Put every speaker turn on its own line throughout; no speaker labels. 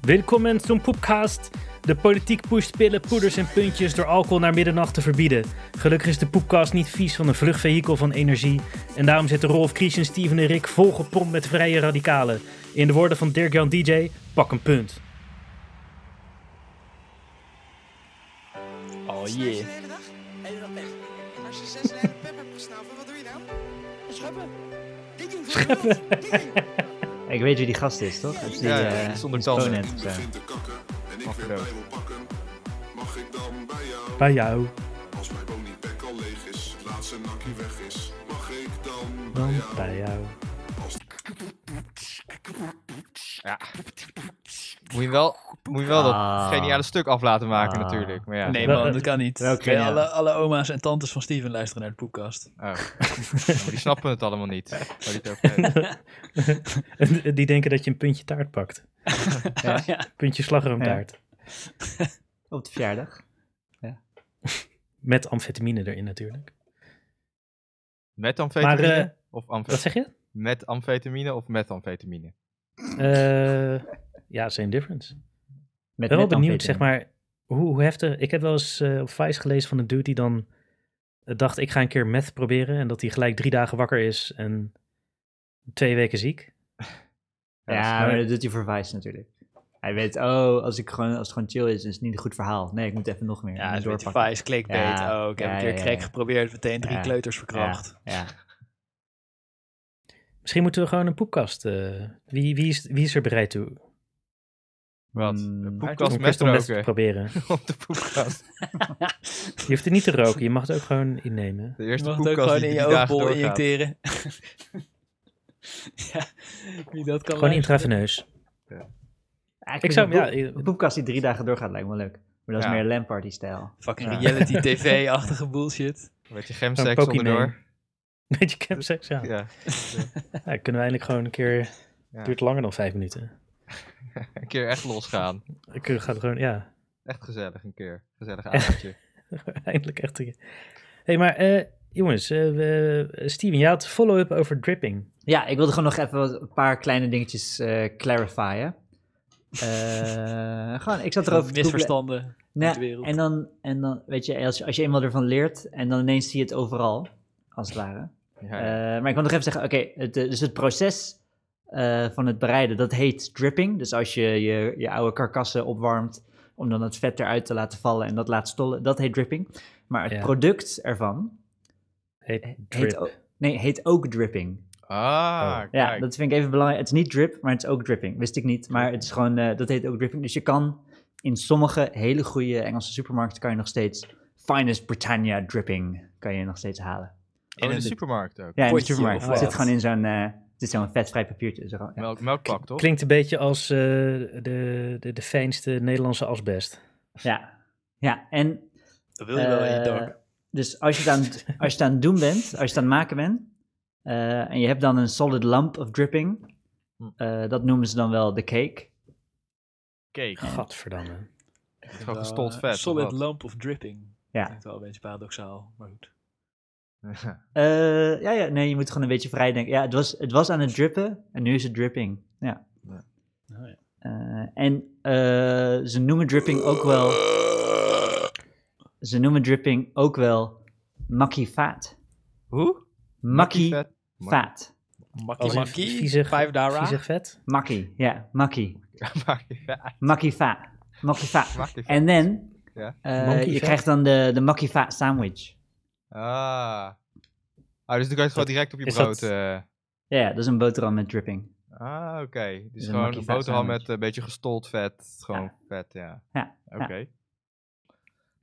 Welkom zum Poepcast. De politiek pusht pillen, poeders en puntjes door alcohol naar middernacht te verbieden. Gelukkig is de Poepcast niet vies van een vluchtvehikel van energie. En daarom zitten Rolf, Christian, Steven en Rick volgepompt met vrije radicalen. In de woorden van Dirk-Jan DJ, pak een punt.
Oh
Snij
jee.
je de hele dag? De hele dag pep. Als je zes de hele pep hebt gesnaven, wat doe je dan? Scheppen. Dit doen Scheppen.
Ik weet wie die gast is, toch? Dat is die,
Ja,
eh,
ja, zonder
die eh.
tanden.
opponent of zo.
begint te kakken en ik weer bij wil pakken. Mag ik dan bij jou?
Bij jou.
Als mijn woningpack al leeg is, laat zijn nakkie weg is. Mag ik dan bij
Dan
jou?
bij jou.
Moet je wel, moet je wel
Ah.
dat geniale stuk af laten maken
Ah.
natuurlijk. Maar ja.
Nee
Wel-
man, dat kan niet.
wel
Nee,
geniaal.
alle, alle oma's en tantes van Steven luisteren naar de podcast.
Oh. Maar die snappen het allemaal niet. Waar die het over heeft.
Die denken dat je een puntje taart pakt.
Ja.
Puntje slagroomtaart.
Ah. Op de verjaardag.
Met amfetamine erin natuurlijk.
Met
Maar
amfetamine
eh,
of
wat
amfe
zeg je?
met amfetamine of met amfetamine?
Eh, ja, same difference.
Met,
ben wel
met
benieuwd, zeg
amfetamine.
maar, hoe, hoe heftig. Ik heb wel eens eh, op Vice gelezen van een dude die dan eh, dacht, ik ga een keer meth proberen. En dat hij gelijk drie dagen wakker is en twee weken ziek.
dat is-
Ja, maar dat doet hij voor Vice natuurlijk. Hij weet, oh, als, ik gewoon, als het gewoon chill is, is het niet een goed verhaal. Nee, ik moet even nog meer.
Ja,
moet
een beetje
doorpakken.
vice clickbait.
Ja,
Oh, ik heb
ja,
een keer
ja,
crack
ja.
geprobeerd, meteen drie
Ja,
kleuters verkracht.
Ja, ja.
Misschien moeten we gewoon een poepkast. eh, wie, wie, is, wie is er bereid toe? om
Wat?
Mm,
Een
een
poepkast
keer
met
om meth te
roken
proberen?
op de poepkast.
Je hoeft het niet te roken, je mag het ook gewoon innemen.
De
Je
eerste
mag het ook
poepkast
gewoon
die
in je
drie dagen
oogbol
doorgaat.
injecteren. ja, wie dat kan
Gewoon
luisteren.
intraveneus. Ik
Eigenlijk
zou, ja,
een poep- een poepkast die drie dagen doorgaat lijkt me wel leuk. Maar dat is
Ja.
meer Lampard-stijl.
Fucking
Ja.
reality tv-achtige bullshit.
Met je
Een
gemseks
Pokémon.
onderdoor.
Beetje campseks, ja. ja.
Ja.
Kunnen we eindelijk gewoon een keer...
Ja.
duurt langer dan vijf minuten.
Een keer echt losgaan.
Ik eh, ga gewoon, ja...
Echt gezellig een keer. Gezellig avondje.
Eindelijk echt. een- hey, maar eh, jongens, eh, we- Steven, jij had follow-up over dripping.
Ja, ik wilde gewoon nog even wat- een paar kleine dingetjes eh clarifyen. Eh, gewoon, ik zat erover te googlen.
Misverstanden in
Nou,
de wereld.
En dan, en dan, weet je, als je, als je eenmaal ervan leert en dan ineens zie je het overal, als het ware.
Ja, ja.
Eh, maar ik wil nog even zeggen, oké, het, eh, dus het proces eh, van het bereiden, dat heet dripping. Dus als je je, je oude karkassen opwarmt om dan het vet eruit te laten vallen en dat laat stollen, dat heet dripping. Maar het
Ja.
product ervan
Heet drip.
heet ook, nee, heet ook dripping.
Ah,
Oh.
Ja,
kijk.
dat vind ik even belangrijk. Het is niet drip, maar het is ook dripping. Wist ik niet, maar het is gewoon, eh, dat heet ook dripping. Dus je kan in sommige hele goede Engelse supermarkten kan je nog steeds Finest Britannia dripping kan je nog steeds halen.
Oh, in de
een
supermarkt ook.
Ja, in de
Potje
supermarkt.
of
Het zit
wat?
gewoon in zo'n, eh, het is zo'n vetvrij papiertje. Zo, ja.
Melk, melkpak, toch?
Klinkt een beetje als eh, de, de, de fijnste Nederlandse asbest.
Ja, ja. En
Dat wil je wel in je
eh,
dorp.
Dus als je, het aan, het- als je het aan het doen bent, als je het aan het maken bent, eh, en je hebt dan een solid lump of dripping,
Hm.
eh, dat noemen ze dan wel de cake.
Cake.
Gadverdamme.
Ik vind
gewoon
wel,
gestold
eh,
vet, of
Oh, Solid
wat?
lump of dripping.
Ja.
Klinkt wel een beetje paradoxaal, maar goed.
Eh, ja, ja, nee, je moet gewoon een beetje vrij denken. Ja, het was, het was aan het drippen en nu is het dripping. Ja.
Oh,
Nou ja.
Eh, en eh, ze noemen dripping ook wel. Ze noemen dripping ook wel makkie vaat.
Hoe?
Makkie
Vet. Makkie.
vaat.
Als
Makkie,
in
makkie,
viezig-
vijf dara.
Viezig vet.
Makkie, ja, makkie.
Makkie vet.
Makifa. Makifa.
Makkie vet.
En dan,
Ja.
eh,
Monkey
je
vet.
krijgt dan de, de Makifa sandwich.
Ah. Ah, dus dan kan je het gewoon direct op je
is
brood.
dat-
eh.
Ja, ja, dat is een boterham met dripping.
Ah, oké. Dus
een
gewoon
makkie
een
vet
boterham
sandwich.
met een beetje gestold vet. Gewoon vet, ja.
Ja, ja.
Oké.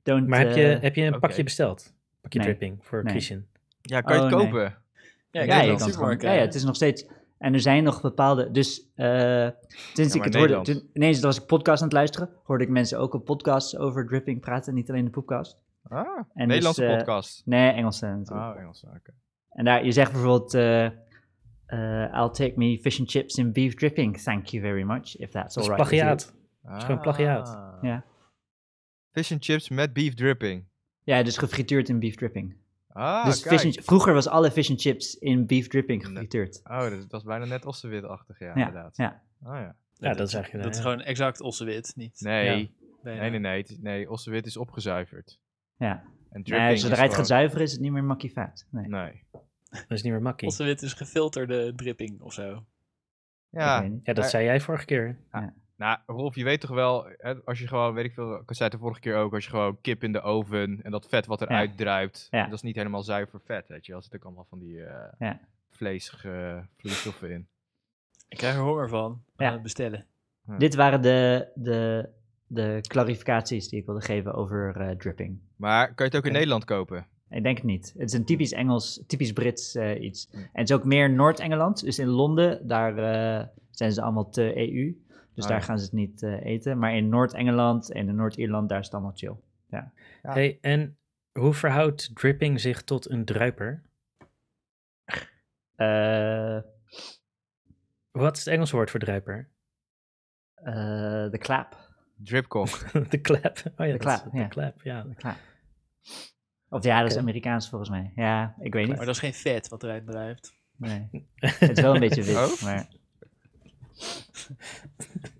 Don't,
Maar heb je,
eh,
heb je een
oké.
pakje besteld? Pakje
Nee.
dripping voor
Nee.
Christian.
Ja, kan je het
Oh, nee.
kopen?
Ja, ik
ja,
weet wel.
je kan het gewoon,
Supermarkt,
ja, ja, het is nog steeds... En er zijn nog bepaalde... Dus eh, sinds
maar
ik het hoorde...
Nederland.
Toen, ineens was ik podcast aan het luisteren. Hoorde ik mensen ook op podcasts over dripping praten. Niet alleen de podcast.
Ah,
En
Nederlandse
dus, eh,
podcast.
Nee, Engelse natuurlijk.
Ah, Engels. Oké.
En daar, je zegt bijvoorbeeld... eh, eh, I'll take me fish and chips and beef dripping. Thank you very much. If that's
Dat is
all right
plagiaat. is gewoon
Ah.
plagiaat.
Ja.
Fish and chips met beef dripping.
Ja, dus gefrituurd in beef dripping.
Ah,
dus
kijk.
fish and, vroeger was alle fish and chips in beef dripping gefrituurd.
Oh, dat was bijna net Ossewit-achtig, ja,
Ja,
inderdaad.
ja.
Oh ja.
Ja, dat is eigenlijk-
Dat is
ja.
gewoon exact ossewit, niet...
Nee,
Nee,
nee, nee, nee. het is- Nee, Ossewit is opgezuiverd.
Ja.
En
Nou,
dripping
zodra
is
je het gaat
gewoon-
zuiveren is het niet meer makkivaat. Nee.
Nee.
Dat is niet meer makkie.
Ossewit is dus gefilterde dripping of zo.
Ja,
Ik weet niet.
Ja, dat
Maar-
zei jij vorige keer.
Nou, Rolf, je weet toch wel, hè, als je gewoon, weet ik veel, ik zei het de vorige keer ook, als je gewoon kip in de oven en dat vet wat eruit druipt,
Ja.
dat is niet helemaal zuiver vet, weet je. Er zitten ook allemaal van die eh
Ja.
vleesige vloeistoffen in.
Ik krijg er honger van. We
Ja.
gaan het bestellen.
Dit waren de, de, de clarificaties die ik wilde geven over eh, dripping.
Maar kan je het ook in
Ja.
Nederland kopen?
Ik denk het niet. Het is een typisch Engels, typisch Brits eh, iets. En het is ook meer Noord-Engeland. Dus in Londen, daar eh, zijn ze allemaal te EU. Dus
Ah,
daar
ja.
gaan ze het niet eh, eten. Maar in Noord-Engeland en in Noord-Ierland, daar is het allemaal chill.
Ja.
Hey, en hoe verhoudt dripping zich tot een druiper?
Eh,
Wat is het Engelse woord voor druiper?
eh, de klaap.
Dripkok.
de clap. Oh ja, dat
De
is-
clap, ja.
De clap, ja. Nou
De klaap. Of ja, dat is
Oké.
Amerikaans volgens mij. Ja, ik weet
Maar
niet.
dat is geen vet wat eruit drijft.
Nee. Het is wel een beetje wit,
Oh?
maar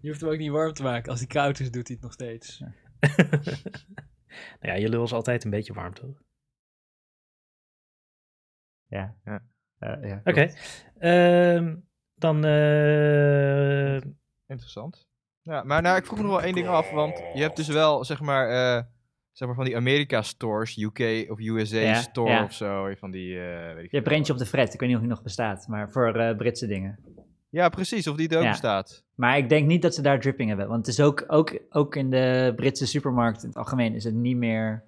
Je hoeft hem ook niet warm te maken. Als hij koud is, doet hij het nog steeds.
Nou ja, je lul is altijd een beetje warm, toch?
ja.
Ja.
Eh, ja,
Oké. Ehm, dan... eh,
Interessant. Ja, maar nou, ik vroeg me nog wel één ding af, want je hebt dus wel, zeg maar, eh, zeg maar van die Amerika-stores, UK of USA
Ja,
store
ja.
of zo, van die, eh, weet ik
Je hebt
veel.
Rentje op de Fret. Ik weet niet of die nog bestaat, maar voor eh, Britse dingen.
Ja, precies, of die er ook
Ja.
bestaat.
Maar ik denk niet dat ze daar dripping hebben. Want het is ook, ook, ook in de Britse supermarkt in het algemeen is het niet meer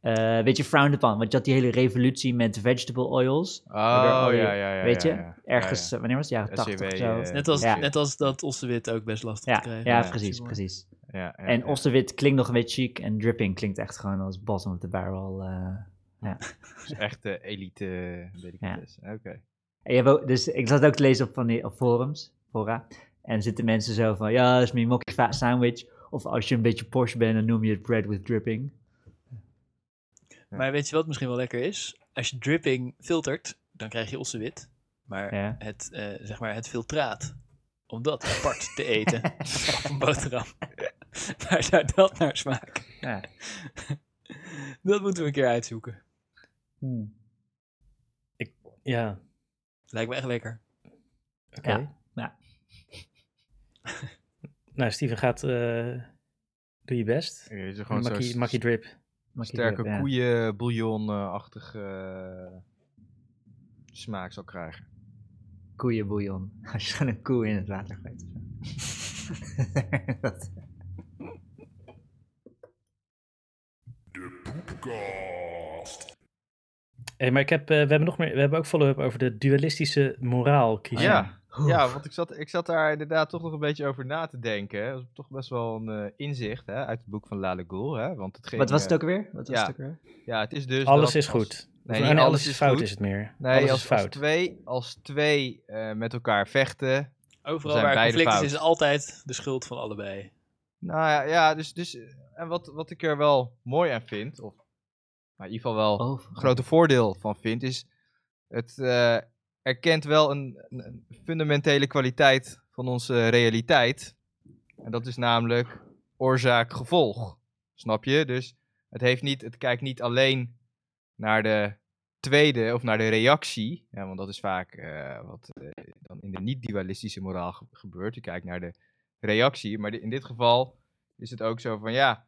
eh, een beetje frowned upon. Want je had die hele revolutie met vegetable oils.
Oh,
Waardoor
ja,
al je-
ja, ja.
weet
ja,
je,
ja.
Ergens,
Ja,
eh, wanneer was het? Jaren
SCW,
80 of zo.
eh,
Net als,
Ja.
net als dat ossewit ook best lastig
ja,
te
ja,
krijgen. is,
precies,
jongen.
precies.
ja, ja, ja,
en
ja.
osterwit klinkt nog een beetje chic en dripping klinkt echt gewoon als bottom of the barrel. eh.
Dus echt eh, elite, eh, weet ik
Ja.
wat is. Oké.
En je hebt ook- dus ik zat ook te lezen op van die op forums, fora. En er zitten mensen zo van, ja, dat is mijn mokkievaat sandwich. Of als je een beetje posh bent, dan noem je het bread with dripping.
Maar weet je wat misschien wel lekker is? Als je dripping filtert, dan krijg je ossewit. Maar
Ja.
het, eh, zeg maar het filtraat, om dat apart te eten op een boterham. Waar zou dat naar smaken?
Ja.
Dat moeten we een keer uitzoeken.
Hmm.
ja,
Lijkt me echt lekker.
oké.
Ja, ja.
nou, Steven gaat... eh, doe je best.
Er is er dus gewoon zo'n
Makkie
s-
makkie drip.
Makkie
sterke
drip, ja.
koeienbouillon-achtig eh, smaak zal krijgen.
Koeienbouillon. Als je gewoon een koe in het water gooit. of zo. Dat-
De poepkast.
Hey, maar ik heb, eh, we, hebben nog meer, we hebben ook follow-up over de dualistische moraalcrisis.
ja.
Oeh.
ja, want ik zat, ik zat daar inderdaad toch nog een beetje over na te denken. hè. Dat is toch best wel een eh, inzicht hè, uit het boek van La Gaulle. Hè, want het ging,
Wat was het
eh,
ook weer? Wat was
ja.
het ook weer?
Ja, het is dus
Alles
dat
is
als-
goed. Of
Nee,
nee,
niet
alles, is fout is het meer.
Nee,
alles
als,
is fout.
Als twee, als twee eh, met elkaar vechten,
Overal
zijn
waar
beide
conflict is,
fout.
is altijd de schuld van allebei.
Nou ja, ja dus, dus eh, en wat, wat ik er wel mooi aan vind, of maar in ieder geval wel
Oh,
een grote voordeel van vind, is het eh, erkent wel een, een- een fundamentele kwaliteit van onze realiteit. En dat is namelijk oorzaak-gevolg. Snap je? Dus het, heeft niet, het kijkt niet alleen naar de tweede of naar de reactie, ja, want dat is vaak eh, wat eh, dan in de niet-dualistische moraal ge- gebeurt. Je kijkt naar de reactie, maar de- in dit geval is het ook zo van ja,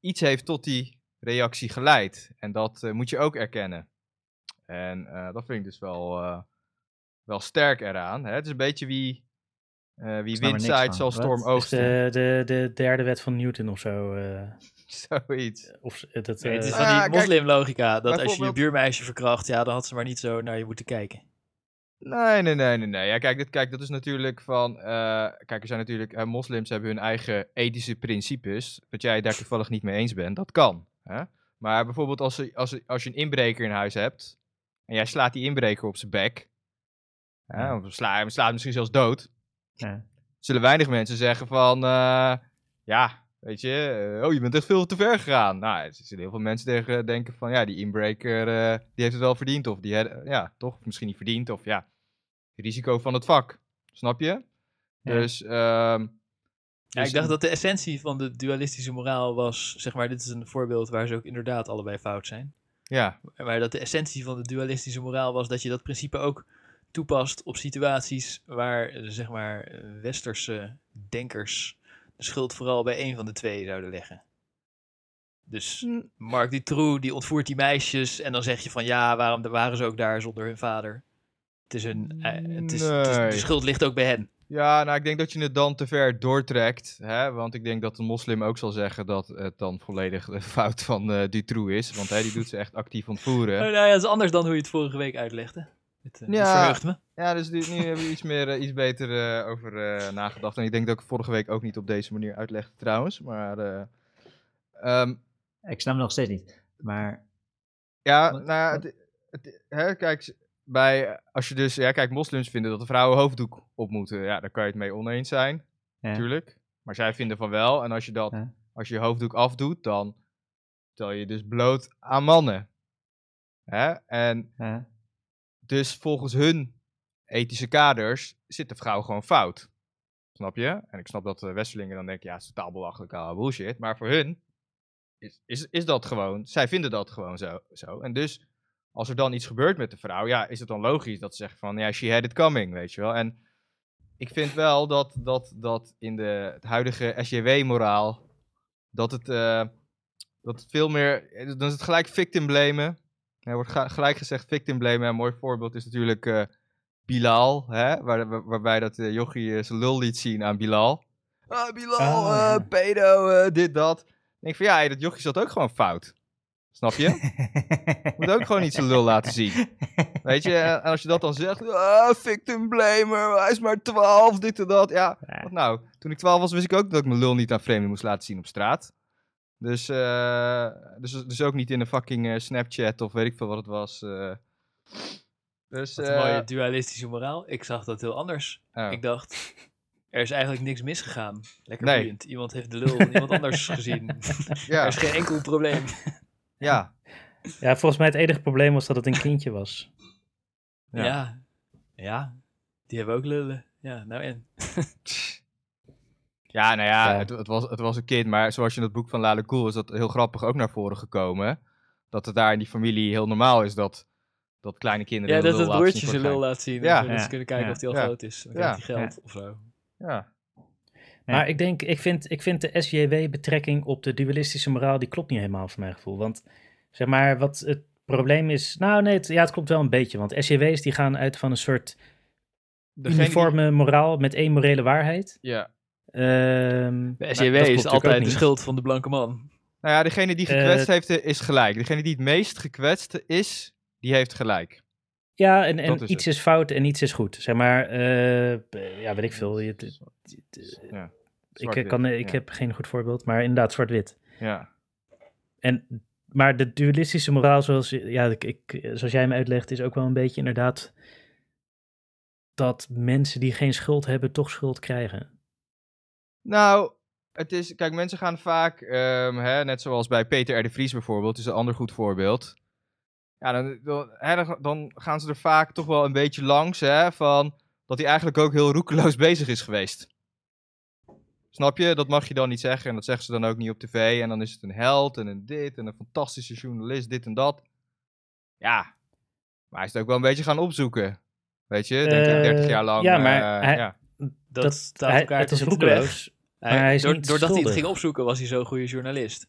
iets heeft tot die reactie geleid en dat eh, moet je ook erkennen. En eh, dat vind ik dus wel, eh, wel sterk eraan. Hè? Het is een beetje wie, eh
snap
wie
er
wind
niks van.
zaait zal
Wat?
storm
Is
Dus
oogsten.
de, de, de derde wet van Newton of zo. eh,
Zoiets.
of z- dat,
Nee, het is
eh,
Ah,
van die
kijk,
moslimlogica, dat als je je
bijvoorbeeld-
buurmeisje verkracht, ja, dan had ze maar niet zo naar je moeten kijken.
Nee, nee, nee, nee, nee. Ja, kijk, dit, kijk, dat is natuurlijk van... eh, kijk, er zijn natuurlijk... eh, moslims hebben hun eigen ethische principes. Dat jij daar toevallig niet mee eens bent, dat kan. Hè? Maar bijvoorbeeld als, er- als, er- als je een inbreker in huis hebt... en jij slaat die inbreker op zijn bek... Hè,
Ja.
of sla, slaat hem misschien zelfs dood...
Ja.
zullen weinig mensen zeggen van... eh, ja, weet je... eh, oh, je bent echt veel te ver gegaan. Nou, er zullen heel veel mensen tegen denken van... ja, die inbreker, eh, die heeft het wel verdiend. Of die... had- Ja, toch? Misschien niet verdiend, of ja risico van het vak. Snap je?
Ja.
Dus,
Ja,
ehm, dus
ik dacht dat de essentie van de dualistische moraal was, zeg maar, dit is een voorbeeld waar ze ook inderdaad allebei fout zijn.
Ja,
Maar dat de essentie van de dualistische moraal was dat je dat principe ook toepast op situaties waar, eh, zeg maar, eh, westerse denkers de schuld vooral bij één van de twee zouden leggen. Dus
Hm.
Mark Dutroux, die ontvoert die meisjes en dan zeg je van ja, waarom de- waren ze ook daar zonder hun vader? Het is hun, eh, het is, het is-
Nee.
de schuld ligt ook bij hen.
ja, nou, ik denk dat je het dan te ver doortrekt. Hè? Want ik denk dat een moslim ook zal zeggen dat het dan volledig de fout van eh Dutroux is. Want hij die doet ze echt actief ontvoeren.
Oh, nou ja, dat is anders dan hoe je het vorige week uitlegde. Het, eh, het
Ja.
verheugt me.
Ja, dus nu, nu hebben we iets, meer, eh, iets beter eh, over eh, nagedacht. En ik denk dat ik vorige week ook niet op deze manier uitlegde trouwens. Maar eh, ehm,
Ik snap het nog steeds niet. Maar
ja,
Wat-
nou ja,
wat-
het, het- hè, kijk, bij, als je dus, ja, kijk, moslims vinden dat de vrouwen hoofddoek op moeten. Ja, daar kan je het mee oneens zijn,
Ja.
natuurlijk. Maar zij vinden van wel. En als je dat,
Ja.
als je je hoofddoek afdoet, dan stel je dus bloot aan mannen. Hè? En
eh,
Dus volgens hun ethische kaders zit de vrouw gewoon fout. Snap je? En ik snap dat de Westelingen dan denken, ja, het is totaal belachelijk, ah, bullshit. Maar voor hun is, is, is dat gewoon, zij vinden dat gewoon zo, zo. En dus, als er dan iets gebeurt met de vrouw, ja, is het dan logisch dat ze zeggen van, ja, she had it coming, weet je wel. En ik vind wel dat, dat, dat in de, het huidige SJW-moraal, dat het, eh, dat het veel meer, eh, dan is het gelijk victim blamen. Er wordt ga- gelijk gezegd victim blame. Een mooi voorbeeld is natuurlijk eh, Bilal. Hè? Waar, waar- waarbij dat eh, jochie eh, zijn lul liet zien aan Bilal. Ah, Bilal,
Oh,
eh,
ja.
pedo, eh, dit, dat. Ik denk van ja, hey, dat jochie zat ook gewoon fout. Snap je? Moet ook gewoon niet zijn lul laten zien. Weet je, en als je dat dan zegt, ah, victim blamer, hij is maar 12, dit en dat. Ja,
Ja.
wat nou? Toen ik 12 was, wist ik ook dat ik mijn lul niet aan vreemden moest laten zien op straat. Dus, eh, dus, dus ook niet in een fucking eh, Snapchat of weet ik veel wat het was. eh. Dus,
Wat een
eh,
mooie dualistische moraal. Ik zag dat heel anders.
oh.
Ik dacht, er is eigenlijk niks misgegaan. Lekker
Nee.
boeiend. Iemand heeft de lul van iemand anders gezien. Er
oh, ja,
is geen enkel probleem.
ja,
Ja, volgens mij het enige probleem was dat het een kindje was.
Ja.
Ja. ja. Die hebben ook lullen. Ja, nou en.
Ja, nou ja,
Ja.
Het, het was, het was een kind, maar zoals je in het boek van Lale Cool is dat heel grappig ook naar voren gekomen. Dat het daar in die familie heel normaal is dat, dat kleine kinderen
Ja,
hun
dat
lul
het
laten
broertje
zien
zijn
voor
lul laat zien.
Ja.
Ja.
Ja.
Ze kunnen kijken
Ja.
of die al
Ja.
groot is. Dan
Ja.
krijgt hij geld of zo.
het gein. Ja.
Maar ik denk, ik vind, ik vind de SJW-betrekking op de dualistische moraal, die klopt niet helemaal voor mijn gevoel. Want zeg maar, wat het probleem is. Nou, nee, het, ja, het klopt wel een beetje. Want SJW's die gaan uit van een soort
Degene die-
uniforme moraal met één morele waarheid.
Ja.
Ehm,
Bij
dat
SJW
klopt
is
natuurlijk ook
altijd de
niet.
schuld van de blanke man.
Nou ja, degene die
Eh,
gekwetst heeft eh, is gelijk. Degene die het meest gekwetst is, die heeft gelijk.
Ja, en,
Dat
en
is
iets is fout en iets is goed. Zeg maar, eh, eh, ja, weet ik veel. Je- het- het-
Ja.
ik eh, kan, ik
ja.
heb geen goed voorbeeld, maar inderdaad zwart-wit.
Ja.
En, maar de dualistische moraal, zoals, ja, ik, ik- zoals jij me uitlegt, is ook wel een beetje inderdaad dat mensen die geen schuld hebben, toch schuld krijgen.
Nou, het is, kijk, mensen gaan vaak, ehm, hè, net zoals bij Peter R. de Vries bijvoorbeeld, is een ander goed voorbeeld. Ja, dan, dan, hè, dan- dan gaan ze er vaak toch wel een beetje langs, hè, van dat hij eigenlijk ook heel roekeloos bezig is geweest. Snap je? Dat mag je dan niet zeggen en dat zeggen ze dan ook niet op tv. En dan is het een held en een dit en een fantastische journalist, dit en dat. Ja, maar hij is het ook wel een beetje gaan opzoeken. Weet je, denk ik
Eh,
30 jaar lang.
ja, maar
eh,
hij-
ja.
Dat,
Dat-
staat
hij-
elkaar
het is
tot niet in de weg.
roekeloos. maar hij is
door-
niet
doordat hij het
schuldig.
ging opzoeken, was hij zo'n goede journalist.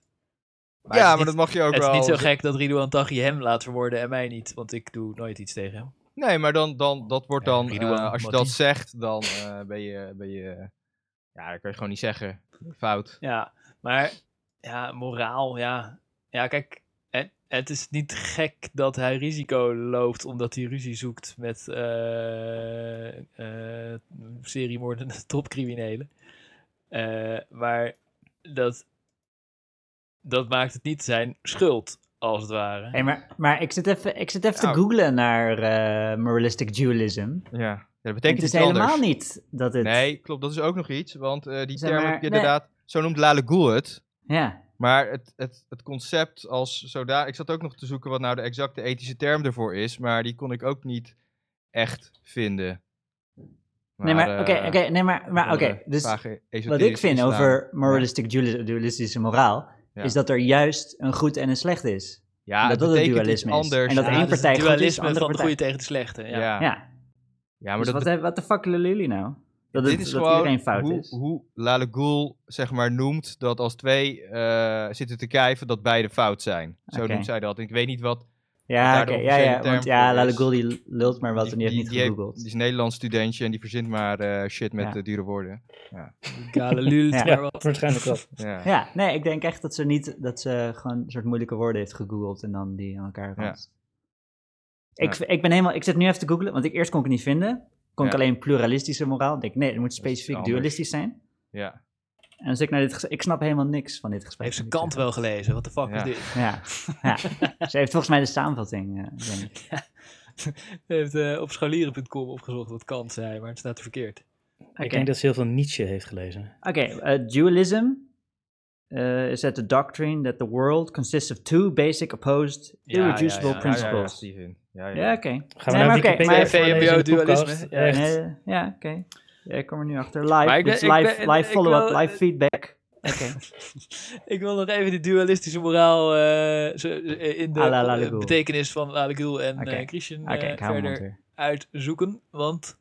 ja,
het is
maar
niet-
dat mag je ook
het is
wel
niet zo
zeggen.
gek dat Ridouan Taghi hem laat vermoorden en mij niet, want ik doe nooit iets tegen hem.
Nee, maar dan,
Oh,
dan, dat wordt
Ja,
dan,
Ridouan,
eh, als je
Mattie.
dat zegt, dan eh, ben je, ben je, ja, dat kan je gewoon niet zeggen. Fout.
Ja, maar ja, moraal, ja. Ja, kijk, het, het is niet gek dat hij risico loopt omdat hij ruzie zoekt met eh eh seriemoordende topcriminelen. Eh, maar dat, dat maakt het niet zijn schuld, als het ware.
hey, maar, maar ik zit even, ik zit even
Nou.
te googlen naar eh, moralistic dualism.
Ja. dat betekent
Het is
iets
helemaal
anders.
niet dat het...
Nee, klopt. Dat is ook nog iets, want eh, die
Zeg
term
maar,
heb je
nee.
inderdaad, zo noemt Lale Ghoul het.
Ja.
Maar het, het, het concept als zodanig, ik zat ook nog te zoeken wat nou de exacte ethische term ervoor is, maar die kon ik ook niet echt vinden.
Nee, maar oké,
eh,
oké, nee, maar, maar
andere
oké. Dus
vage
wat
esoterische
ik vind
islam.
over moralistic duali- dualistische moraal,
Ja.
is dat er juist een goed en een slecht is.
ja,
dat
het
dat het
betekent iets
dualisme is.
Anders.
En dat
ja,
één
dus het
partij goed is,
dualisme
andere
van de
partij.
goede tegen de slechte. Ja.
ja. Ja.
Ja,
ja. maar
maar dus
dat,
wat, wat de fuck lullen jullie nou? Dat, het,
dit is
dat
gewoon
iedereen fout
hoe,
is.
hoe Lale Ghoul zeg maar noemt dat als twee eh, zitten te kijven dat beide fout zijn. Zo
Oké.
noemt zij dat. Ik weet niet wat
Ja,
daar
oké,
de
ja,
officiële
ja,
term
want ja,
voor
Lale
is.
Ghoul die lult maar wat en die heeft niet
heeft-
gegoogeld.
die is een Nederlands studentje en die verzint maar eh, shit met
Ja.
eh, dure woorden.
Gale lult,
Ja.
maar
Ja,
wat.
waarschijnlijk wel.
Ja.
Ja, nee, ik denk echt dat ze niet dat ze gewoon een soort moeilijke woorden heeft gegoogeld en dan die aan elkaar ranst. Ik, ik ben helemaal, ik zit nu even te googlen, want ik eerst kon ik het niet vinden. Kon ik
Ja.
alleen pluralistische moraal. Ik denk, nee, het moet
is iets
specifiek
anders.
dualistisch zijn.
ja.
En als ik naar dit gesprek, ik snap helemaal niks van dit gesprek.
Heeft ze
moet ik
Kant wel gelezen? Wat de fuck
Ja.
is dit?
zeggen. Ja, ja. ze heeft volgens mij de samenvatting. eh, denk ik.
Ze heeft eh, op scholieren.com opgezocht wat Kant zei, maar het staat verkeerd.
Oké,
Ik denk dat ze heel veel Nietzsche heeft gelezen.
Oké, eh, dualism eh, is that the doctrine that the world consists of two basic opposed
Ja, ja,
irreducible
ja, ja, ja.
Ja, ja,
principles. Ja,
Steven. Ja, ja.
oké.
Gaan we
Nee,
naar
maar oké,
Wikipedia
maar-
voorlezen in de
VMBO-dualisme,
podcast?
ja.
Echt.
Eh, ja, oké. Ja, ik kom er nu achter. Live,
Maar ik ben-
it's
ik
live,
ben-
live
ik
follow-up,
wil-
live feedback. Oké.
Ik wil nog even die dualistische moraal eh, zo- eh, in de
À Ah, la Lale
eh,
Ghoul.
betekenis van Lale Ghoul en
Oké.
eh, Christian
Oké,
eh,
ik hou hem
verder
onder.
uitzoeken. Want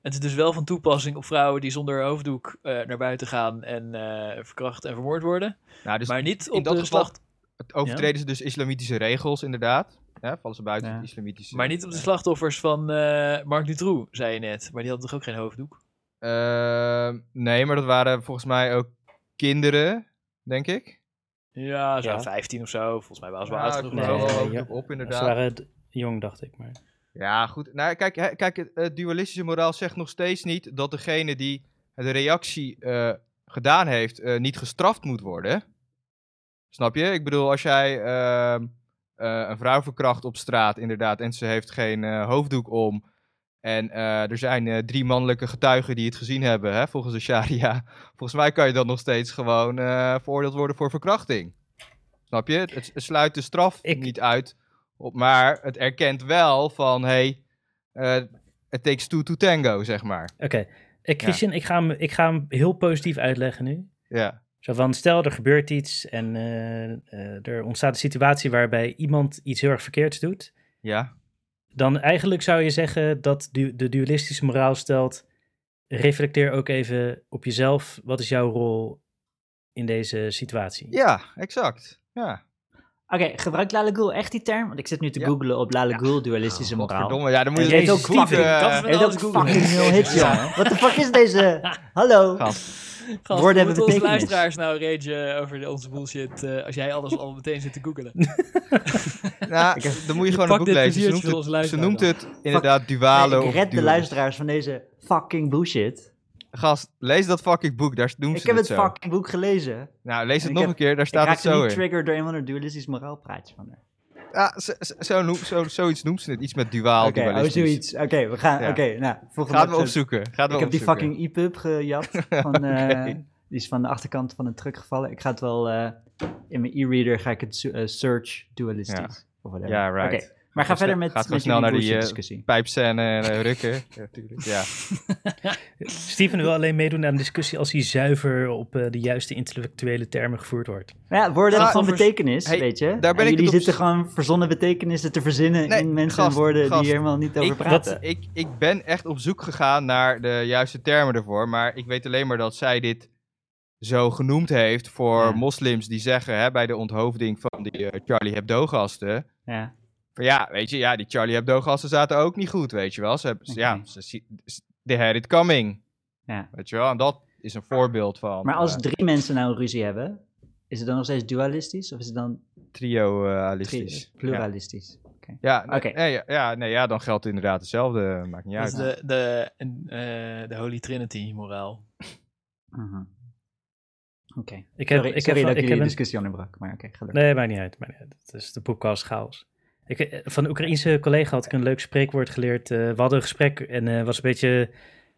het is dus wel van toepassing op vrouwen die zonder hoofddoek eh, naar buiten gaan en eh, verkracht en vermoord worden.
Nou, dus
maar niet
in
op
dat
de
geval-
slacht,
het overtreden ze dus islamitische regels, inderdaad. Ja, vallen ze buiten
Ja.
het islamitische.
maar niet op de slachtoffers van eh, Mark Dutroux, zei je net. Maar die hadden toch ook geen hoofddoek?
Ehm, nee, maar dat waren volgens mij ook kinderen, denk ik.
Ja, zo
Ja.
15 of zo. Volgens mij waren ze wel
Ja,
oud genoeg.
ik
nee,
geloof
nee,
wel
nee,
ook op,
Ze
inderdaad.
waren d- jong, dacht ik. Maar...
Ja, goed. Nou, kijk, hè, kijk het, het dualistische moraal zegt nog steeds niet dat degene die de reactie eh, gedaan heeft, eh, niet gestraft moet worden. Snap je? Ik bedoel, als jij ehm, eh, een vrouw verkracht op straat, inderdaad, en ze heeft geen eh, hoofddoek om. En eh, er zijn eh, drie mannelijke getuigen die het gezien hebben, hè, volgens de sharia. Volgens mij kan je dan nog steeds gewoon eh, veroordeeld worden voor verkrachting. Snap je? Het, het sluit de straf
Ik-
niet uit, op, maar het erkent wel van, hé, hey, eh, it takes two to tango, zeg maar.
Oké, Eh, Christian, ik, ga hem, ik ga hem heel positief uitleggen nu.
Ja,
Zo van, stel er gebeurt iets en eh, eh, er ontstaat een situatie waarbij iemand iets heel erg verkeerds doet.
ja,
Dan eigenlijk zou je zeggen dat du- de dualistische moraal stelt, reflecteer ook even op jezelf. Wat is jouw rol in deze situatie?
ja, exact. Ja.
Oké, gebruikt Lale Ghoul echt die term? Want ik zit nu te
Ja.
googlen op Lale Ghoul dualistische
Oh,
moraal.
Godverdomme, ja, dan moet je eh,
Jezus,
het
Steven,
ook
dat is
googlen.
wel-
Hij heeft ook
Alles googlen.
fucking nul hits,
Ja.
jongen. What the fuck is deze? Hallo?
Gast.
Gast,
Woorden
hoe
hebben
moeten onze
betekenis.
luisteraars nou ragen over onze bullshit eh, als jij alles al meteen zit te googelen?
Nou, dan moet je gewoon een
pakt
boek
dit
lezen. Ze
pleziertje
noemt
van
het,
onze
ze
luisteraar
noemt
dan.
het inderdaad dualen
ik
of
red de
duo.
luisteraars van deze fucking bullshit.
Gast, lees dat fucking boek, daar doen ze
Ik heb het
het zo.
fucking boek gelezen.
Nou, lees het
Ik
nog
heb-
een keer, daar
Ik
staat het
raakte
zo
niet
in.
triggered door een van de dualistisch moraal praatje van haar.
Ja, zo, zo- zo, noem- zo, zoiets noemt ze het, iets met duaal
Oké, oh
dualistisch.
zoiets. Oké, we gaan,
Ja.
oké, nou, volgende
Gaat we
episode.
opzoeken. Gaat we
Ik heb die
opzoeken.
fucking EPUB gejat. Van, eh,
Oké.
die is van de achterkant van een truck gevallen. Ik ga het wel eh, in mijn e-reader ga ik het zo- eh, search dualistisch.
Ja.
Of whatever.
Ja, right.
Oké, Maar ga
Gaat
verder
sne-
met,
gaat
met
gewoon
jullie
snel naar die, eh,
discussie.
Pijpscène en eh, rukken. ja, tuurlijk. Ja.
Steven wil alleen meedoen aan de discussie als hij zuiver op eh, de juiste intellectuele termen gevoerd wordt.
Ja, woorden
Ah,
hebben gewoon
overigens-
betekenis,
hey,
weet je.
ben
En
ik het
jullie
op-
zitten gewoon verzonnen betekenissen te verzinnen
Nee,
in mensen en
gast,
woorden
gast.
die hier helemaal niet over
Ik-
praten.
wat- ik, ik ben echt op zoek gegaan naar de juiste termen ervoor. Maar ik weet alleen maar dat zij dit zo genoemd heeft voor
Ja.
moslims die zeggen hè, bij de onthoofding van die eh, Charlie Hebdo-gasten.
Ja.
Van ja, weet je, ja, die Charlie Hebdo-gasten zaten ook niet goed, weet je wel. Ze hebben, ze- ja,
Oké.
ze, zie- ze- they had it coming.
Ja.
Weet je wel, en dat is een voorbeeld van
Maar als
eh,
drie mensen nou een ruzie hebben, is het dan nog steeds dualistisch of is het dan
trio-alistisch.
tri- pluralistisch?
Ja, ja,
Oké. Dus
nee, nee, ja, ja, nee, ja, dan geldt inderdaad hetzelfde. eh, Maakt niet
Dat
uit.
is de, de, eh, de Holy Trinity moraal.
Mhm. Oké.
Ik heb,
Sorry,
ik heb,
sorry dat
ik
ik
heb
jullie
een-
discussie onderbrak, maar oké, ga door.
Nee, maakt niet uit. Maakt niet uit. Het is de podcast chaos. Ik, eh, van een Oekraïense collega had ik een leuk spreekwoord geleerd. Eh, we hadden een gesprek en eh was een beetje,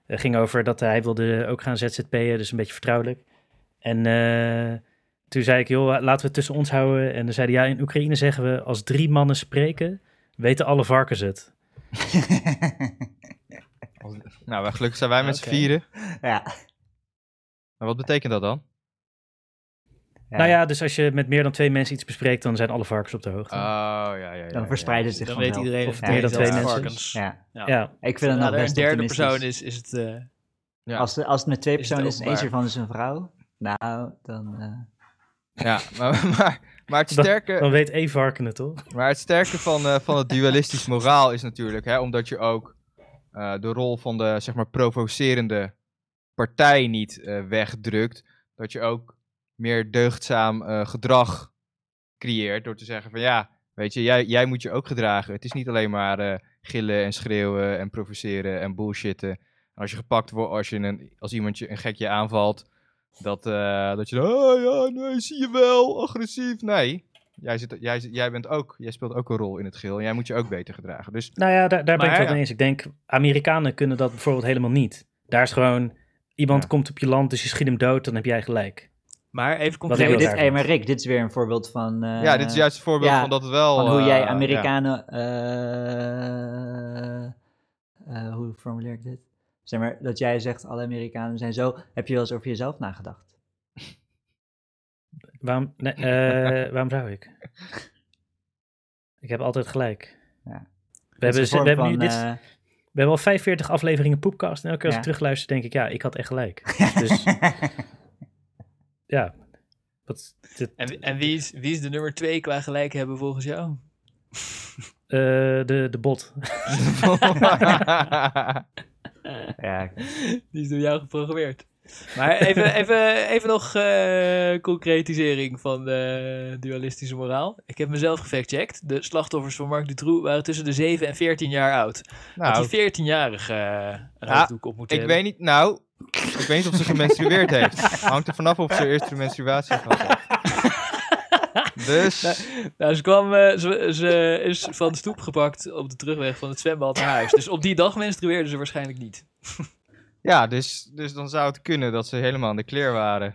eh, ging over dat hij wilde ook gaan ZZP'en, dus een beetje vertrouwelijk. En eh, toen zei ik, joh, laten we het tussen ons houden. En dan zei hij, ja, in Oekraïne zeggen we, als drie mannen spreken, weten alle varkens het.
Nou, maar gelukkig zijn wij met z'n
Oké.
vieren.
Ja.
Maar wat betekent dat dan?
Nou ja, dus als je met meer dan twee mensen iets bespreekt, dan zijn alle varkens op de hoogte.
Oh, ja, ja, ja.
dan verspreiden ze zich
Dan weet
vanzelf.
iedereen
Of
het
meer dan
ineens
twee
dat het
mensen.
varkens.
ja,
Ja,
nou,
ik vind het
Zodra
nog
er een
best
derde
optimistisch.
persoon is, is het... eh,
Ja.
Als, als het met twee
Is het
personen is en eentje
openbaar?
ervan is een vrouw, nou, dan... eh,
Ja, maar, maar, maar, het sterke,
dan weet één varken het, toch?
maar het sterke van, eh, van het dualistisch moraal is natuurlijk, hè, omdat je ook eh, de rol van de zeg maar, provocerende partij niet eh, wegdrukt, dat je ook meer deugdzaam eh, gedrag creëert door te zeggen van ja, weet je, jij, jij moet je ook gedragen. Het is niet alleen maar eh, gillen en schreeuwen en provoceren en bullshitten. Als je gepakt wordt, als, je een, als iemand je een gekje aanvalt, dat, eh, dat je dan, oh ja, nee, zie je wel, agressief. Nee, jij, zit, jij, zit- jij bent ook, jij speelt ook een rol in het geheel en jij moet je ook beter gedragen. Dus
Nou ja, daar, daar ben ik
Maar
het wel
ja.
mee eens. Ik denk, Amerikanen kunnen dat bijvoorbeeld helemaal niet. Daar is gewoon, iemand
Ja.
komt op je land, dus je schiet hem dood, dan heb jij gelijk.
Maar even
Wat
nee,
hebben we
concreet.
maar, dit,
daar
hey,
dan?
maar Rick, dit is weer een voorbeeld van... eh,
ja, dit is juist een voorbeeld
ja,
van dat het wel...
van hoe jij
eh, ja.
Amerikanen. eh, eh, hoe formuleer ik dit? Zeg maar dat jij zegt: alle Amerikanen zijn zo. Heb je wel eens over jezelf nagedacht?
Waarom, nee, eh, waarom zou ik? Ik heb altijd gelijk.
Ja.
We, hebben, we, hebben nu, dit,
eh,
is-
dit.
we hebben al 45 afleveringen Poepcast. En elke keer als
Ja.
ik terugluister, denk ik, ja, ik had echt gelijk. Dus ja, wat, dit,
En, en wie, is, wie is de nummer twee qua gelijk hebben volgens jou?
eh, de, de bot.
ja,
Eh, Die is door jou geprogrammeerd. Maar even, even, even nog eh, concretisering van de dualistische moraal. Ik heb mezelf gefactcheckt. De slachtoffers van Marc Dutroux waren tussen de 7 en 14 jaar oud.
nou,
Had die 14-jarige eh, een
Ja,
hoofddoek op moeten
ik
hebben.
weet niet, nou, ik weet niet of ze gemenstrueerd heeft. Hangt er vanaf of ze eerst de menstruatie gehad heeft. Dus,
Nou, ze, kwam, eh, ze, ze is van de stoep gepakt op de terugweg van het zwembad naar huis. Dus op die dag menstrueerde ze waarschijnlijk niet.
ja, dus, dus dan zou het kunnen dat ze helemaal in de kleer waren.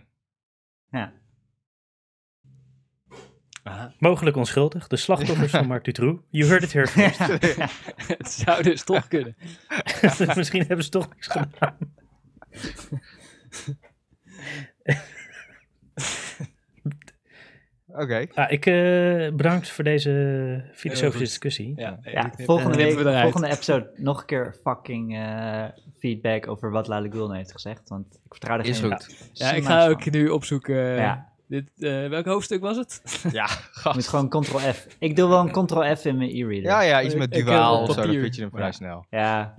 Mogelijk onschuldig. De slachtoffers van Mark Dutroux. You heard it here first.
het zou dus toch kunnen.
Dus Misschien hebben ze toch niks gedaan.
Oké,
Ah, ik eh, bedankt voor deze filosofische
goed.
discussie.
Ja,
ja,
die knip-
volgende,
knippen
week,
we eruit.
volgende episode nog een keer fucking eh, feedback over wat Lale Gulden heeft gezegd. Want ik vertrouw er
is
geen
goed.
Ja, ik
smaak
ga
van.
ook nu opzoeken.
Ja.
Dit, eh, welk hoofdstuk was het?
Ja,
Je moet gewoon ctrl F. Ik doe wel een ctrl F in mijn e-reader.
ja, ja, iets met
Ik- ik, eh,
duaal of zo, dan
papier.
vind je hem vrij
Ja.
snel.
ja,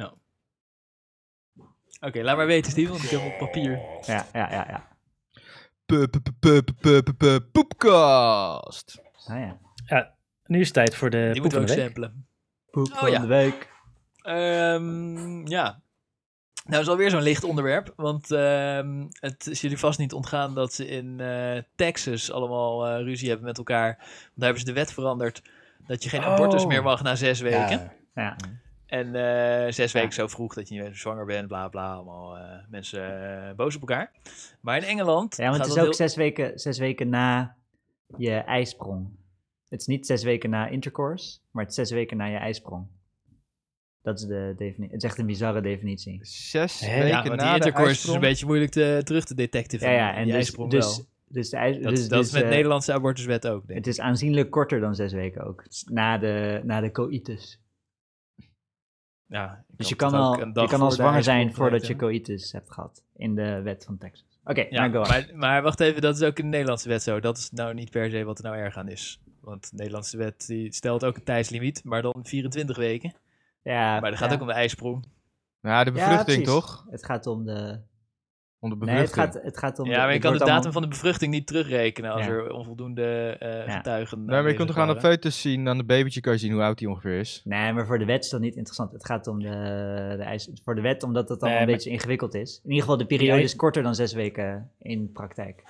Oké, laat maar weten, Steven, want ik heb hem op papier.
ja, ja. ja, ja.
Pu- pu- pu- pu- pu- pu- pu- pu- Poepcast.
Ah, ja.
Nu is het tijd voor de
Die
poep
moeten
van
we ook
de week.
stempelen.
Poep
Oh,
van
ja.
de week.
Ehm, ja. Nou, is alweer zo'n licht onderwerp. Want ehm, het is jullie vast niet ontgaan dat ze in eh, Texas allemaal eh, ruzie hebben met elkaar. Want daar hebben ze de wet veranderd dat je geen
Oh.
abortus meer mag na zes weken.
Ja.
En eh, zes weken zo vroeg dat je niet meer zwanger bent, bla bla. Allemaal eh, mensen eh, boos op elkaar. Maar in Engeland.
Ja, want
gaat
het is ook
dat heel-
zes, weken, zes weken na je ijsprong. Het is niet zes weken na intercourse, maar het is zes weken na je ijsprong. Dat is de definitie. Het is echt een bizarre definitie.
Zes
Hè?
weken
Ja, want die
na de
intercourse is een
ijsprong.
beetje moeilijk te, terug te detecten.
Ja, ja, en
die
dus,
ijsprong
dus,
wel.
dus de ijs,
Dat,
dus,
dat
dus,
is met
eh,
Nederlandse abortuswet ook, denk ik.
Het is aanzienlijk korter dan zes weken ook. Het is Na de, na de coitus.
Ja, ik
Dus je
had
kan
het ook
al,
een dag
je kan
voor
al
de
zwanger zijn
ijsprong
voordat je
gemerkt,
coitus hebt gehad. In de wet van Texas. Oké,
hè?
maar go
Ja,
on.
maar, maar wacht even, dat is ook in de Nederlandse wet zo. Dat is nou niet per se wat er nou erg aan is. Want de Nederlandse wet die stelt ook een tijdslimiet, maar dan 24 weken.
ja,
Maar dat gaat
ja.
ook om de ijsprong.
Ja, de
Ja,
bevruchting
precies.
toch?
Het gaat om de...
Om de
Nee, het
bevruchting.
gaat, het gaat om...
Ja, maar je
het
kan de
wordt
datum
allemaal-
van de bevruchting niet terugrekenen als
Ja.
er onvoldoende eh,
Ja.
getuigen
Nee, maar je
aanwezig
kunt toch aan de
waren.
foetus zien, aan het babytje kan je zien hoe oud die ongeveer is.
Nee, maar voor de wet is dat niet interessant. Het gaat om de, de eis, voor de wet, omdat dat dan
Nee,
een
maar-
beetje ingewikkeld is. In ieder geval, de periode
Ja,
is korter dan zes weken in praktijk.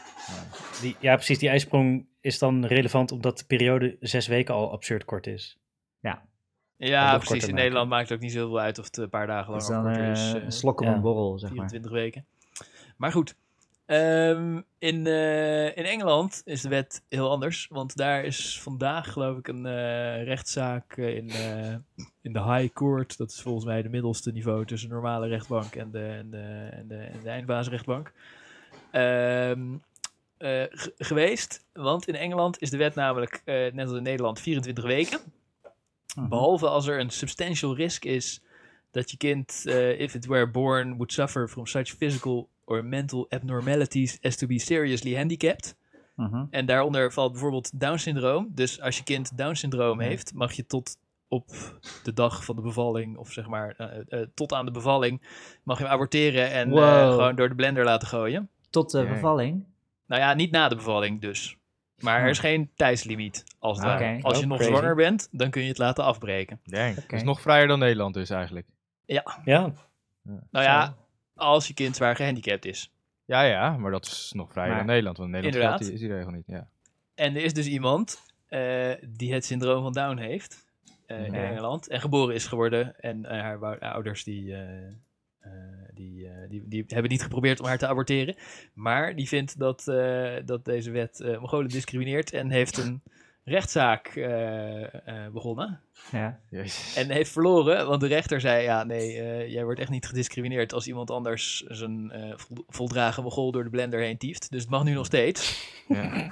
Die, ja, precies. Die ijsprong is dan relevant omdat de periode zes weken al absurd kort is.
Ja,
nog
precies.
korter
In
maken.
Nederland maakt het ook niet zoveel uit of het een paar dagen
Dat
lang
is
of
Dus dan
korter
eh,
is. eh,
een slok op
ja,
een borrel, zeg maar.
24 weken. Maar goed, Ehm, in, eh, in Engeland is de wet heel anders. Want daar is vandaag, geloof ik, een eh, rechtszaak eh, in, eh, in de High Court. Dat is volgens mij de middelste niveau tussen de normale rechtbank en de, en de, en de, en de eindbaasrechtbank. Ehm, eh, ge- geweest. Want in Engeland is de wet namelijk, eh, net als in Nederland, 24 weken. Behalve als er een substantial risk is dat je kind, eh, if it were born, would suffer from such physical or mental abnormalities as to be seriously handicapped.
Mhm.
En daaronder valt bijvoorbeeld Down syndroom. Dus als je kind Down syndroom heeft, mag je tot op de dag van de bevalling, of zeg maar eh, eh, tot aan de bevalling, mag je hem aborteren en eh,
Wow.
gewoon door de blender laten gooien.
Tot de
Jee.
bevalling.
Nou ja, niet na de bevalling dus. Maar er is geen tijdslimiet. Als, het
Hm. Oké.
ware. als je
Oh,
nog
crazy.
zwanger bent, dan kun je het laten afbreken.
Dang.
Oké.
is nog vrijer dan Nederland dus eigenlijk.
Ja,
Nou ja, als je kind zwaar gehandicapt is.
Ja, ja, maar dat is nog vrijer
Maar-
dan Nederland. Want in Nederland
Inderdaad.
geldt die, is die regel niet. Ja.
En er is dus iemand eh, die het syndroom van Down heeft eh, in
Ja.
Engeland en geboren is geworden. En eh, haar wou- ouders die, eh, eh, die, eh, die, die hebben niet geprobeerd om haar te aborteren. Maar die vindt dat, eh, dat deze wet eh Mongolen discrimineert en heeft een rechtszaak eh, eh, begonnen.
Ja.
Jezus.
En heeft verloren, want de rechter zei: Ja, nee, eh, jij wordt echt niet gediscrimineerd als iemand anders zijn eh, vol- voldragen mogol door de blender heen tieft. Dus het mag nu nog steeds.
Ja.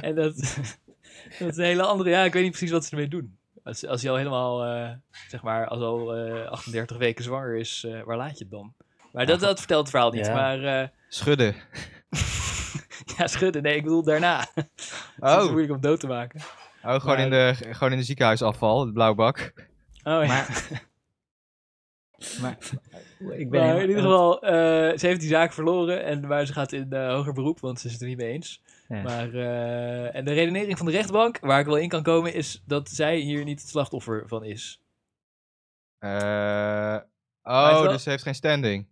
En dat, dat is een hele andere. Ja, ik weet niet precies wat ze ermee doen. Als, als je al helemaal, eh, zeg maar, als al eh, 38 weken zwanger is, eh, waar laat je het dan? Maar dat, dat vertelt het verhaal niet.
Ja.
Maar eh,
Schudden.
ja, schudden. Nee, ik bedoel daarna. Het is
Oh,
moeilijk om dood te maken.
oh gewoon, in de, gewoon in de ziekenhuisafval, de blauwbak.
Oh, ja.
Maar, maar Nou, ik
Maar
ben helemaal-
in ieder geval, eh, ze heeft die zaak verloren. En, maar ze gaat in eh, hoger beroep, want ze is het er niet mee eens.
Ja.
Maar, eh, en de redenering van de rechtbank, waar ik wel in kan komen, is dat zij hier niet het slachtoffer van is.
Eh,
is
oh,
wel-
dus ze heeft geen standing.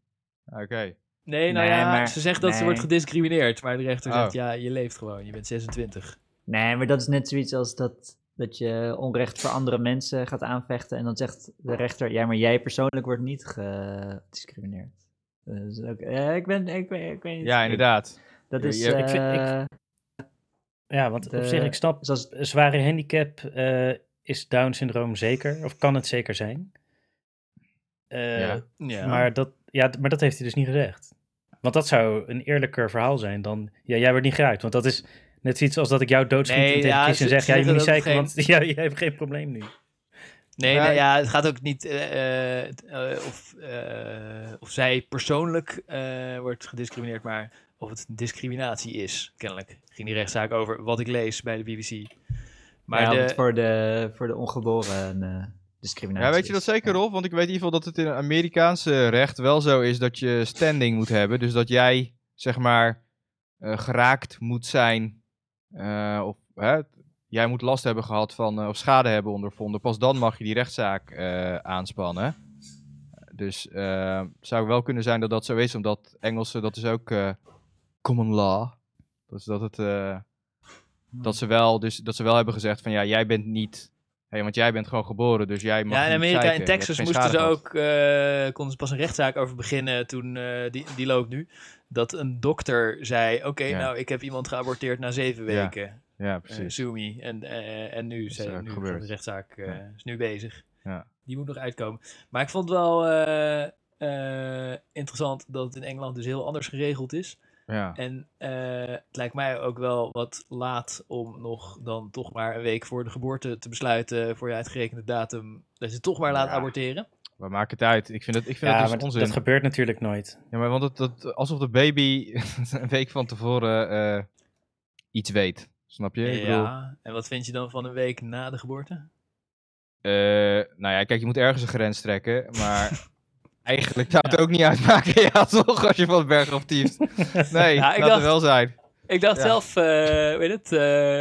Oké.
Nee, nou
Nee,
ja,
maar-
ze zegt dat ze
nee.
wordt gediscrimineerd. Maar de rechter
Oh.
zegt, ja, je leeft gewoon. Je bent 26.
Nee, maar dat is net zoiets als dat, dat je onrecht voor andere mensen gaat aanvechten. En dan zegt de rechter, ja, maar jij persoonlijk wordt niet gediscrimineerd. Dus ook, eh, ik ben, ik, ben- ik weet niet.
Ja, inderdaad.
Dat
Je-
is,
je- ik
vind- ik-
eh,
ja want op
eh,
De-
zich, ik snap,
zoals,
een zware handicap eh, is Down syndroom zeker, of kan het zeker zijn. Eh,
Ja.
Ja.
Maar, dat, ja, d- maar dat heeft hij dus niet gezegd. Want dat zou een eerlijker verhaal zijn dan, ja, jij wordt niet geraakt. Want dat is net zoiets als dat ik jou doodschiet
Nee,
en tegen
ja,
Chris en
ze-
zeg,
ze
ja, je moet niet
zeggen
zeiken,
dat het
want ja, je hebt geen probleem nu.
Nee,
Maar-
nee, ja, het gaat ook niet eh, eh, t- eh, of, eh, of zij persoonlijk eh, wordt gediscrimineerd, maar of het discriminatie is, kennelijk. Ging die rechtszaak over wat ik lees bij de BBC. Maar
ja,
de-
want voor, de, voor de ongeboren eh, discriminatie.
Ja, weet je dat
is.
zeker, Rolf? Want ik weet in ieder geval dat het in het Amerikaanse recht wel zo is dat je standing moet hebben. Dus dat jij, zeg maar, eh, geraakt moet zijn. eh, of hè, jij moet last hebben gehad van, eh, of schade hebben ondervonden. Pas dan mag je die rechtszaak eh, aanspannen. Dus eh, het zou wel kunnen zijn dat dat zo is, omdat Engelsen, dat is ook eh, common law. Dus dat, het, eh,
Hmm.
dat, ze wel, dus dat ze wel hebben gezegd van, ja, jij bent niet... Hey, want jij bent gewoon geboren, dus jij mag
ja, in
niet
Amerika,
zeiken.
in
Je hebt
Texas
geen
moesten
schade
ze ook,
gehad.
eh, konden ze pas een rechtszaak over beginnen toen, eh, die, die loopt nu, dat een dokter zei, oké,
Ja.
nou, ik heb iemand geaborteerd na zeven
Ja,
weken,
Ja,
eh,
precies.
Sumi, en, eh, en nu,
Dat is
zei-
ook
nu
gebeurd.
gaat de rechtszaak eh,
Ja.
is nu bezig.
Ja.
Die moet nog uitkomen. Maar ik vond wel eh, eh, interessant dat het in Engeland dus heel anders geregeld is.
ja.
En eh, het lijkt mij ook wel wat laat om nog dan toch maar een week voor de geboorte te besluiten voor je uitgerekende datum dat je toch maar laat
Ja.
aborteren.
Maar maak het uit. Ik vind dat, ik vind
Ja,
dat
maar
dus
d-
onzin.
dat gebeurt natuurlijk nooit.
Ja, maar want het, dat, alsof de baby een week van tevoren eh, iets weet. Snap je? Ik bedoel,
ja. En wat vind je dan van een week na de geboorte?
eh, nou ja, kijk, je moet ergens een grens trekken, maar... Eigenlijk zou het ook niet uitmaken, ja, toch? Als je van het berg op tieft. Nee,
Ja, ik
laat het
dacht-
wel zijn.
Ik dacht
Ja.
zelf, eh, weet het, eh,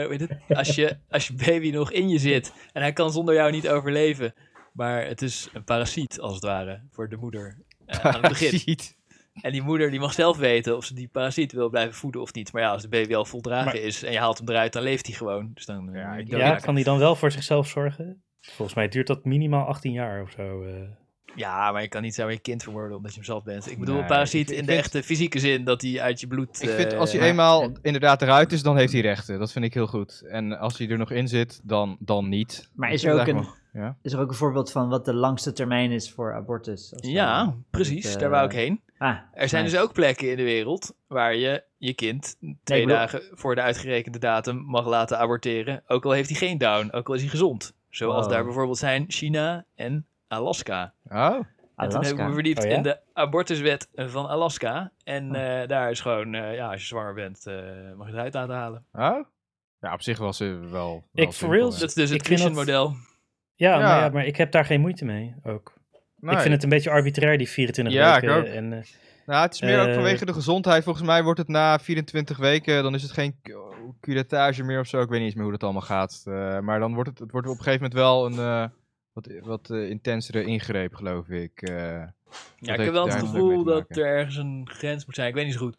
weet het als, je, als je baby nog in je zit en hij kan zonder jou niet overleven. Maar het is een parasiet als het ware voor de moeder eh, aan het begin.
Ziet.
En die moeder die mag zelf weten of ze die parasiet wil blijven voeden of niet. Maar ja, als de baby al voldragen
Maar-
is en je haalt hem eruit, dan leeft hij gewoon. Dus dan
Ja,
ja,
ik-
Ja,
ja,
kan die dan wel voor zichzelf zorgen? Volgens mij duurt dat minimaal 18 jaar of zo. eh.
Ja, maar je kan niet zomaar je kind vermoorden omdat je hem zelf bent. Ik bedoel,
Nee,
parasiet
ik- ik
in de
vind-
echte fysieke zin dat hij uit je bloed...
Ik vind, als hij
eh,
eenmaal
en-
inderdaad eruit is, dan heeft hij rechten. Dat vind ik heel goed. En als hij er nog in zit, dan, dan niet.
Maar
Dat
is er ook
eigenlijk
een,
wel- ja.
is er ook een voorbeeld van wat de langste termijn is voor abortus? Als we-
Ja, precies.
eh,
daar wou ik heen.
Ah,
Er zijn
nice.
dus ook plekken in de wereld waar je je kind twee
bedoel-
dagen voor de uitgerekende datum mag laten aborteren. Ook al heeft hij geen down, ook al is hij gezond. Zoals
Wow.
daar bijvoorbeeld zijn China en Alaska.
Oh,
En toen heb ik me
Alaska.
verdiept
Oh ja? Oh.
in de abortuswet van Alaska. En eh, daar is gewoon, eh, ja, als je zwanger bent, eh, mag je het uit laten halen.
oh. Ja, op zich was ze wel... wel
Ik- for
simpel,
real,
ja.
Dat is dus het
Ik vind dat-
Christian model.
Ja,
Ja.
Maar, ja, maar ik heb daar geen moeite mee ook.
Nee.
Ik vind het een beetje arbitrair, die 24
Ja, ik
weken.
ook.
En, eh,
Nou, het is meer ook
Eh,
vanwege de gezondheid. Volgens mij wordt het na 24 weken, dan is het geen cu- curettage meer of zo. Ik weet niet eens meer hoe dat allemaal gaat. Eh, maar dan wordt het, het wordt op een gegeven moment wel een eh, wat, wat eh, intensere ingreep, geloof ik. Eh,
Ja, ik heb wel
heeft daar
het
natuurlijk mee
gevoel
te
dat
maken.
er ergens een grens moet zijn. Ik weet niet zo goed.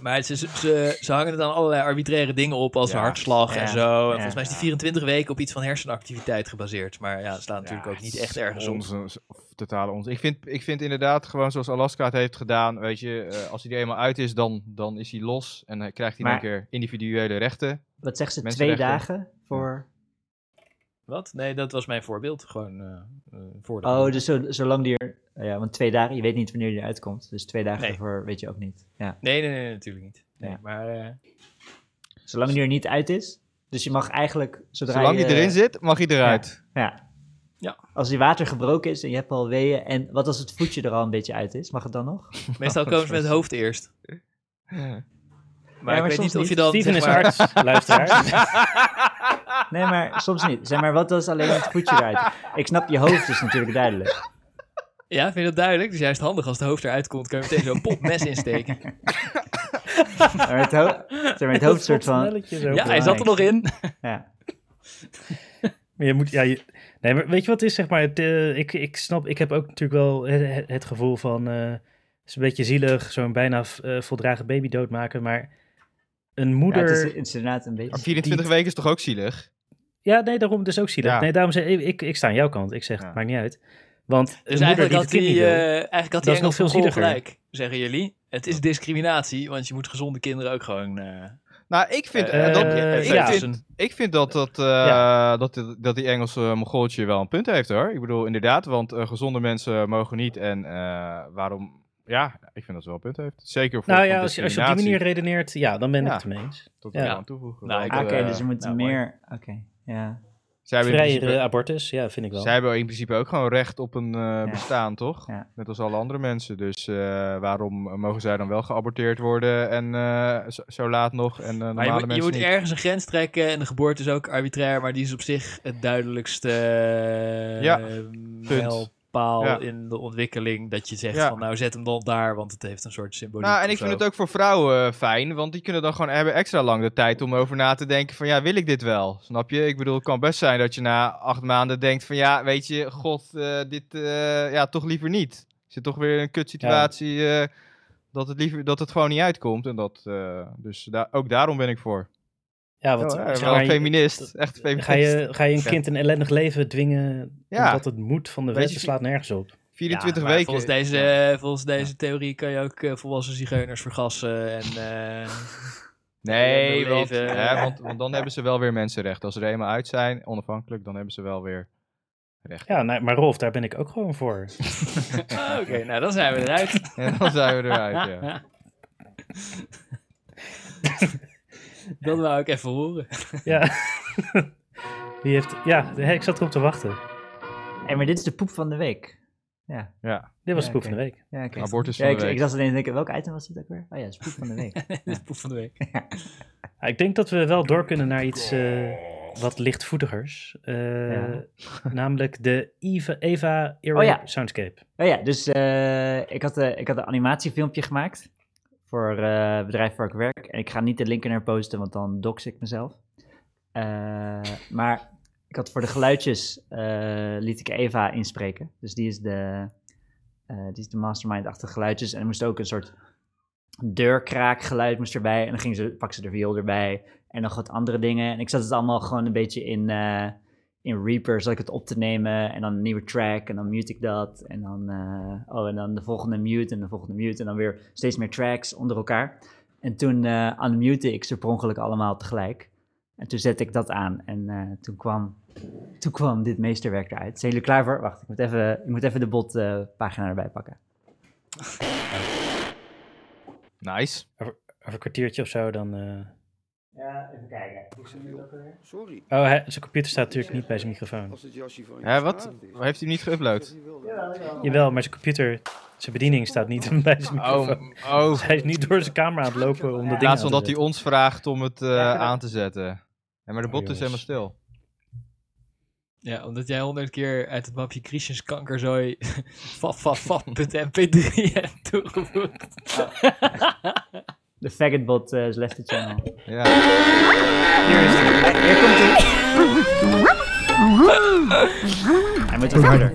Maar het is- ze, ze, ze hangen het aan allerlei arbitraire dingen op, als
Ja.
hartslag
Ja.
en zo. En
Ja.
volgens mij is die 24 weken op iets van hersenactiviteit gebaseerd. Maar ja, het slaat natuurlijk
ja,
ook niet
het is
echt ergens op.
onze- of totale onzin. Ik vind, ik vind inderdaad gewoon zoals Alaska het heeft gedaan. Weet je, eh, als hij er eenmaal uit is, dan, dan is hij los. En dan krijgt hij
Maar-
een keer individuele rechten.
Wat zegt ze? Twee
Mensenrechten.
dagen voor...
Wat? Nee, dat was mijn voorbeeld. Gewoon eh, eh, voordeel.
Oh, dus zo, zolang die er... oh Ja, want twee dagen, je weet niet wanneer die eruit komt. Dus twee dagen
Nee.
voor weet je ook niet. Ja.
nee, nee, nee, natuurlijk niet. Nee,
Ja.
Maar eh,
Zolang die er niet uit is. Dus je mag eigenlijk, zodra
Zolang
je...
hij erin zit, mag hij eruit.
Ja.
Ja.
Als die water gebroken is en je hebt al weeën. En wat als het voetje er al een beetje uit is? Mag het dan nog?
Oh,
meestal komen ze met het hoofd eerst. Maar
maar
ik weet
soms
niet of je
niet.
dan...
Steven
zeg
is
maar-
arts, luisteraar.
Nee, maar soms niet. Zeg maar, wat als alleen het voetje eruit? Ik snap, je hoofd is natuurlijk duidelijk.
Ja, vind je dat duidelijk? Dus juist handig als het hoofd eruit komt, kun je meteen zo'n popmes insteken.
Maar het, ho- zeg maar, het hoofd soort van...
Snelletje zo.
ja, hij zat er nog in.
Ja.
Maar je moet, ja, je- nee, maar weet je wat het is, zeg maar, het, eh, ik, ik snap, ik heb ook natuurlijk wel het, het- het gevoel van, eh, het is een beetje zielig, zo'n bijna eh, voldragen baby doodmaken, maar een
Ja,
moeder...
het, is, het is inderdaad een
Maar
beetje...
24 weken is toch ook zielig?
Ja, nee, daarom dus ook zielig.
Ja.
Nee, daarom zeg ik, ik, ik sta aan jouw kant. Ik zeg,
Ja.
maakt niet uit. Want
Dus
de moeder
eigenlijk
die
had,
het kind
die,
niet wil,
eh, eigenlijk had
Dat
die
is nog
Engels
veel
veel school
zieliger.
gelijk, zeggen jullie. Het is discriminatie, want je moet gezonde kinderen ook gewoon... eh
Nou, ik vind,
eh,
eh,
dat,
eh,
ik
ja.
vind Ik vind dat, dat, eh, dat, die- dat die Engelse mongooltje wel een punt heeft hoor. Ik bedoel, inderdaad, want eh, gezonde mensen mogen niet. En eh, waarom? Ja, ik vind dat ze wel een punt heeft. Zeker voor
Nou
voor
ja, als je, als je op die manier
discriminatie.
redeneert, ja, dan ben ik
Ja.
het ermee eens.
Dat
ja.
wil ik wel aan toevoegen.
Nou,
want,
ik-
Ah,
eh,
Oké, dus we moeten
nou, mooi.
meer... Oké, ja.
zij, hebben in
Vrijere
principe,
abortus, ja, vind ik wel.
dus, eh, zij hebben in principe ook gewoon recht op een eh, bestaan, toch?
Ja.
Net als alle andere mensen. Dus eh, waarom mogen zij dan wel geaborteerd worden en eh, zo, zo laat nog? En eh,
Maar
normale
je, moet- je
mensen
moet
niet.
ergens een grens trekken en de geboorte is ook arbitrair, maar die is op zich het duidelijkste eh,
Ja,
mijlpaal
Ja.
in de ontwikkeling. Dat je zegt
Ja.
van nou zet hem dan daar, want het heeft een soort symboliek.
Nou, en
of
ik vind
zo.
het ook voor vrouwen eh, fijn, want die kunnen dan gewoon hebben extra lang de tijd om over na te denken van ja, wil ik dit wel? Snap je? Ik bedoel, het kan best zijn dat je na acht maanden denkt van ja, weet je, god, eh, dit, eh, ja, toch liever niet. Zit toch weer in een kut situatie dat, het liever, dat het gewoon niet uitkomt. En dat, eh, dus daar ook daarom ben ik voor.
ja,
Ja,
want,
eh,
zeg
wel
maar, je-
feminist, echt feminist.
Ga je, ga je een kind een ellendig leven dwingen
Ja.
omdat het moet van de
Weet
wet?
je-
Dat slaat nergens op.
Ja,
24
maar
weken.
Volgens deze, volgens deze theorie kan je ook eh, volwassen zigeuners vergassen en... eh,
Nee,
Leven.
want, hè, want, want dan hebben ze wel weer mensenrechten. Als ze er eenmaal uit zijn, onafhankelijk, dan hebben ze wel weer recht.
Ja, nee, maar Rolf, daar ben ik ook gewoon voor.
Oké, nou dan zijn we eruit.
En dan zijn we eruit, ja.
Dat wou ik even horen.
ja. Wie heeft, ja, hè, ik zat erop te wachten.
Hey, maar dit is de poep van de week. Ja,
Ja,
Dit was
Ja,
de poep
oké.
van de week.
ja oké.
abortus
Ja,
van
ik,
de week.
ik zat alleen te denken, welk item was dit ook weer? Oh ja, het is poep van de week.
Dit is poep van de week.
Ja, ik denk dat we wel door kunnen naar iets eh, wat lichtvoetigers. Eh,
Ja.
Namelijk de Eva, Eva Era
Oh ja.
Soundscape.
Oh ja, dus eh, ik, had, eh, ik had een animatiefilmpje gemaakt voor eh, het bedrijf waar ik werk. En ik ga niet de link naar posten, want dan dox ik mezelf. Eh, maar ik had voor de geluidjes, eh, liet ik Eva inspreken. Dus die is de, eh, die is de mastermind achter geluidjes. En er moest ook een soort deurkraakgeluid moest erbij. En dan ging ze, pakte ze de viool erbij. En nog wat andere dingen. En ik zat het allemaal gewoon een beetje in, eh, in Reaper zat ik het op te nemen en dan een nieuwe track en dan mute ik dat en dan, eh, oh, en dan de volgende mute en de volgende mute en dan weer steeds meer tracks onder elkaar. En toen eh unmute ik ze per ongeluk allemaal tegelijk. En toen zette ik dat aan en eh, toen, kwam, toen kwam dit meesterwerk eruit. Zijn jullie klaar voor? Wacht, ik moet even, ik moet even de botpagina erbij pakken.
Nice.
Over een kwartiertje of zo dan... eh,
Ja, even kijken.
Sorry,
Oh, hij- zijn computer staat natuurlijk niet bij zijn microfoon.
als het jasje van je
Hè, wat?
is.
Heeft hij hem niet geüpload?
Jawel, maar zijn computer, zijn bediening staat niet bij zijn
Oh,
microfoon.
oh.
Dus hij is niet door zijn camera aan het lopen om dat
In
ding aan
plaats
te
van dat hij
zetten.
ons vraagt om het eh, aan te zetten. Ja, maar de
Oh,
bot is
jongens.
helemaal stil.
Ja, omdat jij honderd keer uit het mapje Christians kankerzooi fafafaf.mp3 hebt toegevoegd.
De faggotbot eh is left the channel.
Ja.
Hij moet wat harder.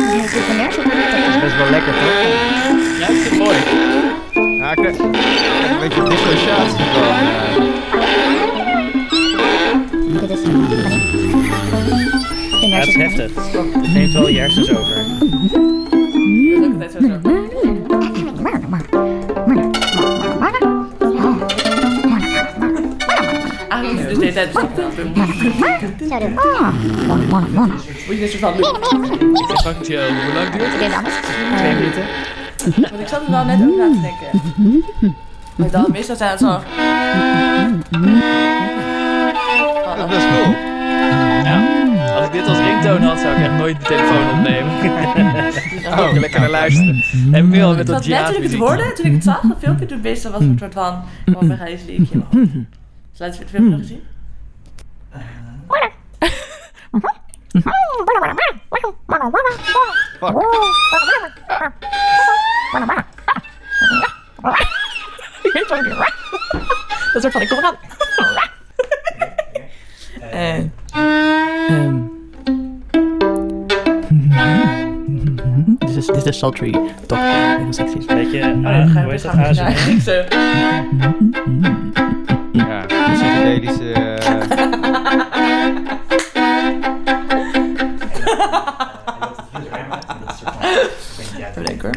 Dat is best wel lekker, toch?
Ja, ik krijg ik krijg een beetje dissociatie van. eh,
Ja, het is heftig. Het neemt wel je hersens over.
Ah, dus
Dankjewel. Hoe lang duurt het?
Twee minuten.
Want ik zat er wel net over na te denken. Maar dan meestal zijn het zo.
Dat is cool.
Als ik dit als ringtoon had, zou ik echt nooit de telefoon opnemen.
Oh.
Ook lekker naar luisteren. En nu al met dat
Want net toen ik het
jazz
hoorde, toen ik het zag, dat filmpje, toen meestal was het een soort van. Oh, we gaan deze liedje nog. Dus laten we het filmpje nog eens zien.
Fuck.
Dat soort van, ik kom eraan. En.
Dit is, dit is Sultry. Toch heel sexy.
Weet je,
Oh ja,
ah,
dan ga je
hoe heet dat?
weer
ASMR?
gaan. Ja, ik zo.
Ja, psychedelische. eh,
Even denken hoor.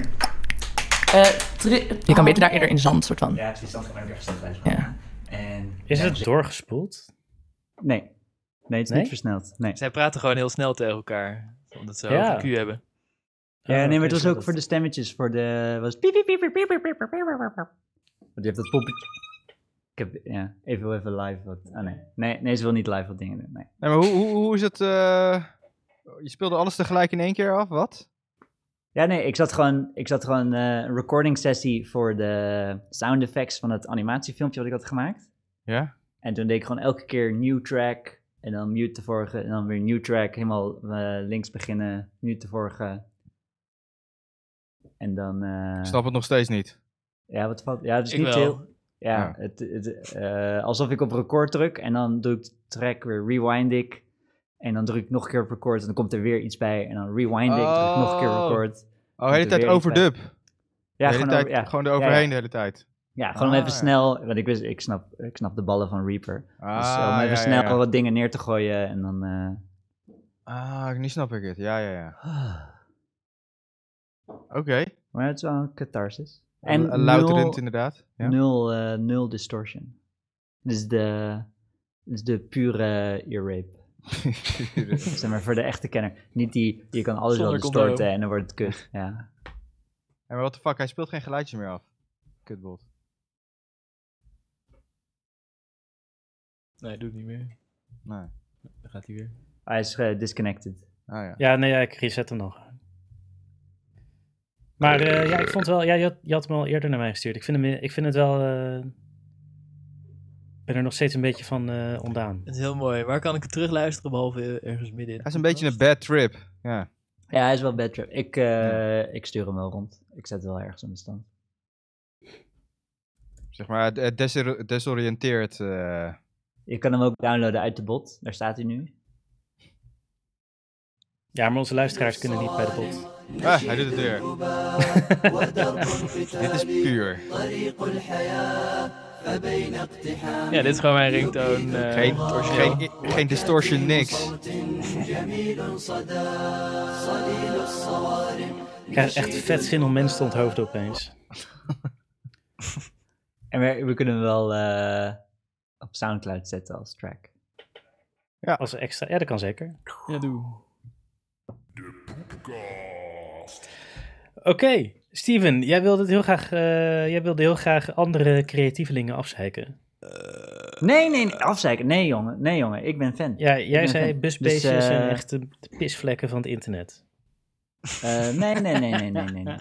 Eh, drie- je kan beter daar eerder in zand, soort van.
Ja, het is dan gewoon ergens
Ja.
En...
Is het doorgespoeld?
Nee. Nee, het is
Nee?
niet versneld. Nee.
Zij praten gewoon heel snel tegen elkaar. Omdat ze
Ja.
ja. Q hebben.
Oh,
Ja, nee, maar het was
zo
ook voor de stemmetjes. Voor de... Was piep, piep, piep, piep, piep, piep, piep, piep, piep, piep, piep. Want je hebt dat poppetje... Ik heb... Ja, even, wil even live wat... Ah, nee. nee. Nee, ze wil niet live wat dingen doen. Nee.
Nee, maar hoe, hoe, hoe is het? eh, Je speelde alles tegelijk in één keer af, wat?
Ja, nee, ik zat gewoon, ik zat gewoon eh, een recording sessie voor de sound effects van het animatiefilmpje wat ik had gemaakt.
Ja.
En toen deed ik gewoon elke keer nieuw track. En dan mute de vorige. En dan weer nieuw track. Helemaal eh, links beginnen. Mute de vorige. En dan. eh,
Ik snap het nog steeds niet.
Ja, wat valt. Ja, het is
Ik
niet
wel.
heel. Ja,
Ja.
Het, het, eh, alsof ik op record druk. En dan doe ik de track weer rewind ik. En dan druk ik nog een keer op record. En dan komt er weer iets bij. En dan rewind ik. Druk ik nog een keer op
Oh.
record.
Oh, de hele
er
tijd
weer iets
overdub.
Ja,
de hele
gewoon,
tijd,
over- ja,
gewoon
ja.
eroverheen de hele tijd.
ja, gewoon om
Ah,
even
ja.
snel. Want ik, wist, ik, snap, ik snap de ballen van Reaper.
Ah,
dus eh, om
ja,
even
ja,
snel
ja.
wat dingen neer te gooien. En dan. eh,
Ah, nu snap ik het. Ja, ja, ja. Oké.
Maar het is wel een catharsis.
En
En
louterend
nul,
inderdaad. Ja.
nul, eh, nul distortion. Dus de, dus de pure ear rape. Zeg maar voor de echte kenner. Niet die, je kan alles wel
Zonder
distorten
condoom.
en dan wordt het kut. Ja.
En wat de fuck, hij speelt geen geluidje meer af. Kutbot.
Nee, doe het niet meer.
Nee.
Dan gaat hij weer.
Hij is eh, disconnected.
Ah ja.
Ja, nee, ja, ik reset hem nog. Maar eh, ja, ik vond wel, ja, je, had, je had hem al eerder naar mij gestuurd. Ik vind, hem, ik vind het wel eh, ben er nog steeds een beetje van eh, ondaan.
Het is heel mooi. Waar kan ik het terugluisteren behalve eh, ergens midden in?
Hij is een beetje een bad trip. Ja.
Ja, hij is wel bad trip. Ik, eh, ik stuur hem wel rond. Ik zet wel ergens in de stand.
Zeg maar, eh, desor- desoriënteerd. eh.
Je kan hem ook downloaden uit de bot. Daar staat hij nu.
Ja, maar onze luisteraars kunnen niet bij de bot.
Ah, hij doet het weer. Dit is puur.
Ja, dit is gewoon mijn ringtoon. eh,
Geen,
origineel.
geen, geen distortion, niks.
Ik krijg echt vet zin om mensen te onthoofden opeens.
En we, we kunnen hem wel eh, op Soundcloud zetten als track.
Als er extra... Ja, dat kan zeker.
Ja, doe.
Oké, Steven, jij wilde, heel graag, eh, jij wilde heel graag andere creatievelingen afzeiken.
Nee, nee, nee. Afzeiken. Nee, jongen. Nee, jongen. Ik ben fan.
Ja, jij
ben
zei
fan.
busbeestjes
Dus, eh,
zijn echt de de pisvlekken van het internet.
Eh, nee, nee, nee, nee, nee, nee, nee. nee.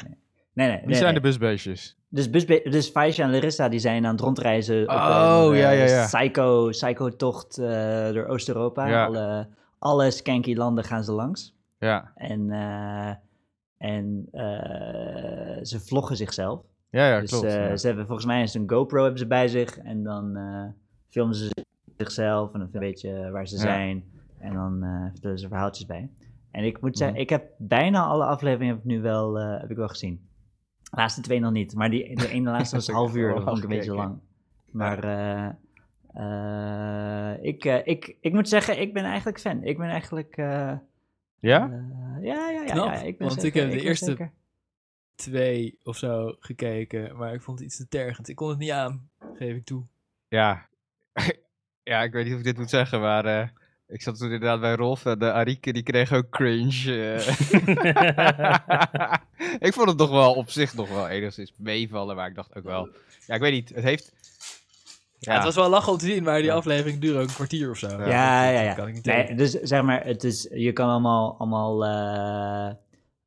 Nee, nee,
Wie
nee,
zijn
nee.
de busbeestjes?
Dus, busbe- dus Faisha en Larissa die zijn aan het rondreizen op
Oh,
een, eh,
ja, ja, ja.
psycho, psycho-tocht eh, door Oost-Europa.
Ja.
Alle, alle skanky landen gaan ze langs.
Ja,
En, eh, en eh, ze vloggen zichzelf.
ja, ja
dus
klopt.
eh,
ja.
ze hebben volgens mij eens een GoPro hebben ze bij zich. En dan eh, filmen ze zichzelf en dan weet je waar ze
Ja.
zijn. En dan eh, vertellen ze verhaaltjes bij. En ik moet
Mhm.
zeggen, ik heb bijna alle afleveringen heb ik nu wel, eh, heb ik wel gezien. De laatste twee nog niet, maar die, de ene laatste was een
Ik heb
half uur,
wel
Oh,
dat vond ik een beetje
gekeken.
lang. Maar eh, eh, ik, eh, ik, ik moet zeggen, ik ben eigenlijk fan. Ik ben eigenlijk... eh,
Ja?
eh, ja, ja, ja,
Knap,
ja, Ik ben
want ik
zeker-
heb de
ben
eerste-
zeker-
Twee of zo gekeken, maar ik vond het iets te tergend. Ik kon het niet aan, geef ik toe.
Ja. ja, ik weet niet of ik dit moet zeggen, maar eh, ik zat toen inderdaad bij Rolf en de Arike die kreeg ook cringe. eh. ik vond het nog wel op zich nog wel enigszins meevallen, maar ik dacht ook wel. Ja, ik weet niet. Het heeft.
Ja. het was wel lachen om te zien, maar die aflevering duurde ook een kwartier of zo.
Ja,
dat-
ja,
dat
ja.
Kan ik niet
Nee,
tegen.
dus zeg maar, het is, je kan allemaal, allemaal eh,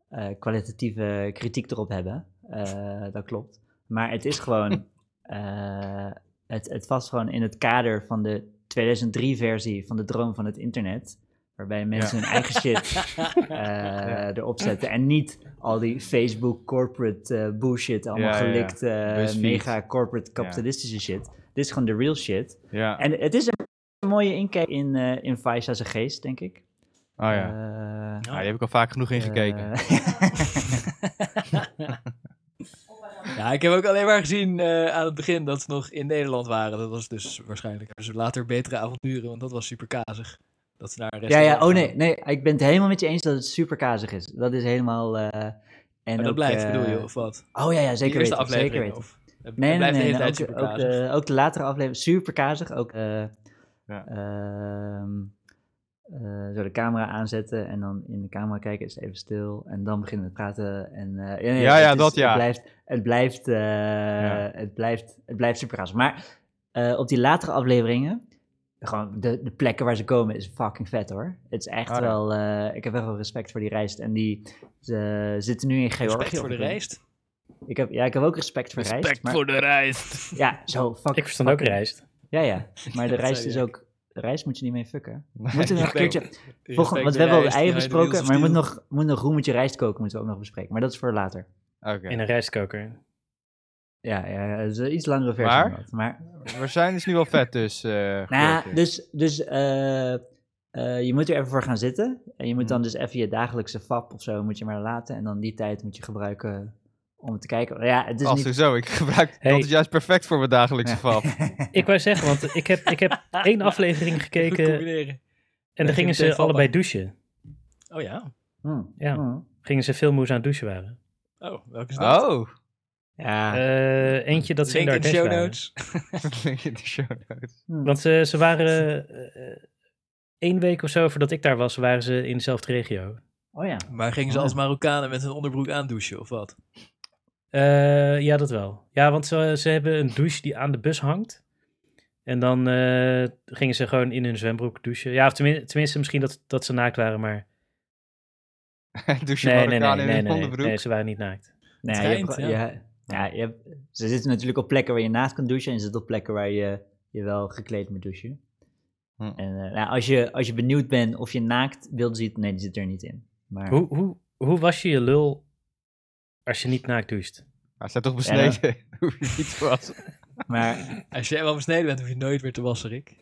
eh, kwalitatieve kritiek erop hebben. Eh, dat klopt. Maar het is gewoon. eh, het, het vast gewoon in het kader van de 2003-versie van de Droom van het Internet. Waarbij mensen hun eigen shit eh, erop zetten. En niet al die Facebook corporate eh, bullshit, allemaal
Ja, ja, ja.
gelikt, eh,
BuzzFeed.
mega corporate kapitalistische shit. Dit is gewoon de real shit.
Ja.
En het is een mooie inkijk in, eh in Faisha's geest, denk ik.
Oh ja.
Eh,
Ja, die heb ik al vaak genoeg ingekeken.
ja, ik heb ook alleen maar gezien eh, aan het begin dat ze nog in Nederland waren. Dat was dus waarschijnlijk hebben ze later betere avonturen, want dat was super kazig. Dat ze naar een
ja, ja,
restaurant
oh
gaan.
nee, nee, ik ben het helemaal met je eens dat het super kazig is. Dat is helemaal... eh, en
Maar
ook,
dat blijft,
eh,
bedoel je, of wat?
Oh ja, ja zeker
die eerste
weten,
aflevering.
zeker weten.
Of, het
Nee, nee,
blijft
nee,
de hele
nee,
tijd
ook, eh, ook,
superkazig.
de, ook de latere aflevering, super kazig. Ook, eh,
Ja.
ehm, eh, zo de camera aanzetten en dan in de camera kijken, is even stil. En dan beginnen we te praten. En, eh, nee,
Ja, ja,
het
dat ja.
Het blijft, het blijft, eh, het blijft, het blijft super kazig. Maar eh, op die latere afleveringen, gewoon de, de plekken waar ze komen, is fucking vet hoor. Het is echt
Ah, ja.
wel, eh, ik heb echt wel respect voor die reis. En die, ze zitten nu in Georgië.
Respect voor
op
de
het moment.
rijst.
Ik heb, ja, ik heb ook respect voor rijst. maar-
de rijst.
ja, zo. Fuck,
Ik verstand ook
fuck.
rijst.
Ja, ja. Maar de
Dat
rijst
zei
is
je.
ook... De rijst moet je niet mee fucken. We moeten nog een
respect.
keertje... Volgende, want we hebben al de eieren besproken, maar we moeten nog, we moeten nog hoe moet je rijst koken moeten we ook nog bespreken. Maar dat is voor later.
Oké.
In een rijstkoker.
Ja, ja het is een iets langere versie.
Maar?
dan dat, maar
We zijn dus nu wel vet, dus. eh,
nou,
gehoord.
dus, dus eh, eh, je moet er even voor gaan zitten. En je moet dan dus even je dagelijkse fap of zo moet je maar laten. En dan die tijd moet je gebruiken om te kijken. Ja, het is
Als dus-
niet...
zo, ik gebruik.
Hey.
Dat is juist perfect voor mijn dagelijkse
Ja.
vap.
Ik wou zeggen, want ik heb, ik heb één aflevering gekeken
combineren.
en daar gingen ze allebei douchen.
Oh ja.
Hmm,
Ja.
hmm.
Gingen ze veel moe aan het douchen waren.
Oh, welke is dat?
Oh,
Ja.
Eh, eentje dat ze in
Link
de
in de
Ardèche
show
waren.
notes.
link in de show notes.
Want ze, ze waren eh, eh, één week of zo voordat ik daar was, waren ze in dezelfde regio.
Oh ja.
Maar gingen ze als Marokkanen met hun onderbroek aandouchen of wat?
Eh, ja, dat wel. Ja, want ze, ze hebben een douche die aan de bus hangt. En dan eh, gingen ze gewoon in hun zwembroek douchen. Ja, of tenminste, tenminste misschien dat, dat ze naakt waren, maar...
Doe je
Nee, nee, nee,
Marokkaan
nee,
in
nee,
een
nee,
onderbroek?
nee, ze waren niet naakt.
Nee,
Treint,
je hebt,
ja.
ja. Ja, je hebt- ze zitten natuurlijk op plekken waar je naast kan douchen en ze zitten op plekken waar je je wel gekleed moet douchen.
Hm.
En eh, nou, als, je, als je benieuwd bent of je naakt beeld ziet, nee, die zit er niet in. Maar
Hoe, hoe, hoe was je je lul als je niet naakt doucht?
Maar staat toch besneden? Hoef je niet te wassen.
Maar,
Als jij wel besneden bent, hoef je nooit meer te wassen, Rick.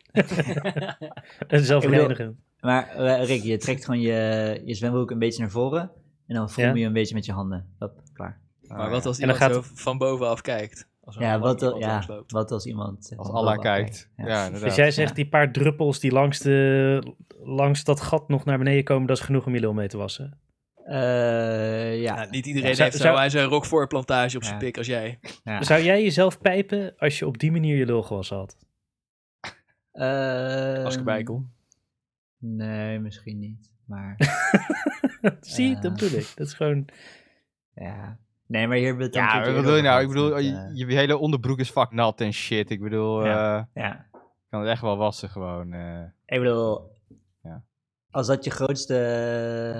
Dat is zelfverdedigend.
maar eh, Rick, je trekt gewoon je, je zwembroek een beetje naar voren. En dan voel
Ja.
je je een beetje met je handen. Hop, klaar.
Maar wat als
En dan
iemand
gaat-
zo van bovenaf kijkt? Als er
Ja,
een man
wat, al-
iemand
ja,
langsloopt.
wat als iemand... eh,
Als
van
Allah
bovenaf
kijkt. Ja, inderdaad.
Dus jij
Ja.
zegt die paar druppels die langs, de, langs dat gat nog naar beneden komen, dat is genoeg om je lul mee te wassen.
Eh, ja.
Ja, Nou, niet iedereen
Ja, zou-
heeft zo
zou-
aan zijn rokvoorplantage op zijn
Ja.
pik als jij.
Ja.
Zou jij jezelf pijpen als je op die manier je lul gewassen had?
Eh,
Als ik erbij kom.
Nee, misschien niet. Maar
Zie,
Ja.
dat bedoel ik. Dat is gewoon...
ja. Nee, maar hier hebben we het al een
Ja,
keertje
wat bedoel je
eerder
nou? Ik
over
bedoel,
gehad,
je,
met, eh,
je hele onderbroek is vak nat en shit. Ik bedoel,
Ja.
eh,
ja.
ik kan het echt wel wassen gewoon. eh.
Ik bedoel,
Ja.
als dat je grootste eh,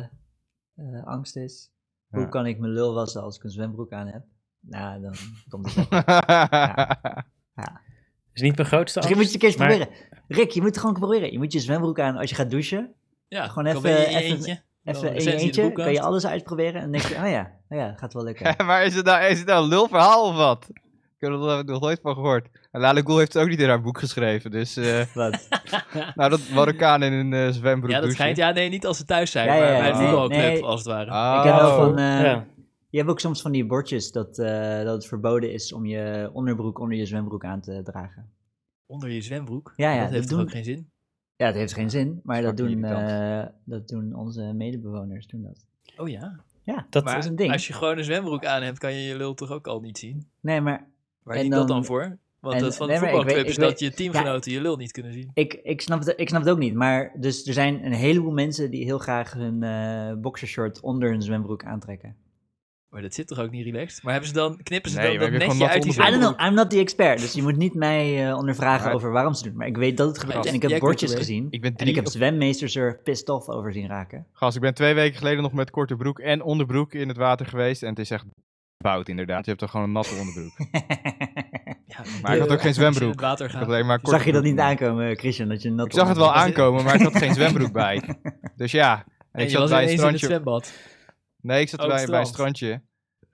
eh, angst is,
Ja.
hoe kan ik mijn lul wassen als ik een zwembroek aan heb? Nou, dan komt het wel.
is niet mijn grootste
Misschien Dus moet
angst.
je het een keertje
maar-
proberen. Rick, je moet het gewoon proberen. Je moet je zwembroek aan als je gaat douchen.
Ja,
Gewoon
dan
even-
ben je in je
even-
eentje. Dan
Even in
recensie
je
in de
eentje,
boekkast.
kan je alles uitproberen. En dan denk je, oh ja, oh ja gaat wel lukken.
maar is het, nou, is het nou een lulverhaal of wat? Ik heb er nog nooit van gehoord. En Lale Ghoul heeft het ook niet in haar boek geschreven. Dus, eh,
Wat?
nou, dat Marokkaan in een eh, zwembroek
Ja, dat
douchen.
schijnt. Ja, nee, niet als ze thuis zijn,
Ja,
maar
ja, ja,
bij het
nee,
voetbalclub,
nee. Ah.
als het ware.
Oh.
Ik heb wel van, eh,
Ja.
je hebt ook soms van die bordjes dat, eh, dat het verboden is om je onderbroek onder je zwembroek aan te dragen.
Onder je zwembroek.
Ja, ja,
dat heeft
dat
toch
doen-
ook geen zin?
Ja, het heeft geen zin, maar dat
Fucking
doen,
irritant.
eh, dat doen onze medebewoners. Doen dat.
Oh ja.
Ja,
Dat-
dat is een ding.
Als je gewoon een zwembroek aan hebt, kan je je lul toch ook al niet zien?
Nee, maar
Waar
En
liep dat
dan-
dan voor? Want
en-
dat van de
nee, maar ik
voetbalclub
weet-
is
ik
dat
weet-
je teamgenoten je lul niet kunnen zien.
ik, ik, snap het, ik snap het ook niet. Maar dus er zijn een heleboel mensen die heel graag hun eh boxershort onder hun zwembroek aantrekken.
Maar dat zit toch ook niet relaxed? Maar hebben ze dan, knippen ze
Nee,
dan
maar
dat
heb je gewoon
netje uit
nat
die
I
onderbroek?
zwembroek?
don't know, I'm not the expert. Dus je moet niet mij eh, ondervragen
Maar-
over waarom ze het doen. Maar ik weet dat het gebeurt.
Gast,
En ik heb
jij komt
bordjes
erbij.
gezien.
Ik ben
En ik
drie,
heb
of-
zwemmeesters er pissed off over zien raken.
Gast, ik ben twee weken geleden nog met korte broek en onderbroek in het water geweest. En het is echt fout inderdaad. Je hebt toch gewoon een natte onderbroek.
Ja,
Maar ik had ook geen
als je in
zwembroek.
het water
Ik had
gaat.
alleen maar korte
Zag je dat
broek.
niet aankomen, Christian? Dat je een natte
Ik zag het wel
onderbroek-
aankomen, maar ik had geen zwembroek bij. Dus ja, en
En
ik
je
zat
was
bij
ineens
een
in het
strandje.
zwembad.
Nee, ik zat
Oh,
bij,
het
bij een
strand.
strandje.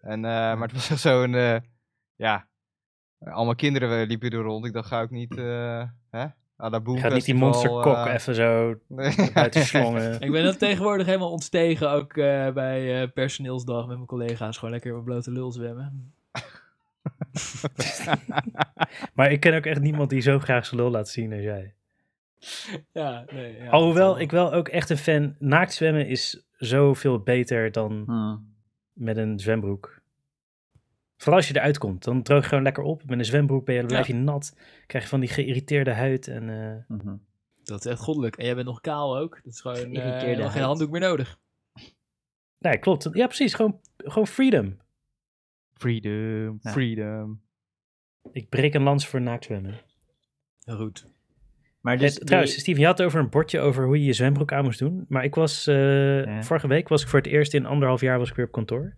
En, eh, maar het was echt zo'n, eh, ja, allemaal kinderen eh, liepen er rond. Ik dacht, ga ik niet, eh hè? Ah, dat eh, boem
Gaat niet die monsterkok
eh,
even zo buiten slongen.
Ik ben dat tegenwoordig helemaal ontstegen, ook eh, bij eh, personeelsdag met mijn collega's. Gewoon lekker met blote lul zwemmen.
Maar ik ken ook echt niemand die zo graag zijn lul laat zien als jij.
Ja, nee. Ja,
Alhoewel,
dat-
ik wel ook echt een fan. Naakt zwemmen is zoveel beter dan
Hmm.
met een zwembroek. Vooral als je eruit komt, dan droog je gewoon lekker op. Met een zwembroek ben je, dan blijf je nat. Krijg je van die geïrriteerde huid. En, eh,
Mhm.
Dat is echt goddelijk. En jij bent nog kaal ook. Dat is gewoon eh,
Geïrriteerde
helemaal geen
huid.
handdoek meer nodig.
Nee, klopt. Ja, precies. Gewoon, gewoon freedom.
Freedom,
Ja.
freedom.
Ik breek een lans voor naakt zwemmen.
Goed.
Maar dus
Eh,
die-
trouwens, Steven, je had het over een bordje over hoe je je zwembroek aan moest doen. Maar ik was, eh,
Ja.
vorige week was ik voor het eerst in anderhalf jaar was ik weer op kantoor.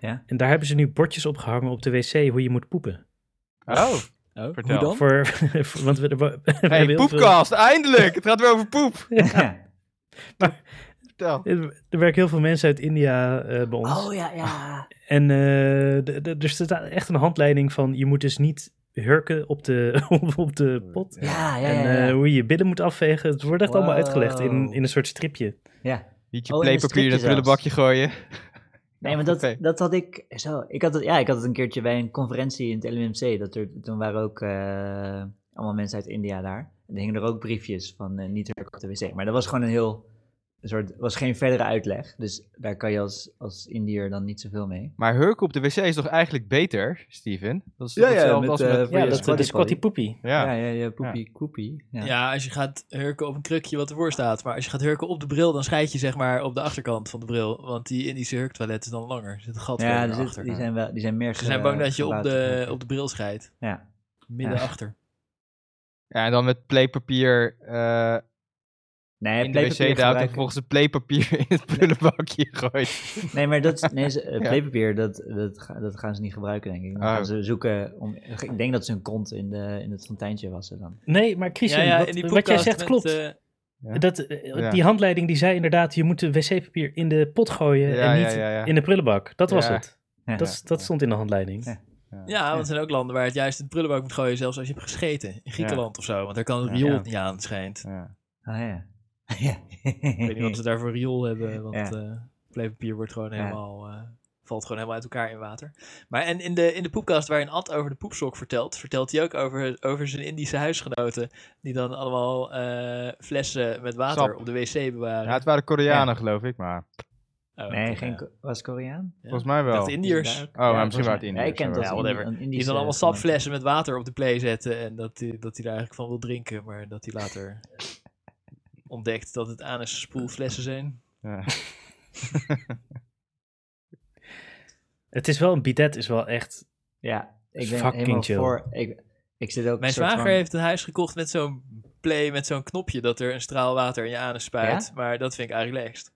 Ja.
En daar hebben ze nu bordjes opgehangen op de wc hoe je moet poepen.
Oh,
Oh,
Vertel.
Hoe dan?
Voor, voor- want we, we- we hebben
hey,
heel veel-
poepkast, eindelijk! Het gaat weer over poep. Vertel.
Er werken heel veel mensen uit India eh, bij ons.
Oh ja, ja.
En eh, d- d- er staat echt een handleiding van je moet dus niet hurken op de, op- op
Oh,
de pot.
Ja, ja, ja.
En
ja, ja.
eh, hoe je je billen moet afvegen. Het wordt echt allemaal uitgelegd in,
Wow.
in een soort stripje.
ja.
Niet je
Oh, en een
playpapier in het
stripje
prullenbakje gooien.
Nee, maar dat,
Oké.
dat had ik zo. Ik had het, ja, ik had het een keertje bij een conferentie in het LUMC. Dat er, toen waren ook eh, allemaal mensen uit India daar. En er hingen er ook briefjes van eh, niet werken op de wc. Maar dat was gewoon een heel een soort, was geen verdere uitleg. Dus daar kan je als, als Indiër dan niet zoveel mee.
Maar hurken op de wc is toch eigenlijk beter, Steven? Dat is toch
Ja, ja,
hetzelfde
met,
als
eh,
met...
voor
Ja,
je
dat
squatty
de squatty
potty.
poepie.
ja,
Ja.
ja, ja, poepie, koepie. Ja.
Ja, als je gaat hurken op een krukje wat ervoor staat. Maar als je gaat hurken op de bril, dan scheid je zeg maar op de achterkant van de bril. Want die Indische hurktoilet is dan langer. Er zit een gat
Ja,
ja,
dus het-
achter.
die zijn, wel, die zijn meer
Ze zijn bang
ge-
dat je op
gebouwd
de,
voor-
op de bril scheidt.
Ja.
Midden
Ja.
achter.
Ja, en dan met playpapier eh,
Nee,
in de wc
playpapier
duwt en
gebruiken-
volgens de playpapier in het prullenbakje gooit.
Nee, maar dat, nee, ze- eh,
Ja.
playpapier, dat, dat, ga- dat gaan ze niet gebruiken, denk ik. Dan
Oh.
gaan ze zoeken om... Ik denk dat ze hun kont in, de, in het fonteintje wassen dan.
Nee, maar Christian, wat,
in die
wat jij
podcast
zegt
met,
klopt.
eh,
dat, eh,
Ja.
Die handleiding die zei inderdaad, je moet de wc-papier in de pot gooien
Ja,
en niet
ja, ja, ja.
in de prullenbak. Dat was
Ja.
het.
Ja.
Dat, dat stond in de handleiding.
Ja.
ja, want er zijn ook landen waar het juist in de prullenbak moet gooien, zelfs als je hebt gescheten. In Griekenland of zo, want daar kan het
Ja.
riool
Ja.
niet aan, het schijnt.
Ja.
Ah ja. ja.
Ik weet niet wat ze daarvoor riool hebben, want
Ja.
eh playpapier wordt gewoon
Ja.
helemaal, eh, valt gewoon helemaal uit elkaar in water. Maar en in de, in de poepkast waarin Ad over de poepsok vertelt, vertelt hij ook over, over zijn Indische huisgenoten, die dan allemaal eh, flessen met water
Sap.
op de wc bewaren.
Ja, het waren Koreanen, geloof ik, maar
Oh,
Nee,
oké,
geen,
ja.
Ko- was Koreaan?
volgens mij
Ik
wel.
dacht Indiërs.
Oh,
maar misschien waren het
Ja, ik
Indiërs,
ken
ja,
het als
wel.
Indi-
Whatever.
een
Die
Indische
dan allemaal
standaard.
sapflessen met water op de play zetten en dat hij dat hij daar eigenlijk van wil drinken, maar dat hij later ontdekt dat het anus-spoelflessen zijn.
Ja.
Het is wel, een bidet is wel echt...
Ja, ik ben
Fucking
helemaal
chill.
voor. Ik, ik zit ook
Mijn
soort
zwager
van-
heeft een huis gekocht met zo'n play, met zo'n knopje dat er een straal water in je anus spuit. Maar dat vind ik eigenlijk leegst.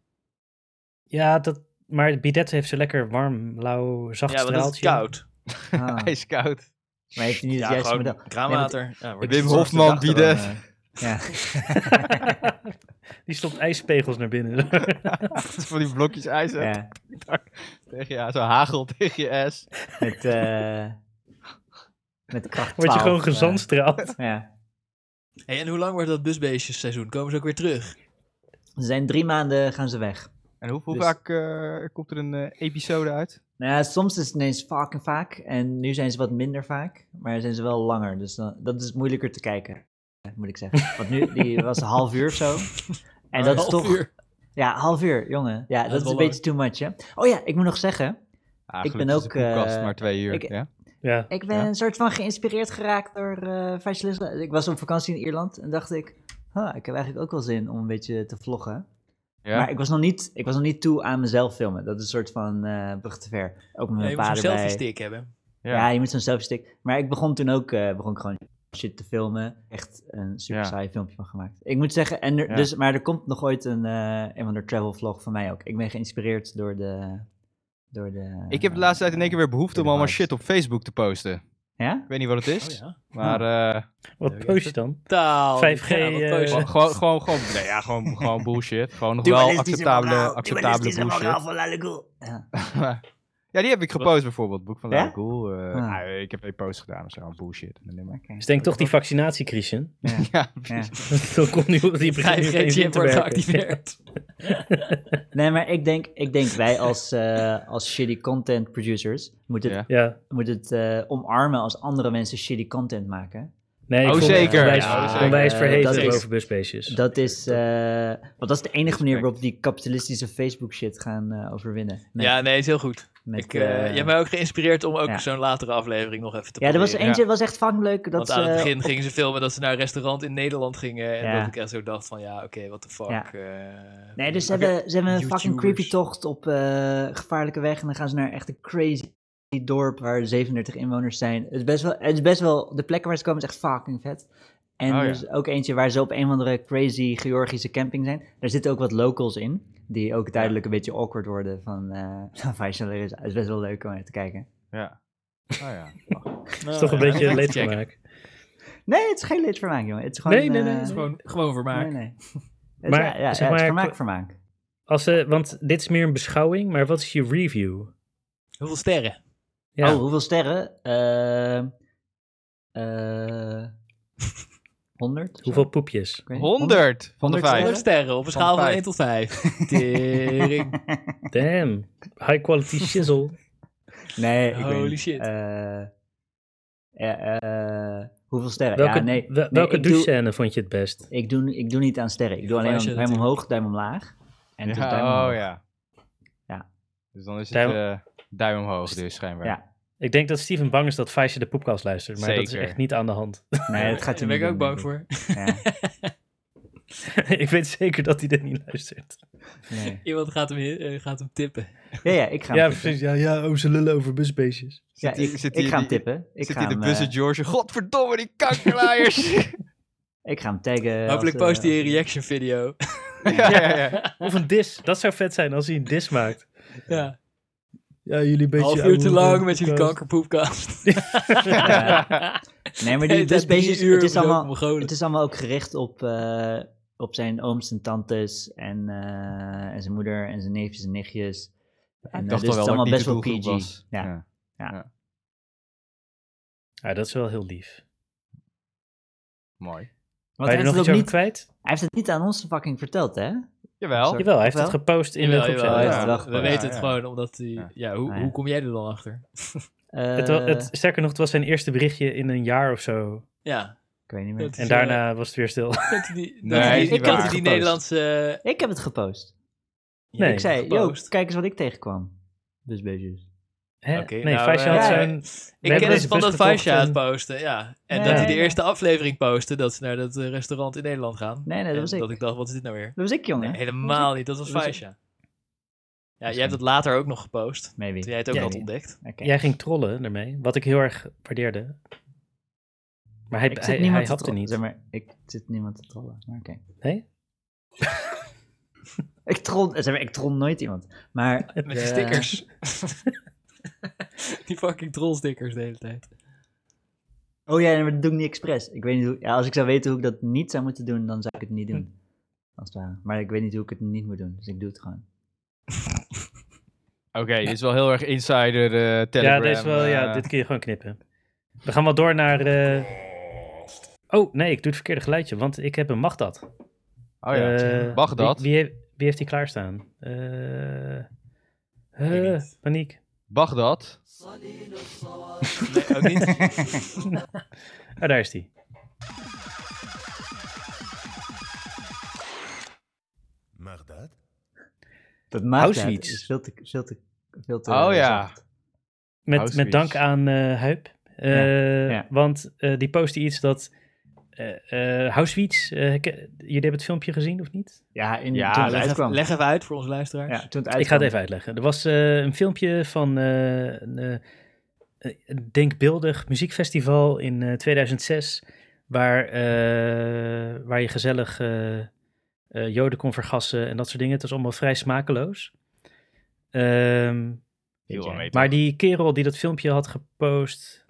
Ja, dat, maar het bidet heeft ze lekker warm, lauw, zacht
Ja, want dat is
straaltje.
koud.
Ah,
Ijskoud.
maar heeft hij niet
Ja,
het juiste
gewoon
model?
kraanwater. Ja, wordt
Wim
het
Hofman
Dacht er
bieden.
wel, eh, Ja.
Die stopt ijspegels naar binnen.
Van die blokjes ijs. hè?
ja,
Tegen je, zo hagel tegen je ass.
met, eh met kracht 12.
Word je gewoon
eh,
gezandstraald.
ja.
Hey, en hoe lang wordt dat busbeestjesseizoen? Komen ze ook weer terug?
Ze zijn drie maanden gaan ze weg.
En hoe, hoe
Dus-
vaak eh, komt er een eh, episode uit?
Nou ja, soms is het ineens vaak en vaak. En nu zijn ze wat minder vaak. Maar zijn ze wel langer. Dus dan, dat is moeilijker te kijken. Moet ik zeggen. Want nu die was een half uur of zo. En dat is
Half
toch.
uur.
Ja, half uur, jongen. Ja, dat
is
is
wel
een beetje too much, hè? Oh ja, ik moet nog zeggen.
Eigenlijk
ben
is de
ook, eh,
podcast maar twee uur.
ik-
ja?
Ja.
Ik ben
Ja.
een soort van geïnspireerd geraakt door eh Facialisme. Ik was op vakantie in Ierland en dacht ik, "Huh, ik heb eigenlijk ook wel zin om een beetje te vloggen.
Ja?
Maar ik was, nog niet, ik was nog niet toe aan mezelf filmen. Dat is een soort van eh brug te ver. Ook met
Ja,
mijn
je moet
pa
zo'n selfie
erbij.
stick hebben.
Ja. je moet zo'n selfie stick. Maar ik begon toen ook eh, begon ik gewoon shit te filmen. Echt een super
Ja.
saai filmpje van gemaakt. Ik moet zeggen, en er,
Ja.
dus, maar er komt nog ooit een, eh een van de travel vlog van mij ook. Ik ben geïnspireerd door de... Door de
Ik heb de laatste tijd in één keer weer behoefte om allemaal shit op Facebook te posten.
Ja?
Ik weet niet wat het is,
Oh ja.
maar eh,
Wat post je dan?
Taal.
5G,
Ja, wat
eh,
poos.
gewoon, gewoon, gewoon, gewoon, nee, ja, gewoon, gewoon bullshit. Gewoon nog wel acceptabele, acceptabele bullshit.
Ja.
ja, die heb ik gepost bijvoorbeeld. Boek van
Ja?
Lale Cool. eh,
Ah.
ah, Ik heb één post gedaan of zo, bullshit. Een nummer.
Dus denk toch die vaccinatie, Christian.
Ja,
Ja.
Dat komt nu die begint nu
5G-chip
opeens te werken.
wordt geactiveerd.
Nee, maar ik denk, ik denk wij als, eh, als shitty content producers moeten het,
Ja.
Ja.
moeten het eh, omarmen als andere mensen shitty content maken.
Nee, ik
Oh,
vond het
zeker.
Onwijs,
Ja,
onwijs
zeker.
onwijs
Eh,
verheven
dat is-
over busbeestjes.
Dat is, eh, want dat is de enige manier
Respect.
waarop die kapitalistische Facebook shit gaan eh, overwinnen. Met-
Ja, nee, is heel goed.
met,
ik, eh,
eh,
je hebt mij ook geïnspireerd om ook
ja.
zo'n latere aflevering nog even te
ja, er was
proberen.
eentje, was echt fucking leuk. Dat eh,
Want aan
ze,
het begin gingen ze filmen dat ze naar een restaurant in Nederland gingen. En
Ja.
dat ik echt zo dacht van, ja, oké, what the fuck.
Ja.
eh,
Nee, dus ze hebben, ze hebben een fucking
YouTubers.
creepy tocht op eh, gevaarlijke weg. En dan gaan ze naar echt een crazy dorp waar 37 inwoners zijn. Het is best wel, het is best wel de plekken waar ze komen is echt fucking vet. En
Oh,
er
ja.
is ook eentje waar ze op een of andere crazy Georgische camping zijn. Daar zitten ook wat locals in, die ook duidelijk een beetje awkward worden van eh Faisal. is- Het is best wel leuk om naar te kijken.
ja. Oh ja.
Het is toch een beetje leedvermaak.
Nee, het is geen leedvermaak, jongen. Het is gewoon...
Nee, nee, nee.
eh,
Het is
Gewoon, gewoon vermaak.
nee, nee.
Maar,
Het, maar, ja, ja,
zeg
het is
maar,
vermaak,
qua-
vermaak.
Als, eh, want dit is meer een beschouwing, maar wat is je review?
Hoeveel sterren?
Ja.
Oh, hoeveel sterren? Eh eh 100?
Hoeveel poepjes?
100 van de
Honderd,
Hoeveel
5.
sterren op een schaal van
vijf.
1 tot 5. Tering.
Damn. High quality shizzle.
Nee, ik weet
Holy
niet.
shit.
Eh, ja, eh, hoeveel sterren?
Welke,
ja, nee.
wel-
nee,
welke
ik doe,
douchescène vond je het best?
ik, doe, ik doe niet aan sterren. Ik doe alleen
Wijsje
aan duim omhoog, duim omlaag. En tot Dus duim
Ja,
omhoog.
oh ja.
Ja.
Dus dan is het
Duim-
eh, duim omhoog dus schijnbaar.
Ja.
Ik denk dat Steven bang is dat Faisje de poepkast luistert, maar dat
Zeker.
is echt niet aan de hand.
Nee, dat gaat
Daar ben ik
hij niet
ook
doen,
bang
denk
voor.
ik. Ja,
ik weet zeker dat hij dit niet luistert.
nee.
Iemand gaat hem, eh, gaat hem tippen.
ja, ja, ik ga
Ja,
hem tippen.
precies. Ja, ja, oh, ze lullen over busbeestjes.
Ja,
Zit hier-
ik,
zit
ik
hier
ga hem
die-
tippen. Ik
Zit
ga
hier de
hem,
bus
eh,
in Georgia? Godverdomme, die kankerlaaiers!
Ik ga hem taggen.
Hopelijk
als, eh,
post hij een reaction video.
ja, ja, ja.
Of een dis. Dat zou vet zijn als hij een dis maakt.
Ja.
Ja, jullie een beetje...
Half uur
ouwe
te lang met
podcast.
jullie kankerpoepkast.
Ja. Nee, maar die,
Hele
het,
tijd
is basic-
drie uur
het, is
op zo'n
allemaal,
Mongolen.
het is allemaal ook gericht op, eh, op zijn ooms en tantes en, eh, en zijn moeder en zijn neefjes en nichtjes. En,
Ik
eh,
dacht
dus
al
het
wel
is
dat ik
allemaal
niet de
best wel
doelgroep
PG.
was.
Ja.
Ja, dat is wel heel lief.
Mooi.
Wil
Want
je
hij
er nog
heeft, het
iets over
ook niet, hij
kwijt?
heeft het niet aan ons fucking verteld, hè?
Jawel.
Jawel, hij heeft
Wel?
het gepost in de
Jawel,
groep.
jawel,
ja.
ja.
Ja,
We
ja,
weten het
ja.
gewoon omdat die... Ja,
Ja.
hoe,
Ja.
hoe kom jij er dan achter?
Het,
Eh,
wa- het, sterker nog, het was zijn eerste berichtje in een jaar of zo.
Ja.
ik weet niet
dat
meer.
is,
En
eh,
daarna was het weer stil.
kent u die,
Nee,
dat u die-
is niet
kent u die
waar.
Gepost.
Nederlandse...
Ik heb het gepost.
Nee.
ik zei, yo,
gepost.
kijk eens wat ik tegenkwam. Dus beestjes.
Hè?
Oké,
nee,
nou,
Faisje had
eh,
zijn...
Ik ken
hebben
het
deze
van
best
dat Faisja het
gekocht,
posten, ja. En
Nee,
dat hij de
nee.
eerste aflevering postte, dat ze naar dat eh, restaurant in Nederland gaan.
Nee, nee,
En
dat was ik.
dat
Dat
ik dacht, wat is dit nou weer?
was ik, jongen.
Nee, helemaal niet. Dat was
dat was
Faisja. Ja, jij hebt het later ook nog gepost.
Maybe.
Toen jij het ook
Ja,
had
die-
ontdekt.
Oké.
Jij ging trollen ermee, wat ik heel erg waardeerde. Maar hij,
Ik zit
hij,
niemand
hij
te
hapte
trollen.
niet.
Zeg maar, ik zit niemand te trollen. Maar oké.
Nee?
ik, troll, zeg maar, ik troll nooit iemand. Maar
Met die
eh,
stickers. die fucking trollstickers de hele tijd.
Oh ja, nee, maar dat doe ik niet expres. Ik weet niet hoe, ja, als ik zou weten hoe ik dat niet zou moeten doen, dan zou ik het niet doen.
Hm.
Als het ware. Maar ik weet niet hoe ik het niet moet doen, dus ik doe het gewoon.
Oké, dit is wel heel erg insider eh Telegram.
ja, deze wel, ja,
eh,
dit kun je gewoon knippen. We gaan wel door naar... eh, Oh, nee, ik doe het verkeerde geluidje, want ik heb een Magdad.
Oh ja,
Eh,
Bagdad.
Wie, wie, heeft- wie heeft die klaarstaan? Eh eh, paniek.
Bagdad.
Nee, ook niet.
Ah, daar is die.
Mag dat?
Dat maakt het
Auschwitz.
is veel te, veel te, veel te
Oh ja.
zacht.
Met, met
Auschwitz.
dank aan eh Huip. Eh,
ja.
Want eh, die postte iets dat... eh eh Auschwitz, eh, ke- jullie hebben het filmpje gezien of niet?
Ja, in,
Ja,
toen het
leg, even,
uitkwam.
leg even uit voor onze luisteraars.
Ja, toen het
Ik ga
uitkwam.
het even uitleggen. Er was eh, een filmpje van eh, een eh, een denkbeeldig muziekfestival in eh, 2006, waar, eh, waar je gezellig eh, eh, joden kon vergassen en dat soort dingen. Het was allemaal vrij smakeloos. Ehm,
Heel onwetend.
maar die kerel die dat filmpje had gepost,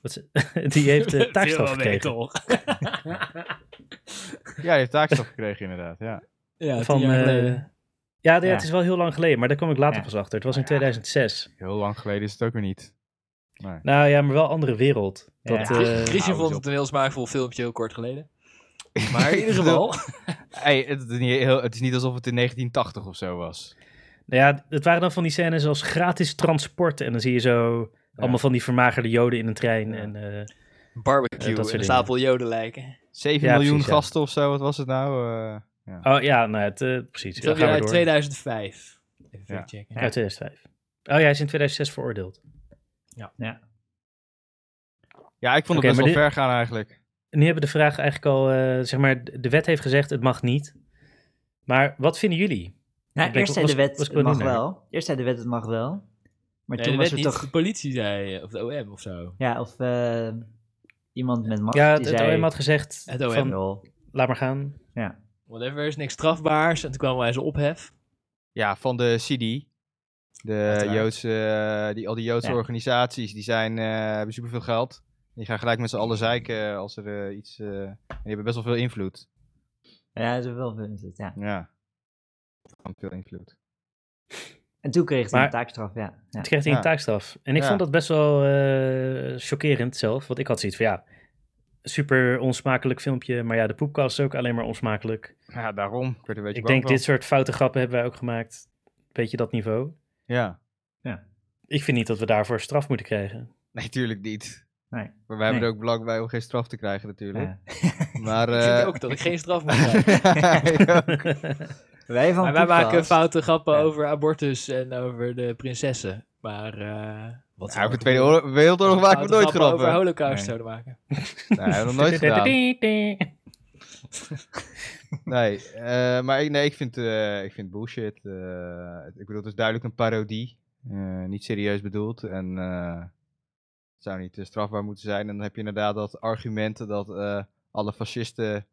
wat ze- die heeft eh, taakstraf
Veel mee,
gekregen.
toch?
Ja, die heeft taakstraf gekregen inderdaad, ja.
Ja, tien
Van,
jaar
eh,
geleden.
ja, nee,
Ja.
het is wel heel lang geleden, maar daar kwam ik later
Ja.
pas achter. Het was in 2006.
Heel lang geleden is het ook weer niet.
Nou ja, maar wel andere wereld. Dat,
Ja.
eh,
Christian
hou
vond
eens
het een heel smaakvol filmpje heel kort geleden.
Maar
In ieder geval.
Hey, het, is niet heel- het is niet alsof het in 1980 of zo was.
Nou ja, het waren dan van die scènes als gratis transport. En dan zie je zo allemaal van die vermagerde joden in een trein.
Ja.
En, eh, Eh,
Barbecue
dat soort
en een
dingen.
stapel joden lijken.
7
Ja,
miljoen
precies, ja.
gasten of zo, wat was het nou? Eh,
oh ja, nou, het, eh, precies.
Dat
Dat gaan
weer
we
uit
door.
2005. Even
Ja.
checken.
Uit 2005. Oh ja, hij is in 2006 veroordeeld.
ja, ik vond
Oké,
het
maar
best wel
dit-
ver gaan eigenlijk.
En nu hebben we de vraag eigenlijk al, eh, zeg maar, de wet heeft gezegd het mag niet. Maar wat vinden jullie?
Nou,
Ik ben-
eerst zei
was-
de wet
was ik
het
wel
mag
niet
wel. Eerst zei de wet het mag wel. Maar
Nee,
toen
de
was
wet
er
niet,
toch...
de politie zei, eh, of de OM of zo.
Ja, of eh, iemand met macht
ja, het,
die
het
zei...
OM had gezegd,
Het OM.
van,
Jawel.
laat maar gaan.
Whatever, is niks strafbaars. En toen kwam wij ze ophef.
Ja, van de CD. De
Uiteraard.
Joodse, eh, die, al die Joodse
Ja.
organisaties, die zijn, eh hebben superveel geld. Die gaan gelijk met z'n allen zeiken als er eh, iets... eh, en die hebben best wel veel invloed.
Ja, ze hebben wel veel invloed, ja.
Ja. Gewoon Veel invloed.
En toen kreeg ze
Maar-
een taakstraf, ja. ja.
Het kreeg hij
Ja.
een taakstraf. En ik
Ja.
vond dat best wel eh, chockerend zelf. Want ik had zoiets van, ja, super onsmakelijk filmpje. Maar ja, de poepkast is ook alleen maar onsmakelijk.
Ja, daarom. Ik werd een beetje
Ik
bang
denk,
van.
dit soort foute grappen hebben wij ook gemaakt. Beetje dat niveau.
Ja.
Ik vind niet dat we daarvoor straf moeten krijgen.
Nee, tuurlijk niet.
Nee.
Maar wij hebben
Nee.
er ook belang bij om geen straf te krijgen natuurlijk.
Ja.
Maar...
Ik vind
eh,
ook dat ik geen straf moet krijgen.
ja, ik ook.
Wij van
Maar wij
Poepkast-
maken foute grappen
Ja.
over abortus en over de prinsessen. Maar eh wat
Ja, over de Tweede Oorlog- Wereldoorlog maken we nooit
over
grappen.
holocaust
Nee.
zouden maken.
Nee, hebben we nog nooit gedaan. Nee, eh, maar ik, nee, ik vind, eh, ik vind bullshit. eh, ik bedoel, het is duidelijk een parodie. eh, niet serieus bedoeld. En eh, het zou niet eh, strafbaar moeten zijn. En dan heb je inderdaad dat argument dat eh, alle fascisten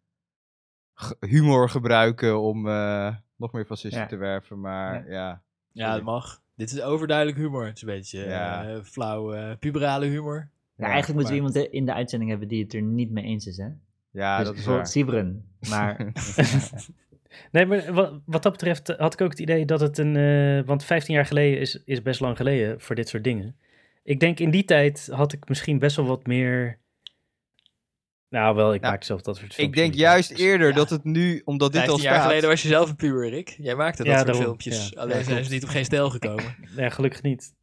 g- humor gebruiken om eh, nog meer fascisten
Ja.
te werven. Maar ja,
Ja, dat mag. Dit is overduidelijk humor. Het is een beetje
Ja.
eh, flauw, eh, puberale humor.
Ja,
Ja,
eigenlijk moeten we
maar-
iemand eh, in de uitzending hebben die het er niet mee eens is, hè?
ja
dus
dat is
bijvoorbeeld
waar.
Sibren. Maar
Nee, maar wat, wat dat betreft had ik ook het idee dat het een. eh, want 15 jaar geleden is, is best lang geleden voor dit soort dingen. Ik denk in die tijd had ik misschien best wel wat meer. Nou, wel, ik
Nou,
maak zelf dat soort
Ik
filmpjes
denk
niet. dus-
juist eerder
Ja.
dat het nu, omdat dit al
15 jaar
staat...
geleden was je zelf een puber, Rick. Jij maakte dat
Ja,
soort
daarom.
filmpjes.
Ja.
Alleen
Ja,
zijn ze niet op geen stijl gekomen.
Nee, gelukkig niet.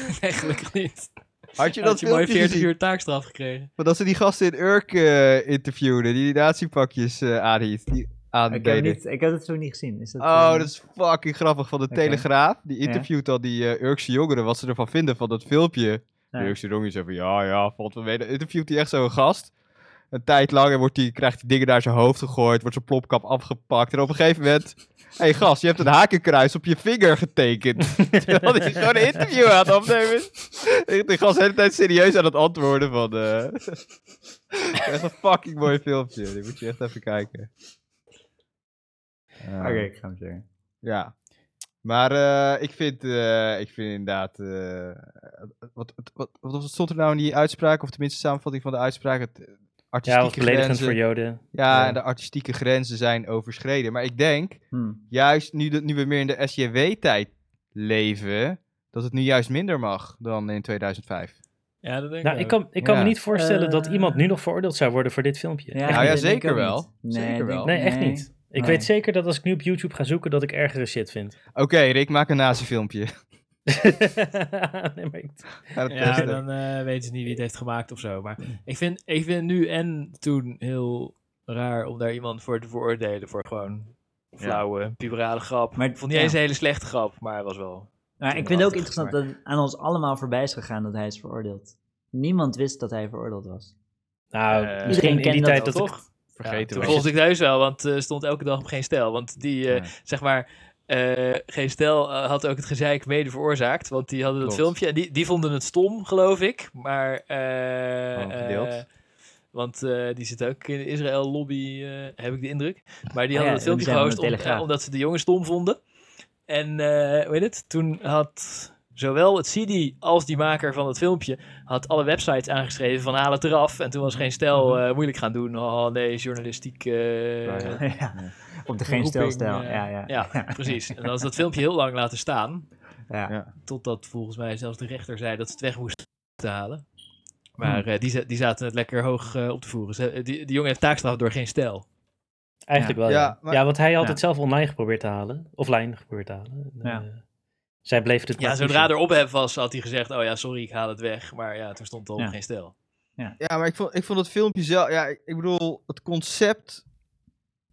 nee, gelukkig niet.
Had je
Had
dat
je mooi
filmpje
40
gezien?
uur taakstraf gekregen.
Want als ze die gasten in Urk eh, interviewden, die die nazi-pakjes eh, aanhield- die
ik, heb
aandeden.
niet, ik heb het zo niet gezien. Is dat,
Oh,
eh,
dat is fucking grappig van de
Oké.
Telegraaf. Die
Ja.
interviewt al die eh, Urkse jongeren, wat ze ervan vinden van dat filmpje.
Ja.
De Urkse jongeren zeggen van, ja, ja, valt wel mee. Dan interviewt hij echt zo'n gast. Een tijd lang en wordt die, krijgt hij dingen naar zijn hoofd gegooid, wordt zijn plopkap afgepakt. En op een gegeven moment, hé hey, gast, je hebt een hakenkruis op je vinger getekend. Terwijl hij gewoon een interview aan het opnemen is. De gast de hele tijd serieus aan het antwoorden van... eh, echt een fucking mooi filmpje, die moet je echt even kijken.
Oké,
Ja.
ik ga hem zeggen.
Ja. Maar eh, ik, vind, eh, ik vind inderdaad. eh, wat, wat, wat, wat stond er nou in die uitspraak, of tenminste samenvatting van de uitspraak? Het, eh,
Ja,
artistieke
was beledigend
grenzen.
voor Joden.
Ja,
Ja.
en de artistieke grenzen zijn overschreden. Maar ik denk,
Hm.
juist nu, dat- nu we meer in de SJW-tijd leven, dat het nu juist minder mag dan in 2005.
Ja, dat denk
Nou,
ik
ik
ook.
kan, ik kan
Ja.
me niet voorstellen dat
Eh.
iemand nu nog veroordeeld zou worden voor dit filmpje. Echt
Nou ja,
niet.
dat denk ik
zeker
ook
wel.
niet.
Zeker
ik denk-
wel.
nee, echt niet. Ik
Oh, Nee.
weet zeker dat als ik nu op YouTube ga zoeken, dat ik ergere shit vind.
Oké, Rick, maak een nazi-filmpje.
nee, maar ik-
Ga het
Ja,
testen.
dan eh, weten ze niet wie het heeft gemaakt of zo. Maar
Mm.
ik vind, ik vind nu en toen heel raar om daar iemand voor te veroordelen. Voor gewoon flauwe, puberale grap.
Maar-
Maar ik vond niet
ja.
eens een hele slechte grap, maar het was wel...
Maar ik vind het ook interessant dat het aan ons allemaal voorbij is gegaan dat hij is veroordeeld. Niemand wist dat hij veroordeeld was.
nou,
Eh,
misschien in
iedereen
die
kent
tijd
dat
dat, ik...
toch?
Vergeten
ja,
we.
Toen volgde ik thuis wel, want eh stond elke dag op geen stijl. Want die, eh,
Ja.
zeg maar... eh, geen stijl eh, had ook het gezeik mede veroorzaakt. Want die hadden dat
Klopt.
filmpje. En die, die vonden het stom, geloof ik. Maar. eh,
Waarom gedeeld?
eh, want eh, die zit ook in de Israël-lobby, eh, heb ik de indruk. Maar die
Ah ja,
hadden het filmpje
die zijn van
gehost
de
om-
Telegraaf.
eh, omdat ze de jongen stom vonden. En eh, hoe weet het? Toen had zowel het CD als die maker van het filmpje had alle websites aangeschreven van haal het eraf. En toen was geen stijl eh, moeilijk gaan doen. Oh nee, journalistiek. eh,
Ja, ja.
Mhm. ja. Op de geen
roeping,
stelstijl.
eh,
ja, ja.
ja, precies. En dan is dat filmpje heel lang laten staan.
Ja.
Ja.
Totdat volgens mij zelfs de rechter zei dat ze het weg moesten halen. Maar
Mhm.
eh, die, za- die zaten het lekker hoog eh, op te voeren. Ze- die, die jongen heeft taakstraf door geen stijl.
Eigenlijk wel, ja.
Ja,
Ja,
maar-
want hij had
Ja.
het zelf online geprobeerd te halen. Offline geprobeerd te halen. En,
Ja.
eh, zij bleef het
Ja,
maar
zodra
toezien.
er ophef was, had hij gezegd: Oh ja, sorry, ik haal het weg. Maar ja, toen stond er
Ja.
geen stijl.
Ja, maar ik vond, ik vond het filmpje zelf. Ja, ik, ik bedoel, het concept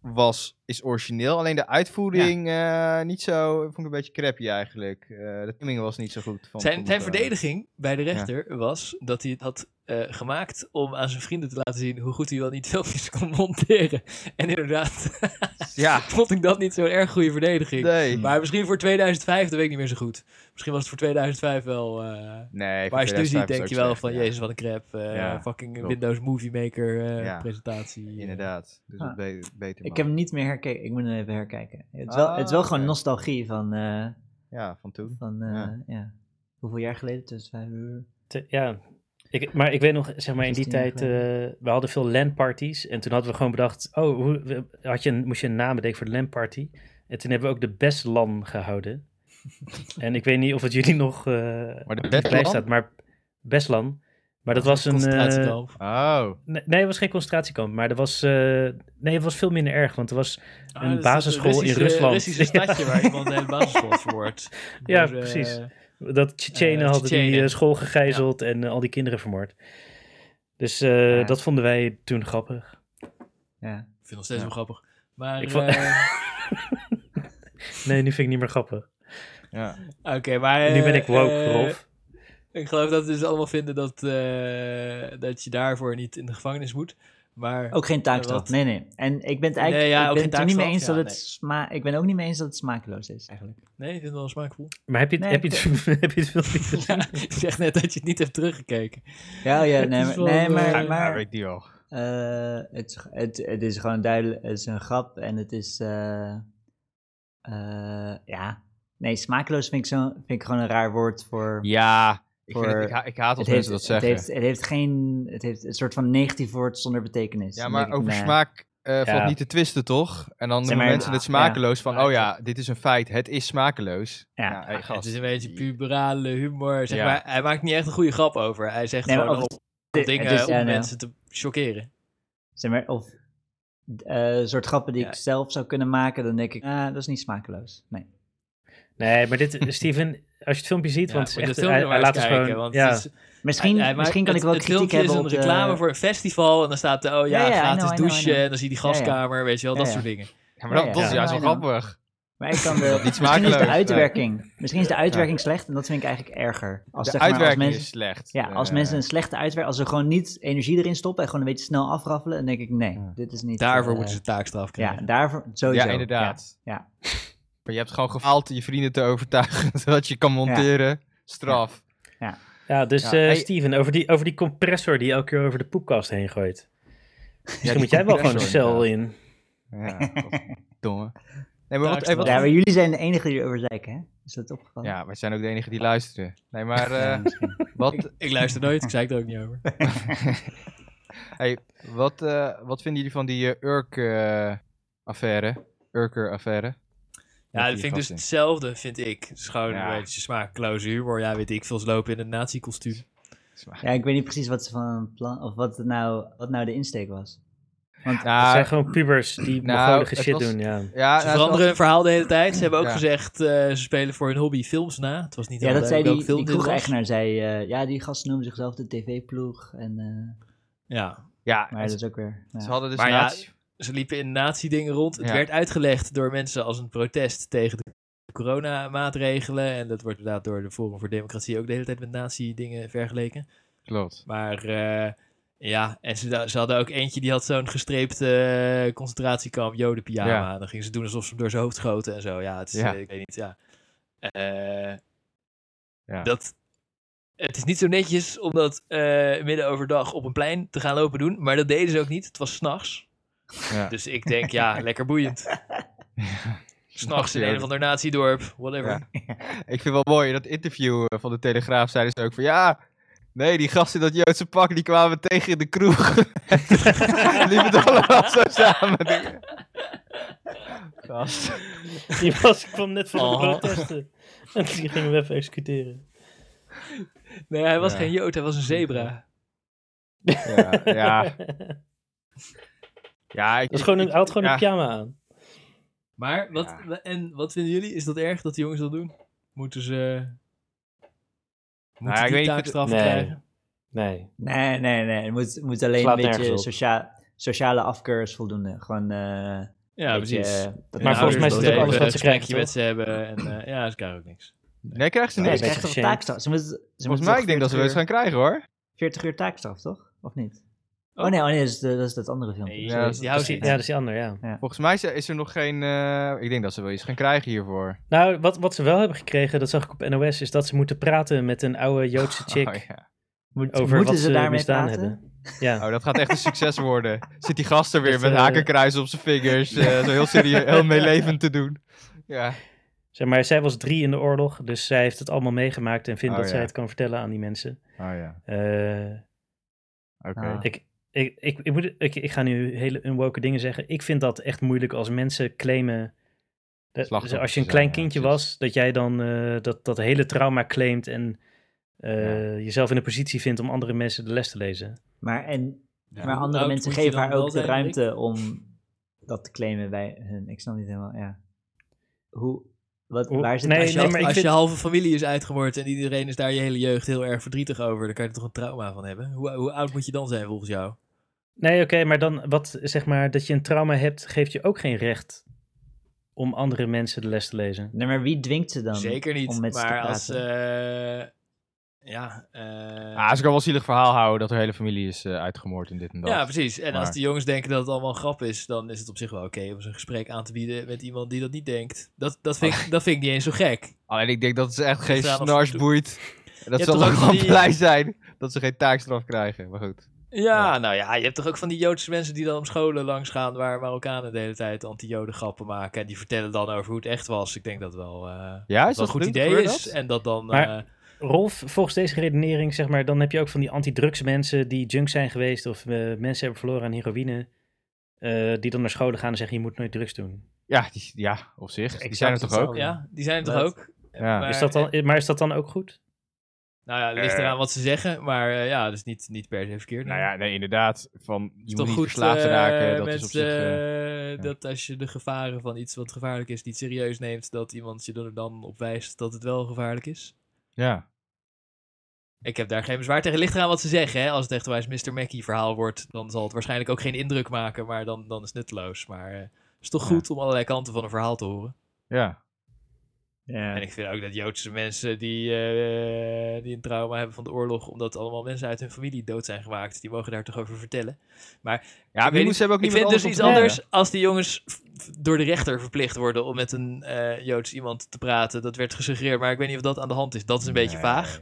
was, is origineel. Alleen de uitvoering eh, niet zo. Vond ik een beetje crappy eigenlijk. Eh, de timing was niet zo goed. Van,
Zijn,
van-
zijn
eh,
verdediging bij de rechter was dat hij het had eh, gemaakt om aan zijn vrienden te laten zien hoe goed hij wel niet filmpjes kon monteren. En inderdaad,
Ja,
vond ik dat niet zo'n erg goede verdediging.
Hmm.
nee.
Maar misschien voor 2005, dat weet ik niet meer zo goed. Misschien was het voor 2005 wel. eh,
nee,
maar als je het nu ziet, denk je wel van:
Jezus.
Jezus, wat een crap. eh,
Ja,
fucking
klopt.
Windows Movie Maker eh,
Ja.
presentatie. eh.
Inderdaad. Dus
Ah.
het be- beter.
Ik
mag.
heb hem niet meer herkeken. Ik moet hem even herkijken. Het is wel, het is wel
Ah,
gewoon
oké.
nostalgie van, eh,
Ja, van toen.
van eh,
Ja.
ja. hoeveel jaar geleden? Tussen vijf uur.
Te- ja. Ik, maar ik weet nog, zeg maar in die
16 jaar
tijd, eh, we hadden veel LAN-parties. En toen hadden we gewoon bedacht, oh, hoe, we- had je een, moest je een naam bedenken voor de LAN-party. En toen hebben we ook de best LAN gehouden. en ik weet niet of het jullie nog eh
Maar de
bij
best
staat, maar best LAN. Maar dat was een... eh,
concentratiekamp.
Oh.
nee, nee, het was geen concentratiekamp, maar er was... eh, nee, het was veel minder erg, want er was...
Ah,
Een
dat is
basisschool in
Russische- eh,
Rusland.
Russische stadje waar iemand de hele basisschool heeft verwoord.
Ja,
Door, eh,
precies. Dat Tsjetsjenen
Eh,
hadden die
Tsjetsjenen.
eh, school gegijzeld en eh, al die kinderen vermoord. Dus eh,
Ja.
dat vonden wij toen grappig.
Ja.
Ik vind het nog steeds wel grappig. Maar
Ik vond-
eh,
Nee, nu vind ik niet meer grappig.
Ja.
oké, maar
nu ben ik woke,
eh,
Rolf.
Ik geloof dat we dus allemaal vinden dat, eh, dat je daarvoor niet in de gevangenis moet. Maar
Ook geen taakstraf.
Wat?
Nee, nee. En ik ben het eigenlijk
Nee, ja, ook
ik ben
geen
het er niet mee
taakstraf.
eens
Ja,
dat het
nee.
sma ik ben ook niet mee eens dat het smakeloos is eigenlijk.
nee, ik vind het wel smaakvol.
Maar heb je, het-
Nee,
heb, je het, heb je het filmpje gezien?
Ja, je zegt net dat je het niet hebt teruggekeken.
Ja, ja,
Het
nee,
is
maar,
wel,
nee,
eh,
maar,
Ja,
maar
weet die al.
eh, Eh, het, is- het, het is gewoon duidelijk, het is een grap en het is, eh, eh, ja. Nee, smakeloos vind ik, zo, vind ik gewoon een raar woord voor...
Ja, ik, vind
Voor-
het, ik, ha- ik haat als
het,
mensen
heeft,
dat
het,
zeggen.
heeft, het heeft geen, het heeft een soort van negatief woord zonder betekenis.
ja,
Dan
maar
denk ik, nou,
over
nee.
smaak eh,
Ja.
valt niet te twisten, toch?
Zeg
En dan noemen
maar, ah,
mensen het
ja.
smakeloos van, oh ja, dit is een feit, het is smakeloos.
Ja. Ah,
Ja, hey,
het
gast.
is een beetje puberale humor. Zeg
Ja.
maar. Hij maakt niet echt een goede grap over. Hij zegt
Nee, maar
gewoon
ook-
op
Het
dingen
is-
om
ja, nee.
mensen te chockeren.
Zeg maar, of eh, een soort grappen die
Ja.
ik zelf zou kunnen maken, dan denk ik, ah, dat is niet smakeloos. Nee.
Nee, maar dit, eh, Steven, als je het filmpje ziet,
Ja,
want het is
moet je
echt,
dat filmpje
hij,
maar
hij laat
eens
het
kijken,
gewoon...
want
ja.
het is-
Misschien,
Hij- hij
misschien kan
maakt-
ik wel
het-
kritiek
Het filmpje
hebben op
is
de-
een reclame voor een festival en dan staat er, oh ja,
Ja, ja, I
gratis
know, I know, I
douchen
know.
en dan zie je die
Ja, ja.
gaskamer, weet je wel, dat
Ja, ja.
soort dingen.
Ja, maar dat,
Ja,
dat is
ja.
juist wel
Ja, ja.
grappig.
Maar ik kan de,
Niet
misschien is de
smakeloos,
uitwerking, misschien is de uitwerking slecht en dat vind ik eigenlijk erger. Als,
De
zeg maar, als
uitwerking
mensen-
is slecht.
Ja, als
Eh,
mensen een slechte uitwerking, als ze gewoon niet energie erin stoppen en gewoon een beetje snel afraffelen, dan denk ik, nee, dit is niet...
Daarvoor
eh,
moeten ze taakstraf
Ja,
krijgen.
daarvoor, sowieso.
Ja, inderdaad.
Ja.
Maar je hebt gewoon gefaald je vrienden te overtuigen dat je kan monteren. Straf.
Ja, dus
Ja,
eh,
hey-
Steven, over die, over die compressor die je elke keer over de poepkast heen gooit. Misschien
die
moet jij wel gewoon de
compressor,
cel in.
Ja, domme. Nee, maar wat, eh, wat-
Ja, maar jullie zijn de enige die erover zeiken, hè? Is dat opgevallen?
ja, wij zijn ook de enigen die luisteren. Nee, maar eh, wat,
Ik luister nooit, ik zei het er ook niet over.
hey, wat, eh, wat vinden jullie van die eh, Urk eh, affaire? Urker affaire?
Ja, dat vind ik dus hetzelfde, vind ik. Het is gewoon
Ja.
een beetje smaakloze humor. Ja, weet ik veel, ze lopen in een nazi-kostuum.
Ja, ik weet niet precies wat ze van plan, of wat het nou, wat nou de insteek was.
Het zijn
Nou,
gewoon pubers die
Nou,
mogolige
het
shit
was-
doen, ja.
ja,
Ze
nou,
veranderen hun verhaal de hele tijd. Ze hebben ook
Ja.
gezegd, eh, ze spelen voor hun hobby films na. Het was niet
Ja, dat
helemaal
zei die,
duidelijk welke
die
film dit was.
kroeg-eigenaar, zei, eh, ja, die gasten noemen zichzelf de tv-ploeg en, eh,
Ja,
Ja,
maar dat is ook weer... ja.
ze hadden dus
Maar ja,
nazi-
ze liepen in nazi-dingen rond. Het
Ja.
werd uitgelegd door mensen als een protest tegen de coronamaatregelen. En dat wordt inderdaad door de Forum voor Democratie ook de hele tijd met nazi-dingen vergeleken.
Klopt.
Maar eh, ja, en ze, ze hadden ook eentje die had zo'n gestreepte eh, concentratiekamp jodenpyjama.
Ja.
Dan gingen ze doen alsof ze hem door zijn hoofd schoten en zo. Ja, het is,
Ja.
eh, ik weet niet, ja. Eh,
Ja.
Dat, het is niet zo netjes om dat eh, midden overdag op een plein te gaan lopen doen. Maar dat deden ze ook niet. Het was s'nachts.
Ja.
Dus ik denk, ja, lekker boeiend. S'nachts in
joden.
een of ander natiedorp, whatever.
Ja. Ik vind wel mooi, in dat interview eh, van de Telegraaf zeiden ze ook van ja. Nee, die gasten in dat Joodse pak, die kwamen we tegen in de kroeg. En liepen het allemaal zo samen. Gast.
Die was, ik kwam net van de
Oh.
protesten. En die gingen we even executeren.
Nee, hij was
Ja.
geen jood, hij was een zebra.
Ja, ja. ja ik,
Dat is gewoon een, hij had gewoon
Ja.
een pyjama aan.
Maar, wat, en wat vinden jullie? Is dat erg dat die jongens dat doen? Moeten ze...
Nou
Moeten
ik
die
weet niet-
taakstraf
Nee.
krijgen?
Nee.
Nee, nee, nee. Het moet, moet alleen
Slaat
een beetje
nergens op.
socia- sociale afkeur is voldoende. Gewoon, eh,
Ja,
een
precies.
beetje, eh, dat
Maar
mensen
volgens mij is
dat
het ook
even-
alles wat ze
Een
krijgen,
gesprekje met ze hebben en eh, ja, ze krijgen ook niks.
nee, krijgen ze
Nee,
Nee,
niks.
ze krijgen
Een
toch
beetje
taakstraf? Ze moeten, ze moeten
Volgens mij,
toch
ik denk dat ze wel
40
iets gaan krijgen hoor.
uur- 40 uur taakstraf, toch? Of niet? Oh, nee, oh, nee dat, is de- dat is dat andere filmpje.
Nee,
Ja,
ja,
dat
die
Ja,
houdt
dat
niet.
is Dus die ander, ja.
Volgens mij is- is er nog geen. eh, ik denk dat ze wel iets gaan krijgen hiervoor.
Nou, wat, wat ze wel hebben gekregen, dat zag ik op NOS, is dat ze moeten praten met een oude Joodse chick
Oh, ja.
Moet-
over
moeten
wat
ze daarmee
misdaan
praten?
hebben. Ja.
oh, dat gaat echt een succes worden. Zit die gast er weer
Dat,
met
eh,
hakenkruis op zijn vingers. eh, zo heel serieus, heel meelevend te doen. Ja.
Zeg maar, zij was drie in de oorlog, dus zij heeft het allemaal meegemaakt en vindt
Oh,
dat zij
ja.
het kan vertellen aan die mensen.
Oh ja,
Eh,
oké.
Ah.
ik, ik, ik, ik, moet, ik, ik ga nu hele unwoke dingen zeggen. Ik vind dat echt moeilijk als mensen claimen. dat- dus
Slachtoffer
als je een
te
klein
zijn, ja,
kindje
precies.
was, dat jij dan eh, dat, dat hele trauma claimt en eh, jezelf in een positie vindt om andere mensen de les te lezen.
Maar, en,
Ja,
maar
hoe
andere
oud
mensen
moet je
geven
dan
haar
wel
ook de
zijn, Rick?
ruimte om dat te claimen bij hun. Ik snap niet helemaal, ja. Hoe, wat,
Hoe-
waar zit
nee,
de-
Als, je,
nee, maar ik
als
vind-
je halve familie is uitgemoord en iedereen is daar je hele jeugd heel erg verdrietig over, dan kan je er toch een trauma van hebben? Hoe, hoe oud moet je dan zijn volgens jou?
Nee, oké, maar dan wat zeg maar dat je een trauma hebt, geeft je ook geen recht om andere mensen de les te lezen.
Nee, maar wie dwingt ze dan?
Zeker
om
niet,
met ze te
maar als...
praten?
eh, ja, eh,
Ah, ze kan wel een zielig verhaal houden dat haar hele familie is eh, uitgemoord en dit en dat.
ja, precies. En als
maar-
de jongens denken dat het allemaal een grap is, dan is het op zich wel oké om zo'n gesprek aan te bieden met iemand die dat niet denkt. Dat, dat, vind, ik, dat vind ik niet eens zo gek.
Alleen ik denk dat ze echt geen
Ze gaan nog
snars
toe-
boeit. Dat
hebt
ze
toch
dan
ook
gewoon
die-
blij zijn dat ze geen taakstraf krijgen. Maar goed.
Ja, nou ja, je hebt toch ook van die Joodse mensen die dan op scholen langs gaan waar Marokkanen de hele tijd anti-Joden grappen maken. En die vertellen dan over hoe het echt was. Ik denk dat wel, eh, dat
Ja, is
wel
dat
een goed
gelukt?
idee
Gebeurt
is.
dat?
En dat dan.
Maar-
eh,
Rolf, volgens deze redenering, zeg maar, dan heb je ook van die antidrugsmensen die junk zijn geweest of eh, mensen hebben verloren aan heroïne. eh, die dan naar scholen gaan en zeggen: Je moet nooit drugs doen.
Ja, die, ja, op zich. Die zijn er toch ook?
ja, die zijn er toch
Wat?
ook?
Ja.
Maar-
Is dat dan, maar is dat dan ook goed?
Nou ja, het ligt eraan wat ze zeggen. Maar eh, ja, dat is niet, niet per se verkeerd.
Nou ja, nee, inderdaad. Van,
Het
je
is
moet
toch
niet
goed
verslaafd
eh,
raken. Dat
mensen,
is op zich... eh,
eh, Dat als je de gevaren van iets wat gevaarlijk is niet serieus neemt, dat iemand je er dan op wijst dat het wel gevaarlijk is.
ja.
Ik heb daar geen bezwaar tegen. Ligt eraan wat ze zeggen. Hè? Als het echt wijs Mr. Mackey verhaal wordt, dan zal het waarschijnlijk ook geen indruk maken, maar dan, dan is het nutteloos. Maar eh, het is toch
Ja.
goed om allerlei kanten van een verhaal te horen.
Ja.
Ja.
En ik vind ook dat Joodse mensen die, eh, die een trauma hebben van de oorlog, omdat allemaal mensen uit hun familie dood zijn gemaakt, die mogen daar toch over vertellen.
Ja,
Ik
maar
weet
je
niet-
moest hebben ook
Ik
niemand
vind
anders
dus iets
om te
anders als die jongens v- v- door de rechter verplicht worden om met een eh, Joods iemand te praten. Dat werd gesuggereerd, maar ik weet niet of dat aan de hand is. Dat is een beetje
Nee.
vaag.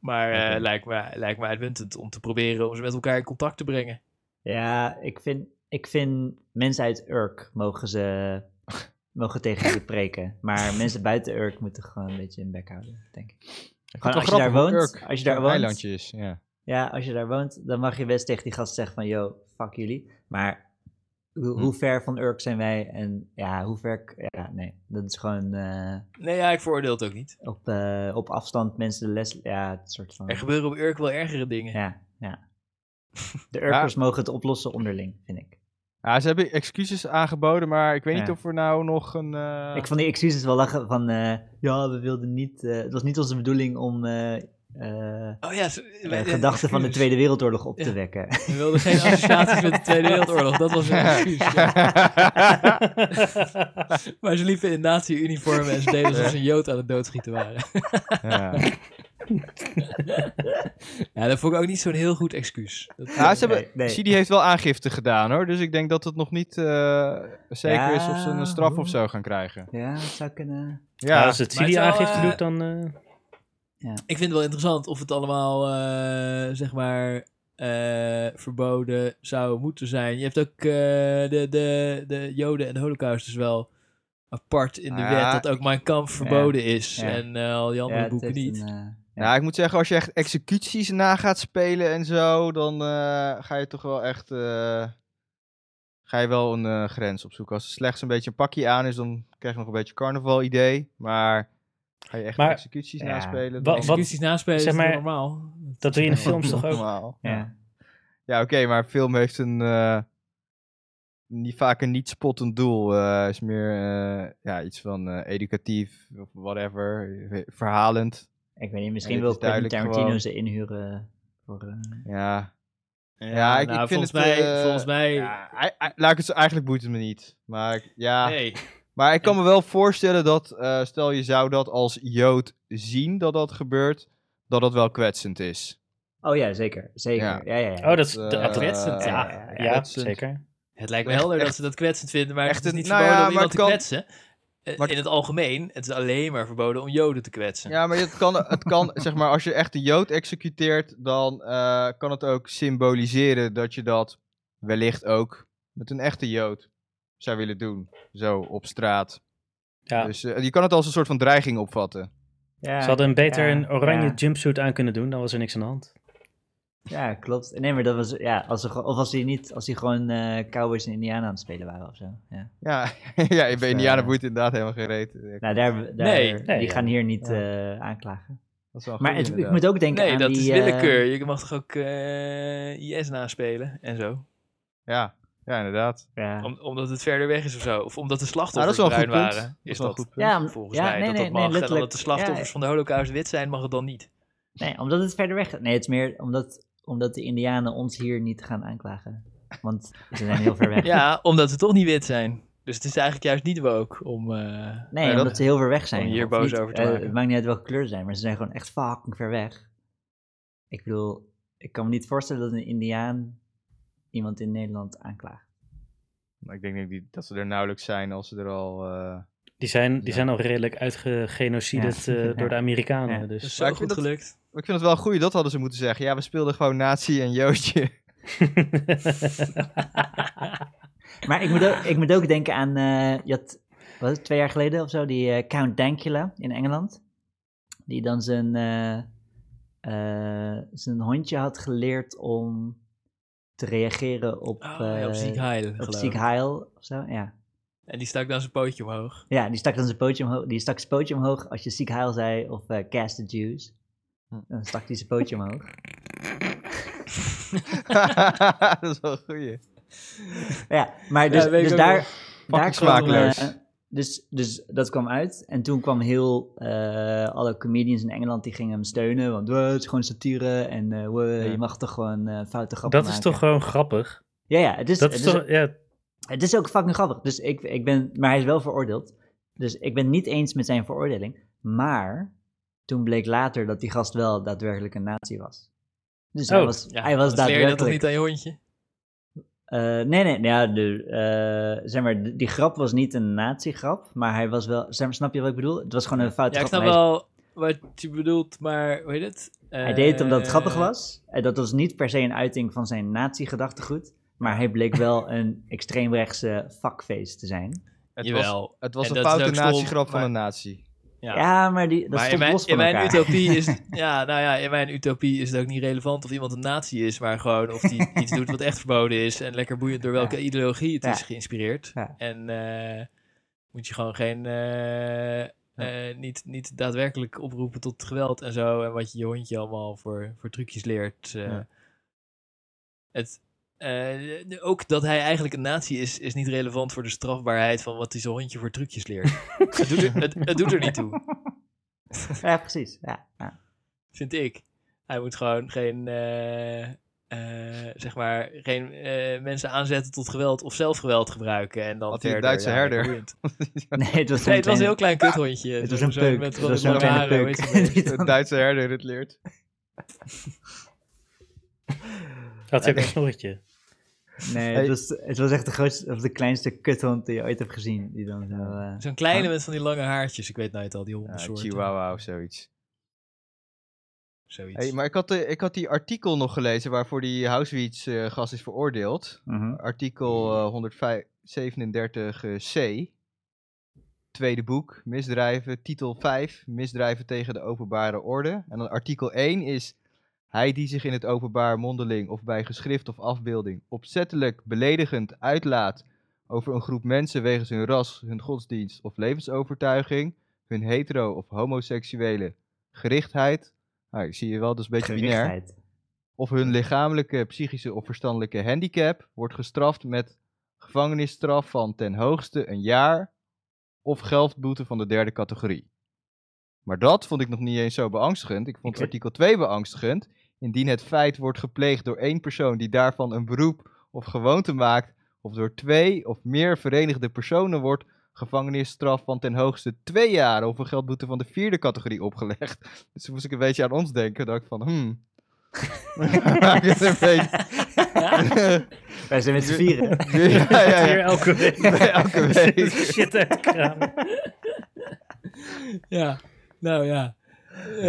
Maar eh,
Oké.
lijkt, me, lijkt me uitmuntend om te proberen om ze met elkaar in contact te brengen.
Ja, ik vind, ik vind mensen uit Urk mogen ze mogen tegen je preken. Maar mensen buiten Urk moeten gewoon een beetje in bek houden, denk ik. Gewoon als je daar woont, als je daar woont,
eilandje is, ja.
Ja, als je daar woont, dan mag je best tegen die gast zeggen van, yo, fuck jullie. Maar hoe,
Hm.
Hmm.
hoe ver van Urk zijn wij? En ja, hoe ver... k- Ja, nee, dat is gewoon eh,
Nee, ja, ik veroordeel het ook niet.
op, eh, op afstand mensen de les... Ja, het soort van...
Er gebeuren op Urk wel ergere dingen.
Ja, ja. De Urkers mogen het oplossen onderling, vind ik.
Ja, ze hebben excuses aangeboden, maar ik weet niet
Ja.
of er nou nog een... eh,
Ik vond die excuses wel lachen van... eh, ja, we wilden niet... eh, het was niet onze bedoeling om... eh, eh,
Oh ja, ze-
eh,
wij-
gedachten van de
excuus.
Tweede Wereldoorlog op
Ja.
te wekken.
We wilden geen associaties met de Tweede Wereldoorlog. Dat was een excuus. ja. Maar ze liepen in nazi-uniformen en ze deden alsof ze een Jood aan het doodschieten waren.
ja.
Ja, dat vond ik ook niet zo'n heel goed excuus. Dat,
Ja, Nou, ze hebben,
Nee, nee.
Sidi heeft wel aangifte gedaan hoor, dus ik denk dat het nog niet eh, zeker is of ze
Ja,
een straf of
oeh.
zo gaan krijgen.
Ja, dat zou kunnen.
Ja,
Ja,
als het
maar het
Sidi aangifte
zou, eh,
doet, dan. eh,
Ik vind het wel interessant of het allemaal, eh, zeg maar, eh, verboden zou moeten zijn. Je hebt ook eh, de, de, de Joden en de Holocaust is wel apart in de
Nou ja,
wet. Dat ook Mein Kampf verboden is
ja.
en eh, al die andere
ja, het
boeken
heeft
niet.
een, eh,
nou, ik moet zeggen, als je echt executies na gaat spelen en zo, dan eh, ga je toch wel echt... eh, ga je wel een eh, grens opzoeken. Als er slechts een beetje een pakje aan is, dan krijg je nog een beetje carnaval idee, maar... Ga je echt
Maar-
executies
Ja.
naspelen?
Wa-
dan-
wat-
Executies naspelen
zeg
is
maar,
toch normaal.
dat doe je in de films toch ook?
Normaal.
ja.
Ja, oké, maar film heeft een. eh, niet vaak een niet spottend doel. eh is meer eh, ja, iets van eh, educatief of whatever. eh, Verhalend.
Ik weet niet, misschien
dit
wil
is
Quentin
duidelijk
Tarantino
gewoon-
ze inhuren voor... eh,
Ja. Ja, ik- ik vind
nou, volgens
het,
mij,
eh,
volgens mij,
ja ei- ei- laat ik het zo, eigenlijk boeit het me niet. Maar ik- ja.
nee.
Maar ik kan me wel voorstellen dat, eh, stel je zou dat als Jood zien dat dat gebeurt, dat dat wel kwetsend is.
Oh ja, zeker. Zeker. Ja,
Ja.
ja, ja.
Oh, dat is.
Dat,
dat-
eh,
kwetsend,
eh,
ja.
Ja,
ja,
kwetsend.
zeker.
Het lijkt me
Echt-
helder dat
echt-
ze dat kwetsend vinden, maar
echt
het is
een-
niet
nou ja,
verboden om
maar
iemand te
het
kwetsen. Eh,
maar-
in het algemeen, het is alleen maar verboden om Joden te kwetsen.
Ja, maar het kan, het kan zeg maar, als je echt een jood executeert, dan eh, kan het ook symboliseren dat je dat wellicht ook met een echte jood zou willen doen. Zo op straat.
Ja.
Dus eh, je kan het als een soort van dreiging opvatten.
Ja,
Ze hadden een beter
ja,
een oranje
ja.
jumpsuit aan kunnen doen, dan was er niks aan de hand.
Ja, klopt. Nee, maar dat was... Ja, als ze, gewoon- of als die niet... Als die gewoon eh, Cowboys en Indianen aan het spelen waren of zo. Ja.
Ja, ja ik ben
eh,
Indiana boeit inderdaad helemaal geen reet.
Nou, daar... daar
Nee,
nee,
die
ja.
gaan hier niet eh, aanklagen.
Dat is wel een
Maar
goeie,
het, ik
inderdaad.
moet ook denken
nee,
aan
dat
die...
is
eh,
willekeur. Je mag toch ook eh, IS naspelen en zo.
Ja, ja, inderdaad.
ja.
Om- omdat het verder weg is of zo. Of omdat de
Nou, dat
slachtoffers
is wel een
bruin
goed punt.
waren. Is
wel een
dat,
goed punt.
Ja, om-
volgens
ja,
mij
nee,
dat
nee,
dat
nee,
mag. en
letterlijk.
omdat de slachtoffers
Ja,
van de holocaust wit zijn, mag het dan niet.
nee, omdat het verder weg... Nee, het is meer omdat, omdat de Indianen ons hier niet gaan aanklagen. Want ze zijn heel ver weg.
Ja, omdat ze toch niet wit zijn. Dus het is eigenlijk juist niet woke om... eh,
Nee,
Ja, dat-
omdat ze heel ver weg zijn.
Om hier
Of
boos
niet,
over te
eh,
maken.
Het maakt niet uit welke kleur ze zijn, maar ze zijn gewoon echt fucking ver weg. Ik bedoel, ik kan me niet voorstellen dat een Indiaan iemand in Nederland aanklaagt.
Maar ik denk niet die- dat ze er nauwelijks zijn als ze er al... eh,
Die zijn, die
Ja.
zijn al redelijk uitgegenocideerd
Ja.
eh,
Ja.
door de Amerikanen.
Ja.
dat is
Dus.
zo
Maar ik
goed
vind dat-
gelukt.
maar Ik vind het wel goed, dat hadden ze moeten zeggen. Ja, we speelden gewoon nazi en joodje.
Dus Maar ik moet ook, ik moet ook denken aan, eh, je had, wat, is het, twee jaar geleden of zo, die eh, Count Dankula in Engeland. Die dan zijn, eh, eh, zijn hondje had geleerd om te reageren op,
Oh, ja, op
eh,
ziek heilen,
op
geloof
ziek
ik.
heil of zo. Ja.
En die stak dan zijn pootje omhoog.
ja, die stak dan zijn pootje omhoog, die stak zijn pootje omhoog als je ziek heil zei of eh, cast the Jews. Dan stak hij zijn pootje omhoog.
dat is wel een goeie.
Ja, maar dus,
Ja, weet ik
dus
ook
daar, daar
Fucking
kwam,
smakeloos.
eh, dus, dus dat kwam uit. En toen kwam heel eh, alle comedians in Engeland die gingen hem steunen. Want "Wow, het is gewoon satire en eh, wow,
Ja.
je mag toch gewoon eh foute grappen
Dat is
maken.
toch gewoon grappig?
Ja, ja, het is,
Dat
het
is
is,
toch... Ja,
het is ook fucking grappig. Dus ik, ik ben, maar hij is wel veroordeeld. Dus ik ben niet eens met zijn veroordeling. Maar toen bleek later dat die gast wel daadwerkelijk een nazi was. Dus hij
Oh,
was,
Ja,
hij was
anders leer je dat toch
daadwerkelijk...
niet aan je hondje?
Eh, nee, nee, nou ja, de, eh, zeg maar, d- die grap was niet een nazi-grap, maar hij was wel, zeg maar, snap je wat ik bedoel? Het was gewoon een fout
Ja, ik
grap.
snap
maar hij,
wel wat je bedoelt, maar hoe heet het?
hij deed het omdat het
Eh,
grappig was. En dat was niet per se een uiting van zijn nazi-gedachtegoed, maar hij bleek wel een extreemrechtse fuckface te zijn.
Het was,
Jawel.
het was
En
een
dat is
foute
ook stom,
natiegrap van
maar-
een nazi.
Ja,
Ja.
maar die, dat
maar in
stond
mijn,
los
in
van
mijn
elkaar.
utopie is, ja, nou ja, in mijn utopie is het ook niet relevant of iemand een nazi is, maar gewoon of die iets doet wat echt verboden is en lekker boeiend door welke ideologie het
Ja.
is geïnspireerd.
Ja.
En eh, moet je gewoon geen, eh, eh, niet, niet daadwerkelijk oproepen tot geweld en zo en wat je je hondje allemaal voor, voor trucjes leert. eh.
Ja.
Het, eh, ook dat hij eigenlijk een nazi is, is niet relevant voor de strafbaarheid van wat hij zijn hondje voor trucjes leert. het, doet er, het, het doet er niet toe
Ja, precies. Ja, ja.
vind ik. Hij moet gewoon geen, eh, eh, zeg maar, geen eh, mensen aanzetten tot geweld of zelf geweld gebruiken. En dan
Had hij een
verder,
Duitse
ja,
herder?
boeiend.
Nee, het was,
Nee, het was een
kleine-
heel klein kuthondje.
Het
Zo-
was een
zo
peuk.
Met
Het was
ronde
zo'n kleine
blauwe haren,
peuk.
weet je wel.
Die
De
dan-
Duitse herder het leert.
had hij ook een snorretje.
Nee, het was, het was echt de grootste, of de kleinste kuthond die je ooit hebt gezien. Die dan zo, eh,
Zo'n kleine met van die lange haartjes. Ik weet nooit al, die
Ja,
hondensoorten.
Chihuahua of zoiets.
Zoiets.
Hey, maar ik had, de, ik had die artikel nog gelezen waarvoor die Houseweeds eh gast is veroordeeld.
mhm.
Artikel eh, 137 eh, C. Tweede boek, misdrijven, titel 5, misdrijven tegen de openbare orde. En dan artikel 1 is, hij die zich in het openbaar mondeling of bij geschrift of afbeelding opzettelijk beledigend uitlaat over een groep mensen wegens hun ras, hun godsdienst of levensovertuiging, hun hetero- of homoseksuele gerichtheid. Nou, ik zie je wel, dat is een beetje binair
Gerichtheid.
of hun lichamelijke, psychische of verstandelijke handicap wordt gestraft met gevangenisstraf van ten hoogste een jaar of geldboete van de derde categorie. Maar dat vond ik nog niet eens zo beangstigend. Ik vond
Ik-
artikel 2 beangstigend. Indien het feit wordt gepleegd door één persoon die daarvan een beroep of gewoonte maakt, of door twee of meer verenigde personen wordt gevangenisstraf van ten hoogste twee jaar of een geldboete van de vierde categorie opgelegd. Dus toen moest ik een beetje aan ons denken. dacht ik van, hmm. Maak het een beetje-
Wij zijn met z'n vieren.
ja, ja,
Hier
ja.
elke week.
Elke week.
Shit uit de kraan.
Ja, nou ja. Eh,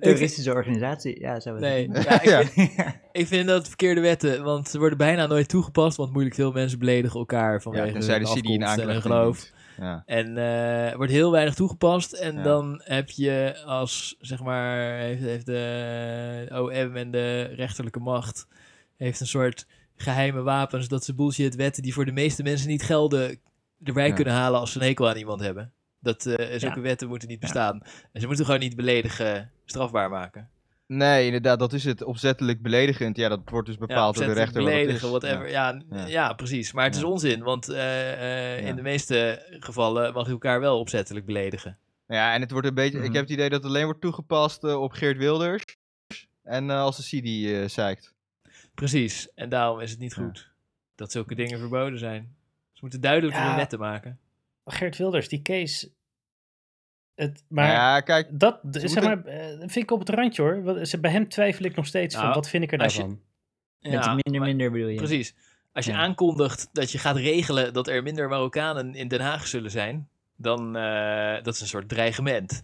terroristische organisatie. Ja, zo
nee,
nee.
ja, ik,
Ja.
Vind, ik vind dat verkeerde wetten, want ze worden bijna nooit toegepast, want moeilijk veel mensen beledigen elkaar vanwege
Ja, tenzij
hun
de CD
afkomst
in
en hun
aanklacht
geloof.
dient. Ja.
En eh, er wordt heel weinig toegepast. En
Ja.
dan heb je als, zeg maar, heeft, heeft de OM en de rechterlijke macht heeft een soort geheime wapens dat ze bullshit wetten die voor de meeste mensen niet gelden erbij
Ja.
kunnen halen als ze een hekel aan iemand hebben. Dat eh zulke wetten moeten niet bestaan. En ze moeten gewoon niet beledigen, strafbaar maken.
Nee, inderdaad, dat is het. Opzettelijk beledigend. Ja, dat wordt dus bepaald door de
opzettelijk
rechter. wat het
beledigen,
is.
whatever.
Ja.
Ja. n-
Ja.
Ja, precies. Maar het is
Ja.
onzin, want eh, eh,
Ja.
in de meeste gevallen mag je elkaar wel opzettelijk beledigen.
Ja, en het wordt een beetje. Ik
Mhm.
heb het idee dat het alleen wordt toegepast eh, op Geert Wilders. En eh, als de CD eh zeikt.
Precies, en daarom is het niet
Ja.
goed dat zulke dingen verboden zijn. Ze moeten duidelijk
Ja.
hun wetten maken.
Geert Wilders, die case. Het, maar
Maar ja, kijk.
dat
Ze
zeg maar,
moeten-
eh, vind ik op het randje hoor. Wat- ze- Bij hem twijfel ik nog steeds van
Nou,
wat vind ik er
als je-
daarvan.
Met
Ja,
minder,
maar-
minder bedoel je.
Precies. Als je
Ja.
aankondigt dat je gaat regelen dat er minder Marokkanen in Den Haag zullen zijn, dan eh dat is een soort dreigement.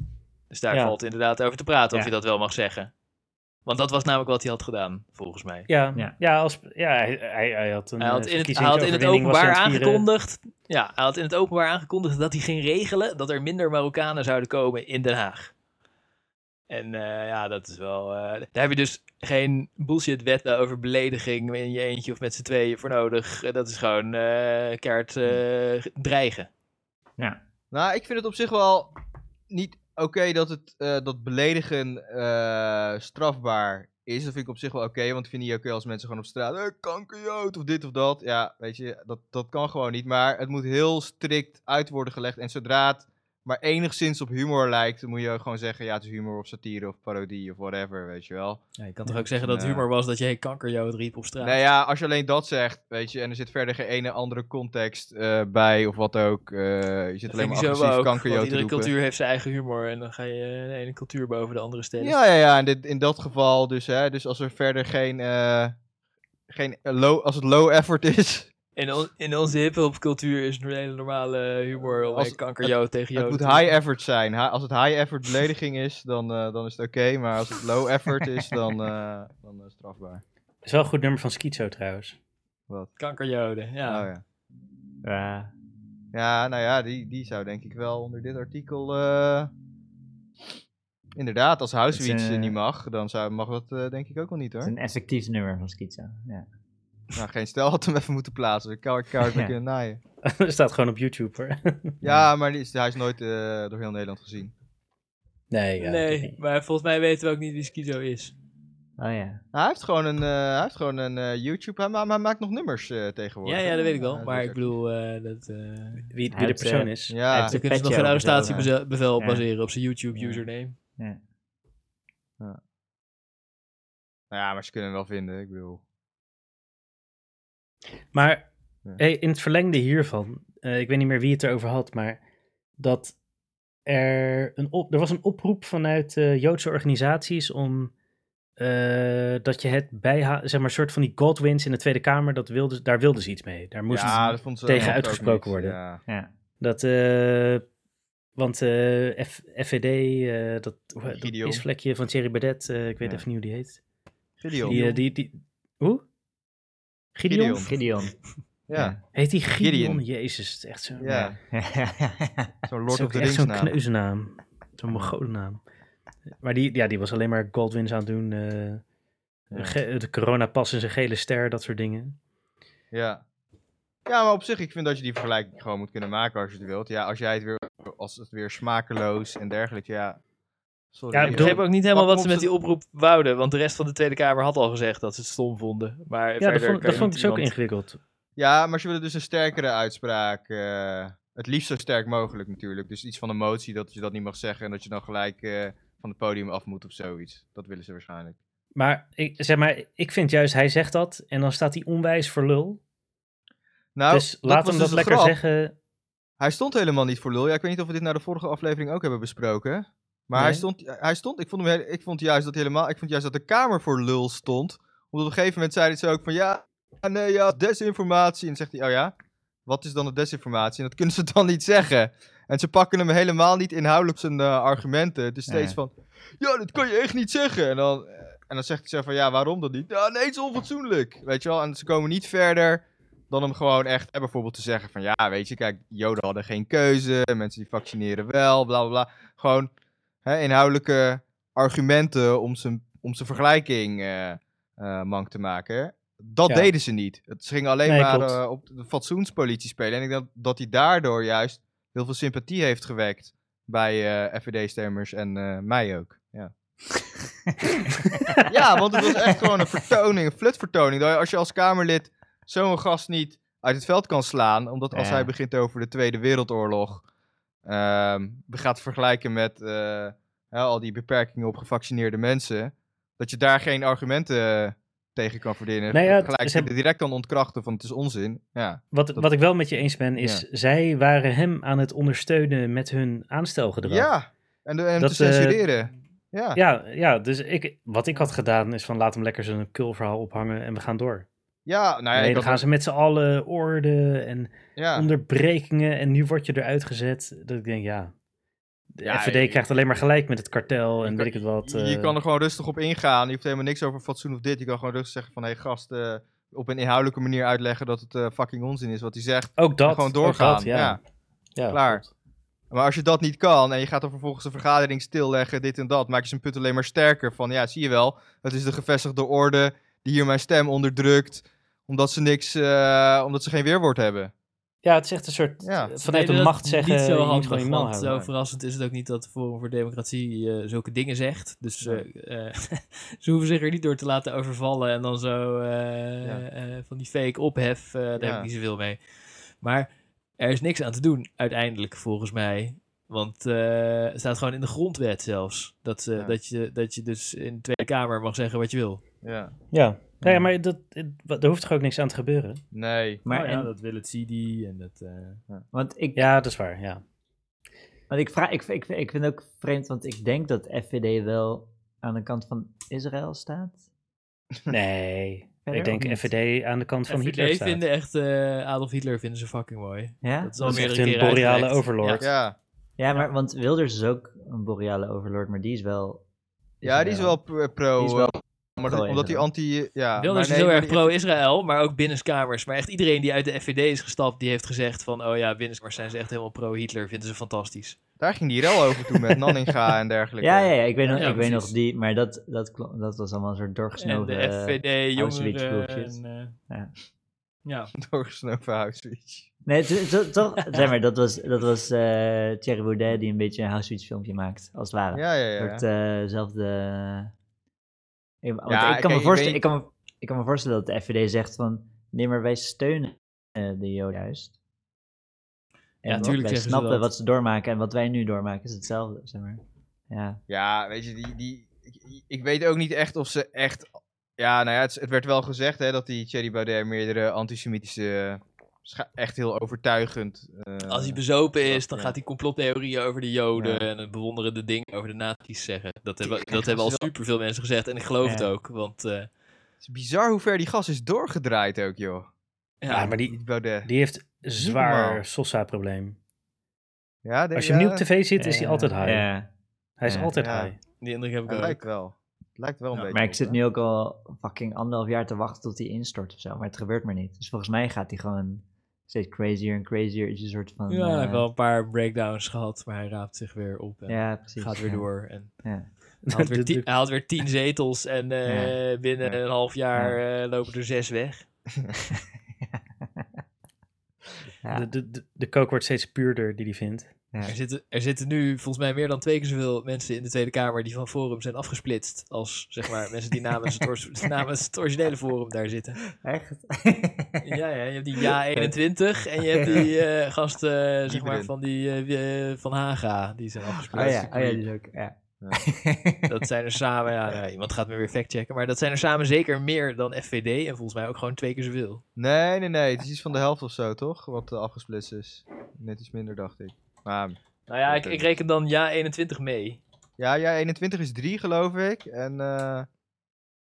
Dus daar
Ja.
valt inderdaad over te praten of
Ja.
je dat wel mag zeggen. Want dat was namelijk wat hij had gedaan, volgens mij.
Ja,
Ja.
ja. als, ja hij, hij, hij had een eh,
Hij had in het, hij had in het
verkiezingsoverwinning, was
openbaar
aan het vieren.
aangekondigd. Ja, hij had in het openbaar aangekondigd dat hij ging regelen dat er minder Marokkanen zouden komen in Den Haag. En eh, ja, dat is wel. eh, daar heb je dus geen bullshit wetten over belediging in je eentje of met z'n tweeën voor nodig. Eh, Dat is gewoon eh keihard eh, dreigen.
Nou, ik vind het op zich wel niet oké dat het eh, dat beledigen eh, strafbaar is. Dat vind ik op zich wel oké, want ik vind het niet oké als mensen gewoon op straat eh, kankerjood of dit of dat. Ja, weet je, dat, dat kan gewoon niet. Maar het moet heel strikt uit worden gelegd. En zodra het maar enigszins op humor lijkt, dan moet je ook gewoon zeggen, ja, het is humor of satire of parodie of whatever, weet je wel.
Ja, je kan toch ook zeggen dat
Nee.
humor was dat je hey, kankerjood riep op straat.
Nou ja, als je alleen dat zegt, weet je, en er zit verder geen ene andere context eh, bij of wat ook. eh, je zit
Dat
alleen
vind
maar
ik zo
agressief
ook, want
kankerjood te
iedere
roepen.
cultuur heeft zijn eigen humor en dan ga je eh, de ene cultuur boven de andere stellen.
Ja, ja, ja. In, dit, in dat geval dus, hè. Dus als er verder geen... eh, geen eh, low, als het low effort is,
In, on- in onze hip-hop-cultuur is een hele normale humor om
Als-
een kankerjood tegen
het
jood.
moet
te-
high effort zijn. Ha- als het high effort belediging is, dan, eh, dan is het oké. maar als het low effort is, dan, eh, dan eh, strafbaar.
is wel een goed nummer van Schizo trouwens.
Kankerjoden, ja.
Oh, ja.
Ja.
ja, nou ja, die, die zou denk ik wel onder dit artikel... eh, inderdaad, als Housewives
Het,
eh,
eh,
niet mag, dan zou, mag dat eh, denk ik ook wel niet,
het
hoor.
is een effectief nummer van Schizo. Ja.
Nou, geen stel had hem even moeten plaatsen. dus Ik had kaart
Ja.
kunnen naaien.
dat staat gewoon op YouTube hoor.
Ja, maar die is, hij is nooit eh, door heel Nederland gezien.
Nee, ja, dat
nee,
niet.
maar volgens mij weten we ook niet wie Skizo is.
Oh ja.
Hij heeft gewoon een, eh, hij heeft gewoon een eh, YouTube, hij, ma- maar hij maakt nog nummers eh,
Ja,
tegenwoordig.
ja, dat weet ik wel.
Ja,
Maar
is
ik
ook-
bedoel, dus eh dat... eh
Wie,
Hij
wie de
heeft,
persoon
eh,
is.
Hij
Ja,
heeft
dan
een
kunnen ze nog
petje
geen
over zo,
arrestatiebevel
ja.
baseren op zijn YouTube-username.
nou ja, maar ze kunnen hem wel vinden, ik bedoel.
Maar
Ja.
hey, in het verlengde hiervan, eh, ik weet niet meer wie het erover had, maar dat er een op, er was een oproep vanuit eh, Joodse organisaties om eh, dat je het bijha, zeg maar, soort van die Godwins in de Tweede Kamer, dat wilde, daar wilden ze iets mee. Daar moest
ja, dat vond ze
tegen
vond ik ook
uitgesproken
niet,
worden.
Ja.
ja.
dat. eh, want eh, F- FVD, eh, dat, dat
Gideon.
pisvlekje van Thierry Baudet, eh, ik weet
Ja.
even niet hoe die heet.
Gideon.
Die, eh, die, die, hoe? Gideon?
Gideon.
Gideon.
Ja,
Heet die Gideon?
Gideon.
Jezus, het is echt zo.
ja. zo'n
Dat
Lord of
is
the
ook echt
Rings
zo'n
naam.
kneuzennaam. Zo'n mogolennaam. Maar die, ja, die was alleen maar Goldwins aan het doen. eh, ge- de coronapas en zijn gele ster, dat soort dingen.
Ja. ja, maar op zich, ik vind dat je die vergelijking gewoon moet kunnen maken als je het wilt. Ja, als jij het weer, als het weer smakeloos en dergelijke, ja. Sorry.
Ja,
Ik
ik
begreep
bedoel-
ook niet helemaal
Pak
wat ze
op
met
ze-
die oproep wouden, want de rest van de Tweede Kamer had al gezegd dat ze het stom vonden.
ja,
Maar verder
dat vond,
kan
dat
je
vond ik
niet
dus ook
iemand-
ingewikkeld.
Ja, maar ze willen dus een sterkere uitspraak. eh, het liefst zo sterk mogelijk natuurlijk. Dus iets van een motie dat je dat niet mag zeggen en dat je dan gelijk eh, van het podium af moet of zoiets. Dat willen ze waarschijnlijk.
Maar ik, zeg maar, ik vind juist, hij zegt dat en dan staat hij onwijs voor lul.
Nou,
dus laat
was
hem
dus
dat
de
lekker
grap.
zeggen.
Hij stond helemaal niet voor lul. Ja, ik weet niet of we dit naar de vorige aflevering ook hebben besproken. Maar hij
Nee.
stond, eh, hij stond ik, vond hem, heel- ik vond juist dat hij helemaal, ik vond juist dat de Kamer voor lul stond. Omdat op een gegeven moment zeiden ze ook van ja, ah, nee, ja, desinformatie. En dan zegt hij, oh ja, wat is dan de desinformatie? En dat kunnen ze dan niet zeggen. En ze pakken hem helemaal niet inhoudelijk op zijn eh, argumenten. Het is steeds
Nee.
van, ja, dat kan je echt niet zeggen. En dan, eh, en dan zegt hij zo van, ja, waarom dan niet? Ja, nee, het is onfatsoenlijk. Weet je wel, en ze komen niet verder dan hem gewoon echt eh, bijvoorbeeld te zeggen van, ja, weet je, kijk, joden hadden geen keuze. Mensen die vaccineren wel, bla, bla, bla. Gewoon hè, inhoudelijke argumenten om zijn, om zijn vergelijking eh eh, mank te maken. Dat
Ja.
deden ze niet. Het- Ze gingen alleen
Nee,
maar
klopt.
eh, op de fatsoenspolitie spelen. En ik denk dat hij daardoor juist heel veel sympathie heeft gewekt bij eh FVD-stemmers en eh, mij ook. Ja. ja, want het was echt gewoon een vertoning, een flutvertoning. Dat je- Als je als Kamerlid zo'n gast niet uit het veld kan slaan, omdat als
Ja.
hij begint over de Tweede Wereldoorlog, ehm, gaat vergelijken met eh, hè, al die beperkingen op gevaccineerde mensen, dat je daar geen argumenten tegen kan verdienen.
Nou ja, het-
Gelijk
ze hebben-
direct kan ontkrachten van het is onzin. Ja,
Wat, wat ik wel met je eens ben, is zij waren hem aan het ondersteunen met hun aanstelgedrag.
ja. en, de- en
Dat,
te
eh,
censureren. ja.
Ja, ja, dus ik, wat ik had gedaan is van laat hem lekker zijn kulverhaal ophangen en we gaan door.
ja, nou ja,
nee, dan
ik had-
gaan ze met z'n allen orde en
ja.
onderbrekingen en nu word je eruit gezet. Dat ik denk, ja, de
Ja,
FVD
je-
krijgt alleen maar gelijk met het kartel en
Je
weet ik het wat.
Je- Je
eh.
kan er gewoon rustig op ingaan. Je hoeft helemaal niks over fatsoen of dit. Je kan gewoon rustig zeggen van... Hé hey, gast, eh, op een inhoudelijke manier uitleggen dat het eh, fucking onzin is wat hij zegt.
ook dat.
en gewoon
ook
doorgaan.
dat,
ja.
ja. Ja,
klaar.
klopt.
Maar als je dat niet kan en je gaat dan vervolgens de vergadering stilleggen, dit en dat, maak je zijn punt alleen maar sterker. Van ja, zie je wel, het is de gevestigde orde die hier mijn stem onderdrukt, omdat ze niks, eh, omdat ze geen weerwoord hebben.
Ja, het is echt een soort
Ja.
vanuit
Nee,
de
dat
macht
is
zeggen.
Niet zo
je moet
handig,
gewoon je mond
want
houden.
Zo verrassend is het ook niet dat de Forum voor Democratie eh, zulke dingen zegt. Dus eh, eh, ze hoeven zich er niet door te laten overvallen en dan zo eh,
Ja.
eh, van die fake ophef. eh, daar
Ja.
heb ik niet zoveel mee. Maar er is niks aan te doen uiteindelijk volgens mij. Want eh, het staat gewoon in de grondwet zelfs. Dat, ze-
Ja.
dat, je, dat je dus in de Tweede Kamer mag zeggen wat je
Oh
wil.
Ja.
Ja. Nou ja, maar dat, het- wat- er hoeft toch ook niks aan te gebeuren?
Nee.
Maar en-
Oh dat wil het CD en dat...
eh,
want ik,
Ja, dat is waar. Ja.
want ik, vraag, ik, ik, ik vind het ook vreemd, want ik denk dat FVD wel aan de kant van Israël staat.
Hm.
Nee.
Verder
ik denk
ook niet.
FVD aan de kant van Hitler staat.
vinden echt... eh, Adolf Hitler vinden ze fucking mooi.
Ja?
Dat is al
Dat is echt
meerdere
een
keren
boreale
uitgelegd.
overlord.
Ja.
Ja, maar want Wilders is ook een boreale overlord, maar die is wel...
ja, die is wel p- pro.
Die is wel
eh, maar dat-
pro
omdat die
Israël.
anti... Ja,
Wilders
maar
is dus
nee,
heel
maar
erg
die-
pro-Israël, maar ook binnenskamers. Maar echt iedereen die uit de FVD is gestapt, die heeft gezegd van... oh ja, binnenskamers zijn ze echt helemaal pro-Hitler, vinden ze fantastisch.
Daar ging die rel over toen met Nanninga en dergelijke.
Ja, ja, ja, ik weet, nog,
Ja,
ik weet nog
precies.
die, maar dat, dat, klo- dat was allemaal een soort
En
doorgesnoven...
de FVD,
Auschwitz
jongeren
bullshit.
en, eh,
Ja.
ja.
Doorgesnoven Auschwitz.
Nee, to- to- toch, zeg maar, dat was, dat was eh, Thierry Baudet die een beetje een House filmpje maakt, als het ware.
Ja, ja, ja.
Een
ja.
soort eh, zelfde... eh, Ik, want
Ja,
ik, kan
kijk,
me
ik
voorstellen,
weet-
ik, kan me, ik kan me voorstellen dat de FVD zegt van, nee, maar wij steunen eh, de Joden juist. En
Ja,
wat
tuurlijk
wij
zeggen ze
snappen
dat.
wat ze doormaken en wat wij nu doormaken is hetzelfde, zeg maar. Ja,
Ja, weet je, die, die, ik, ik weet ook niet echt of ze echt... Ja, nou ja, het, het werd wel gezegd hè, dat die Thierry Baudet meerdere antisemitische... eh, scha- Echt heel overtuigend. eh,
Als hij bezopen is,
dat,
dan
ja.
gaat hij complottheorieën over de Joden
Ja.
en het bewonderende ding over de nazi's zeggen. Dat hebben, dat hebben al superveel mensen gezegd en ik geloof het
Ja.
ook, want... eh,
Het is bizar hoe ver die gas is doorgedraaid ook, joh.
Ja,
ja,
maar die,
Die Baudet.
die heeft
normaal.
zwaar Sosa-probleem.
ja, de-
Als je hem nu
ja,
op tv ziet, is hij
Ja.
altijd high.
Eh, ja.
Hij is
Ja.
altijd
Ja.
high.
die indruk heb ik
Het
ook.
lijkt wel. Het lijkt wel een
Ja,
beetje.
Maar ik
op,
zit
hè?
nu ook al fucking anderhalf jaar te wachten tot hij instort of zo, maar het gebeurt maar niet. Dus volgens mij gaat hij gewoon steeds crazier en crazier. Is een soort van...
Ja, hij
eh,
heeft wel een paar breakdowns gehad, maar hij raapt zich weer op en
Ja, precies.
gaat weer
ja.
door. En
Ja.
Hij had, weer
Dat-
tien,
dat-
hij had weer tien zetels en eh, binnen een half jaar eh, lopen er zes weg.
Ja.
De, de, de, de kook wordt steeds puurder die hij vindt.
Ja.
Er, zitten, er zitten nu volgens mij meer dan twee keer zoveel mensen in de Tweede Kamer die van Forum zijn afgesplitst. Als zeg maar mensen die namens het, ors- namens het originele Forum daar zitten.
Echt? Oh
Ja, ja, je hebt die Ja 21 en je hebt die eh, gasten eh, zeg maar,
Iedereen.
van, die, eh, eh, van Haga die zijn afgesplitst.
Oh ja, oh ja, die is ook. Ja.
Dat zijn er samen, ja, nou, iemand gaat me weer factchecken, maar dat zijn er samen zeker meer dan FVD en volgens mij ook gewoon twee keer zoveel.
Nee, nee, nee. Het is iets van de helft of zo, toch? Wat eh, afgesplitst is. Net iets minder, dacht ik. Maar,
Nou ja, ik, ik reken dan Ja 21 mee.
ja, ja, 21 is 3, geloof ik. En eh,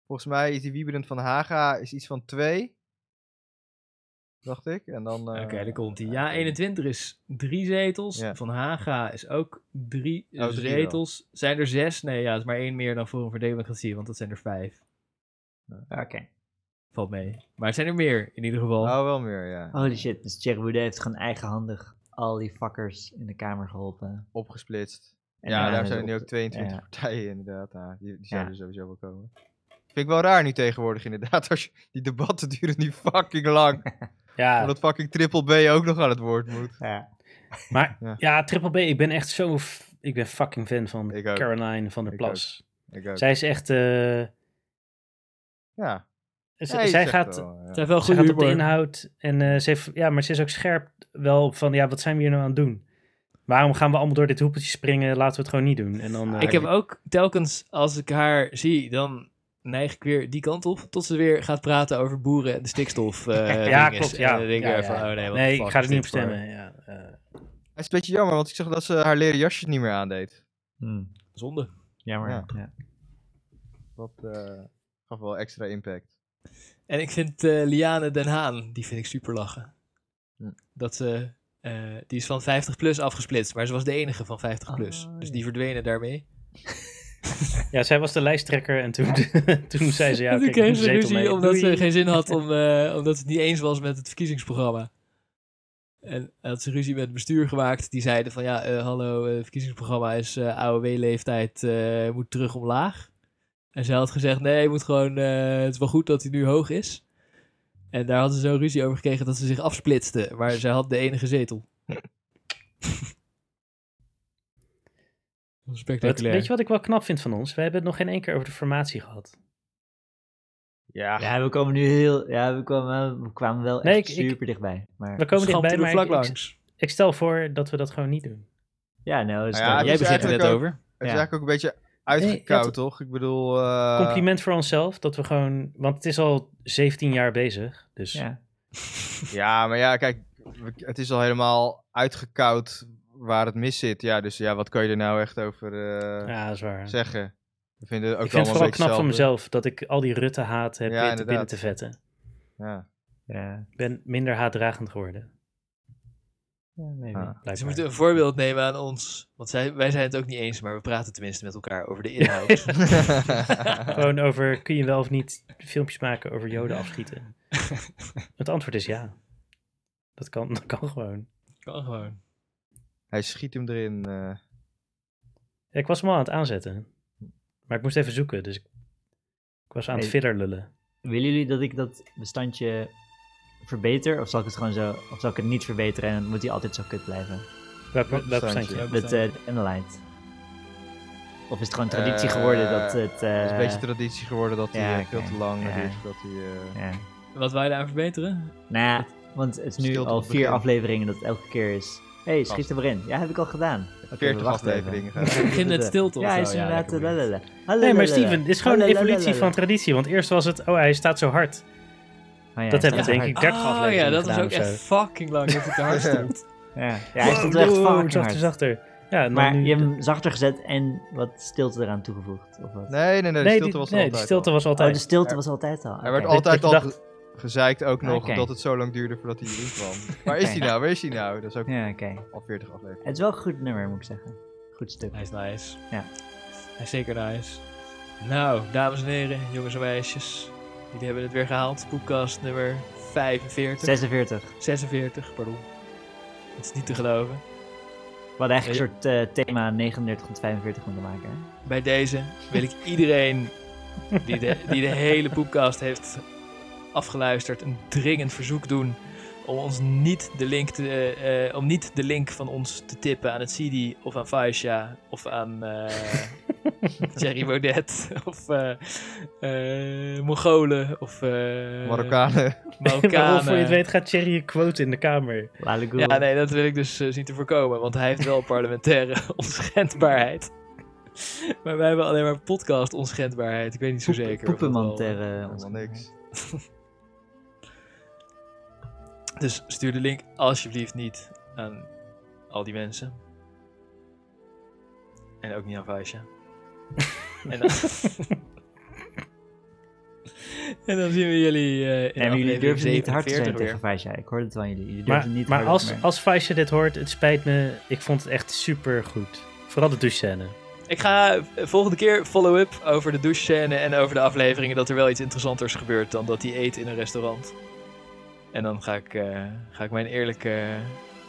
volgens mij is die Wieberen van Haga is iets van 2. Dacht ik. En dan... eh,
Oké, daar komt hij. Ja, 21 is drie zetels.
Ja.
Van Haga is ook drie
Oh, drie
zetels. Zijn er zes? Nee, ja, het is maar één meer dan Forum voor Democratie, want dat zijn er vijf.
Oké.
Valt mee. Maar het zijn er meer, in ieder geval.
Nou, wel meer, ja.
Holy shit, dus Thierry Baudet heeft gewoon eigenhandig al die fuckers in de kamer geholpen.
Opgesplitst.
En
ja,
daarna
daar
is
zijn
op-
nu ook 22
ja.
partijen inderdaad. Ja, die, die zouden
Ja.
sowieso wel komen. Vind ik wel raar nu tegenwoordig inderdaad. Als je, die debatten duren nu fucking lang.
Ja,
Omdat fucking triple B ook nog aan het woord moet.
Ja.
maar
Ja.
ja. Triple B, ik ben echt zo... f- Ik ben fucking fan van
Ik ook.
Caroline van der
Ik
Plas.
Ik ook.
Zij is echt... eh,
ja.
z-
Nee, je
zij
zegt
gaat...
wel, ja.
het zijn wel
Ze
goede
gaat op de
humor.
inhoud en eh, ze heeft, ja, maar ze is ook scherp wel van, ja, wat zijn we hier nou aan het doen? Waarom gaan we allemaal door dit hoepeltje springen? Laten we het gewoon niet doen. En dan, eh,
Ik heb ook telkens, als ik haar zie, dan neig ik weer die kant op. Tot ze weer gaat praten over boeren en de stikstof. eh,
ja,
dinges.
klopt,
En
ja.
dan denk ik
Ja,
weer
ja,
van,
ja.
oh nee, wat
nee, ik ga er niet op stemmen. Ja, eh.
Het is een beetje jammer, want ik zag dat ze haar leren jasjes niet meer aandeed.
Hm,
Zonde.
jammer.
Ja.
Ja.
Dat eh, gaf wel extra impact.
En ik vind eh, Liane Den Haan, die vind ik super lachen.
Hm.
Dat ze Eh, die is van 50 plus afgesplitst, maar ze was de enige van 50 plus.
Ah,
dus
ja.
die verdwenen daarmee.
Ja, zij was de lijsttrekker en toen, toen zei ze ja,
En toen
kijk, ik moet de
kreeg ze
zetel mee.
ruzie omdat ze
Doei.
geen zin had om, eh, omdat ze het niet eens was met het verkiezingsprogramma. En had ze ruzie met het bestuur gemaakt. Die zeiden van ja, eh, hallo, eh, verkiezingsprogramma is eh, AOW-leeftijd, eh, moet terug omlaag. En zij had gezegd nee, moet gewoon, eh, het is wel goed dat hij nu hoog is. En daar hadden ze zo ruzie over gekregen dat ze zich afsplitste. Maar zij had de enige zetel.
Wat-
Spectaculair.
weet je wat ik wel knap vind van ons? We hebben het nog geen één keer over de formatie gehad.
Ja,
Ja, we komen nu heel... Ja, we kwamen, we kwamen wel
Nee,
echt
ik- ik-
super dichtbij. Maar
We komen
Schampte
dichtbij,
er
maar
vlak
ik, ik,
langs.
ik stel voor dat we dat gewoon niet doen.
ja, nou... is
Nou
Ah,
ja,
dat-
het
Jij
is
begint er net
eigenlijk ook-
over.
Het
Ja.
is eigenlijk ook een beetje
Nee,
uitgekoud,
ja, het-
toch? Ik bedoel... eh,
Compliment voor onszelf, dat we gewoon... Want het is al 17 jaar bezig, dus...
Ja.
Ja, maar ja, kijk, we- het is al helemaal uitgekoud waar het mis zit. Ja, dus ja, wat kan je er nou echt over eh,
Ja, dat is waar.
zeggen? We vinden het ook
ik vind het
allemaal
vooral
een
knap
beetje
van
hetzelfde.
mezelf dat ik al die Rutte-haat heb
Ja,
weten
inderdaad.
binnen te vetten.
Ja.
Ja,
Ik ben minder haatdragend geworden.
ja maybe.
Ah.
Ze
blijkbaar.
moeten een voorbeeld nemen aan ons. Want zij, wij zijn het ook niet eens, maar we praten tenminste met elkaar over de inhoud.
Gewoon over kun je wel of niet filmpjes maken over Joden afschieten. het antwoord is ja. Dat kan, dat kan gewoon.
kan gewoon.
Hij schiet hem erin. eh.
Ja, ik was hem al aan het aanzetten. Maar ik moest even zoeken, dus ik, ik was aan het
Hey.
filler lullen.
Willen jullie dat ik dat bestandje verbeter? Of zal ik het gewoon zo... Of zal ik het niet verbeteren en dan moet die altijd zo kut blijven?
Welk,
Welk
welk
bestandje?
standje?
Dat eh Analyte. Of is het gewoon traditie geworden dat
Eh,
het...
het is een
eh,
beetje traditie geworden dat hij
ja,
eh, veel
oké,
te lang
ja.
is. Dat hij, eh,
ja.
Wat wij daar verbeteren?
Nou ja, want het is nu
Stilte op
al
het
vier
begin.
afleveringen dat het elke keer is... Hé, hey, schiet er maar in. Ja, heb ik al gedaan. Oké,
40
we wachten even.
afleveringen.
begint met stilte of
Ja,
zo.
hij is
Ja,
inderdaad... eh,
lekker weer.
lalala.
Nee,
Halalala.
maar Steven, dit is gewoon een
Halalala.
evolutie van traditie. Want eerst was het, oh hij staat zo hard.
Oh ja,
Dat
hij
hebben we
staat
denk ik
hard.
30
Oh ja,
afleveringen
dat is
gedaan
ook
of zo.
echt fucking lang dat ik daar stond.
Ja, ja hij
Wow,
stond er echt
wow,
fucking
Oh, zachter,
hard.
zachter. Ja, en
Maar
dan nu,
je hebt hem zachter gezet en wat stilte eraan toegevoegd. Of wat?
Nee, nee, nee. De
nee,
stilte
die,
was er
nee, die
altijd
stilte
al.
was
Oh,
altijd.
de stilte was altijd al.
Hij werd
oké.
al-
altijd
Dat
al
je
ge- gezeikt ook nog
Oké.
dat het zo lang duurde voordat hij erin kwam. Waar is hij
Oké.
nou? Waar is hij nou? Dat is ook
Ja, oké.
al 40 afleveringen.
Het is wel een goed nummer, moet ik zeggen. Goed stuk.
Hij is nice.
Ja.
Hij is zeker nice. Nou, dames en heren, jongens en meisjes. Jullie hebben het weer gehaald. Podcast nummer 45.
46.
46, pardon. Het is niet te geloven.
We hadden eigenlijk een soort eh, thema 39 tot 45 moeten maken. hè?
Bij deze wil ik iedereen die de, die de hele podcast heeft afgeluisterd een dringend verzoek doen om ons niet de link te, eh, eh, om niet de link van ons te tippen aan het CD of aan Faisha of aan eh Thierry Baudet of eh, eh, Mongolen of eh,
Marokkanen.
Waarom voor je het
Marokkanen.
weet gaat Thierry een quote in de kamer.
Lale Ghoul.
Ja, nee, dat wil ik dus eh, zien te voorkomen, want hij heeft wel parlementaire onschendbaarheid. Maar wij hebben alleen maar podcast onschendbaarheid. Ik weet niet zo
Poep-
zeker. of dat wel-
Poepenman ter... eh, ons-
Helemaal niks.
Dus stuur de link alsjeblieft niet aan al die mensen. En ook niet aan Vaisja. en, dan... en dan zien we jullie eh, in
Nee, maar jullie
aflevering
durven niet hard
47
te
weer.
zijn tegen Faisha. Ik hoorde het van jullie. Jullie
Maar,
durven niet
maar
hard,
als, als Faisje dit hoort, het spijt me. Ik vond het echt super goed. Vooral de douchescène.
Ik ga eh, volgende keer follow-up over de douchescène en over de afleveringen dat er wel iets interessanters gebeurt dan dat hij eet in een restaurant. En dan ga ik, eh, ga ik mijn eerlijke,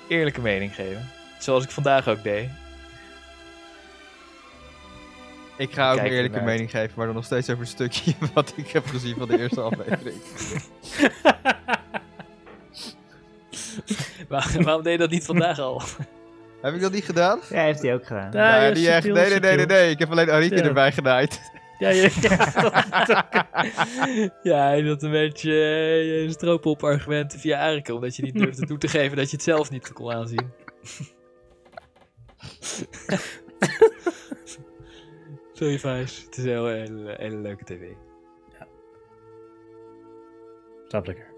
eerlijke mening geven. Zoals ik vandaag ook deed.
eh,
Ik ga ook
Kijk
een eerlijke
ernaar uit.
mening geven, maar dan nog steeds over een stukje wat ik heb gezien van de eerste aflevering.
Waar- waarom deed je dat niet vandaag al?
heb ik dat niet gedaan?
Ja, heeft hij ook gedaan.
Ah, Ja,
nee,
ja,
niet echt.
subtiel,
nee, nee, nee, nee,
subtiel.
nee. Ik heb alleen Arike
Ja.
erbij genaaid.
Ja, ja, ja, dat- dat-
ja, je zat een beetje eh, je stroop argumenten via Arike, omdat je niet durfde toe te geven dat je het zelf niet kon aanzien. Sorry, Vijs. Het is een hele, hele leuke tv.
Snap lekker.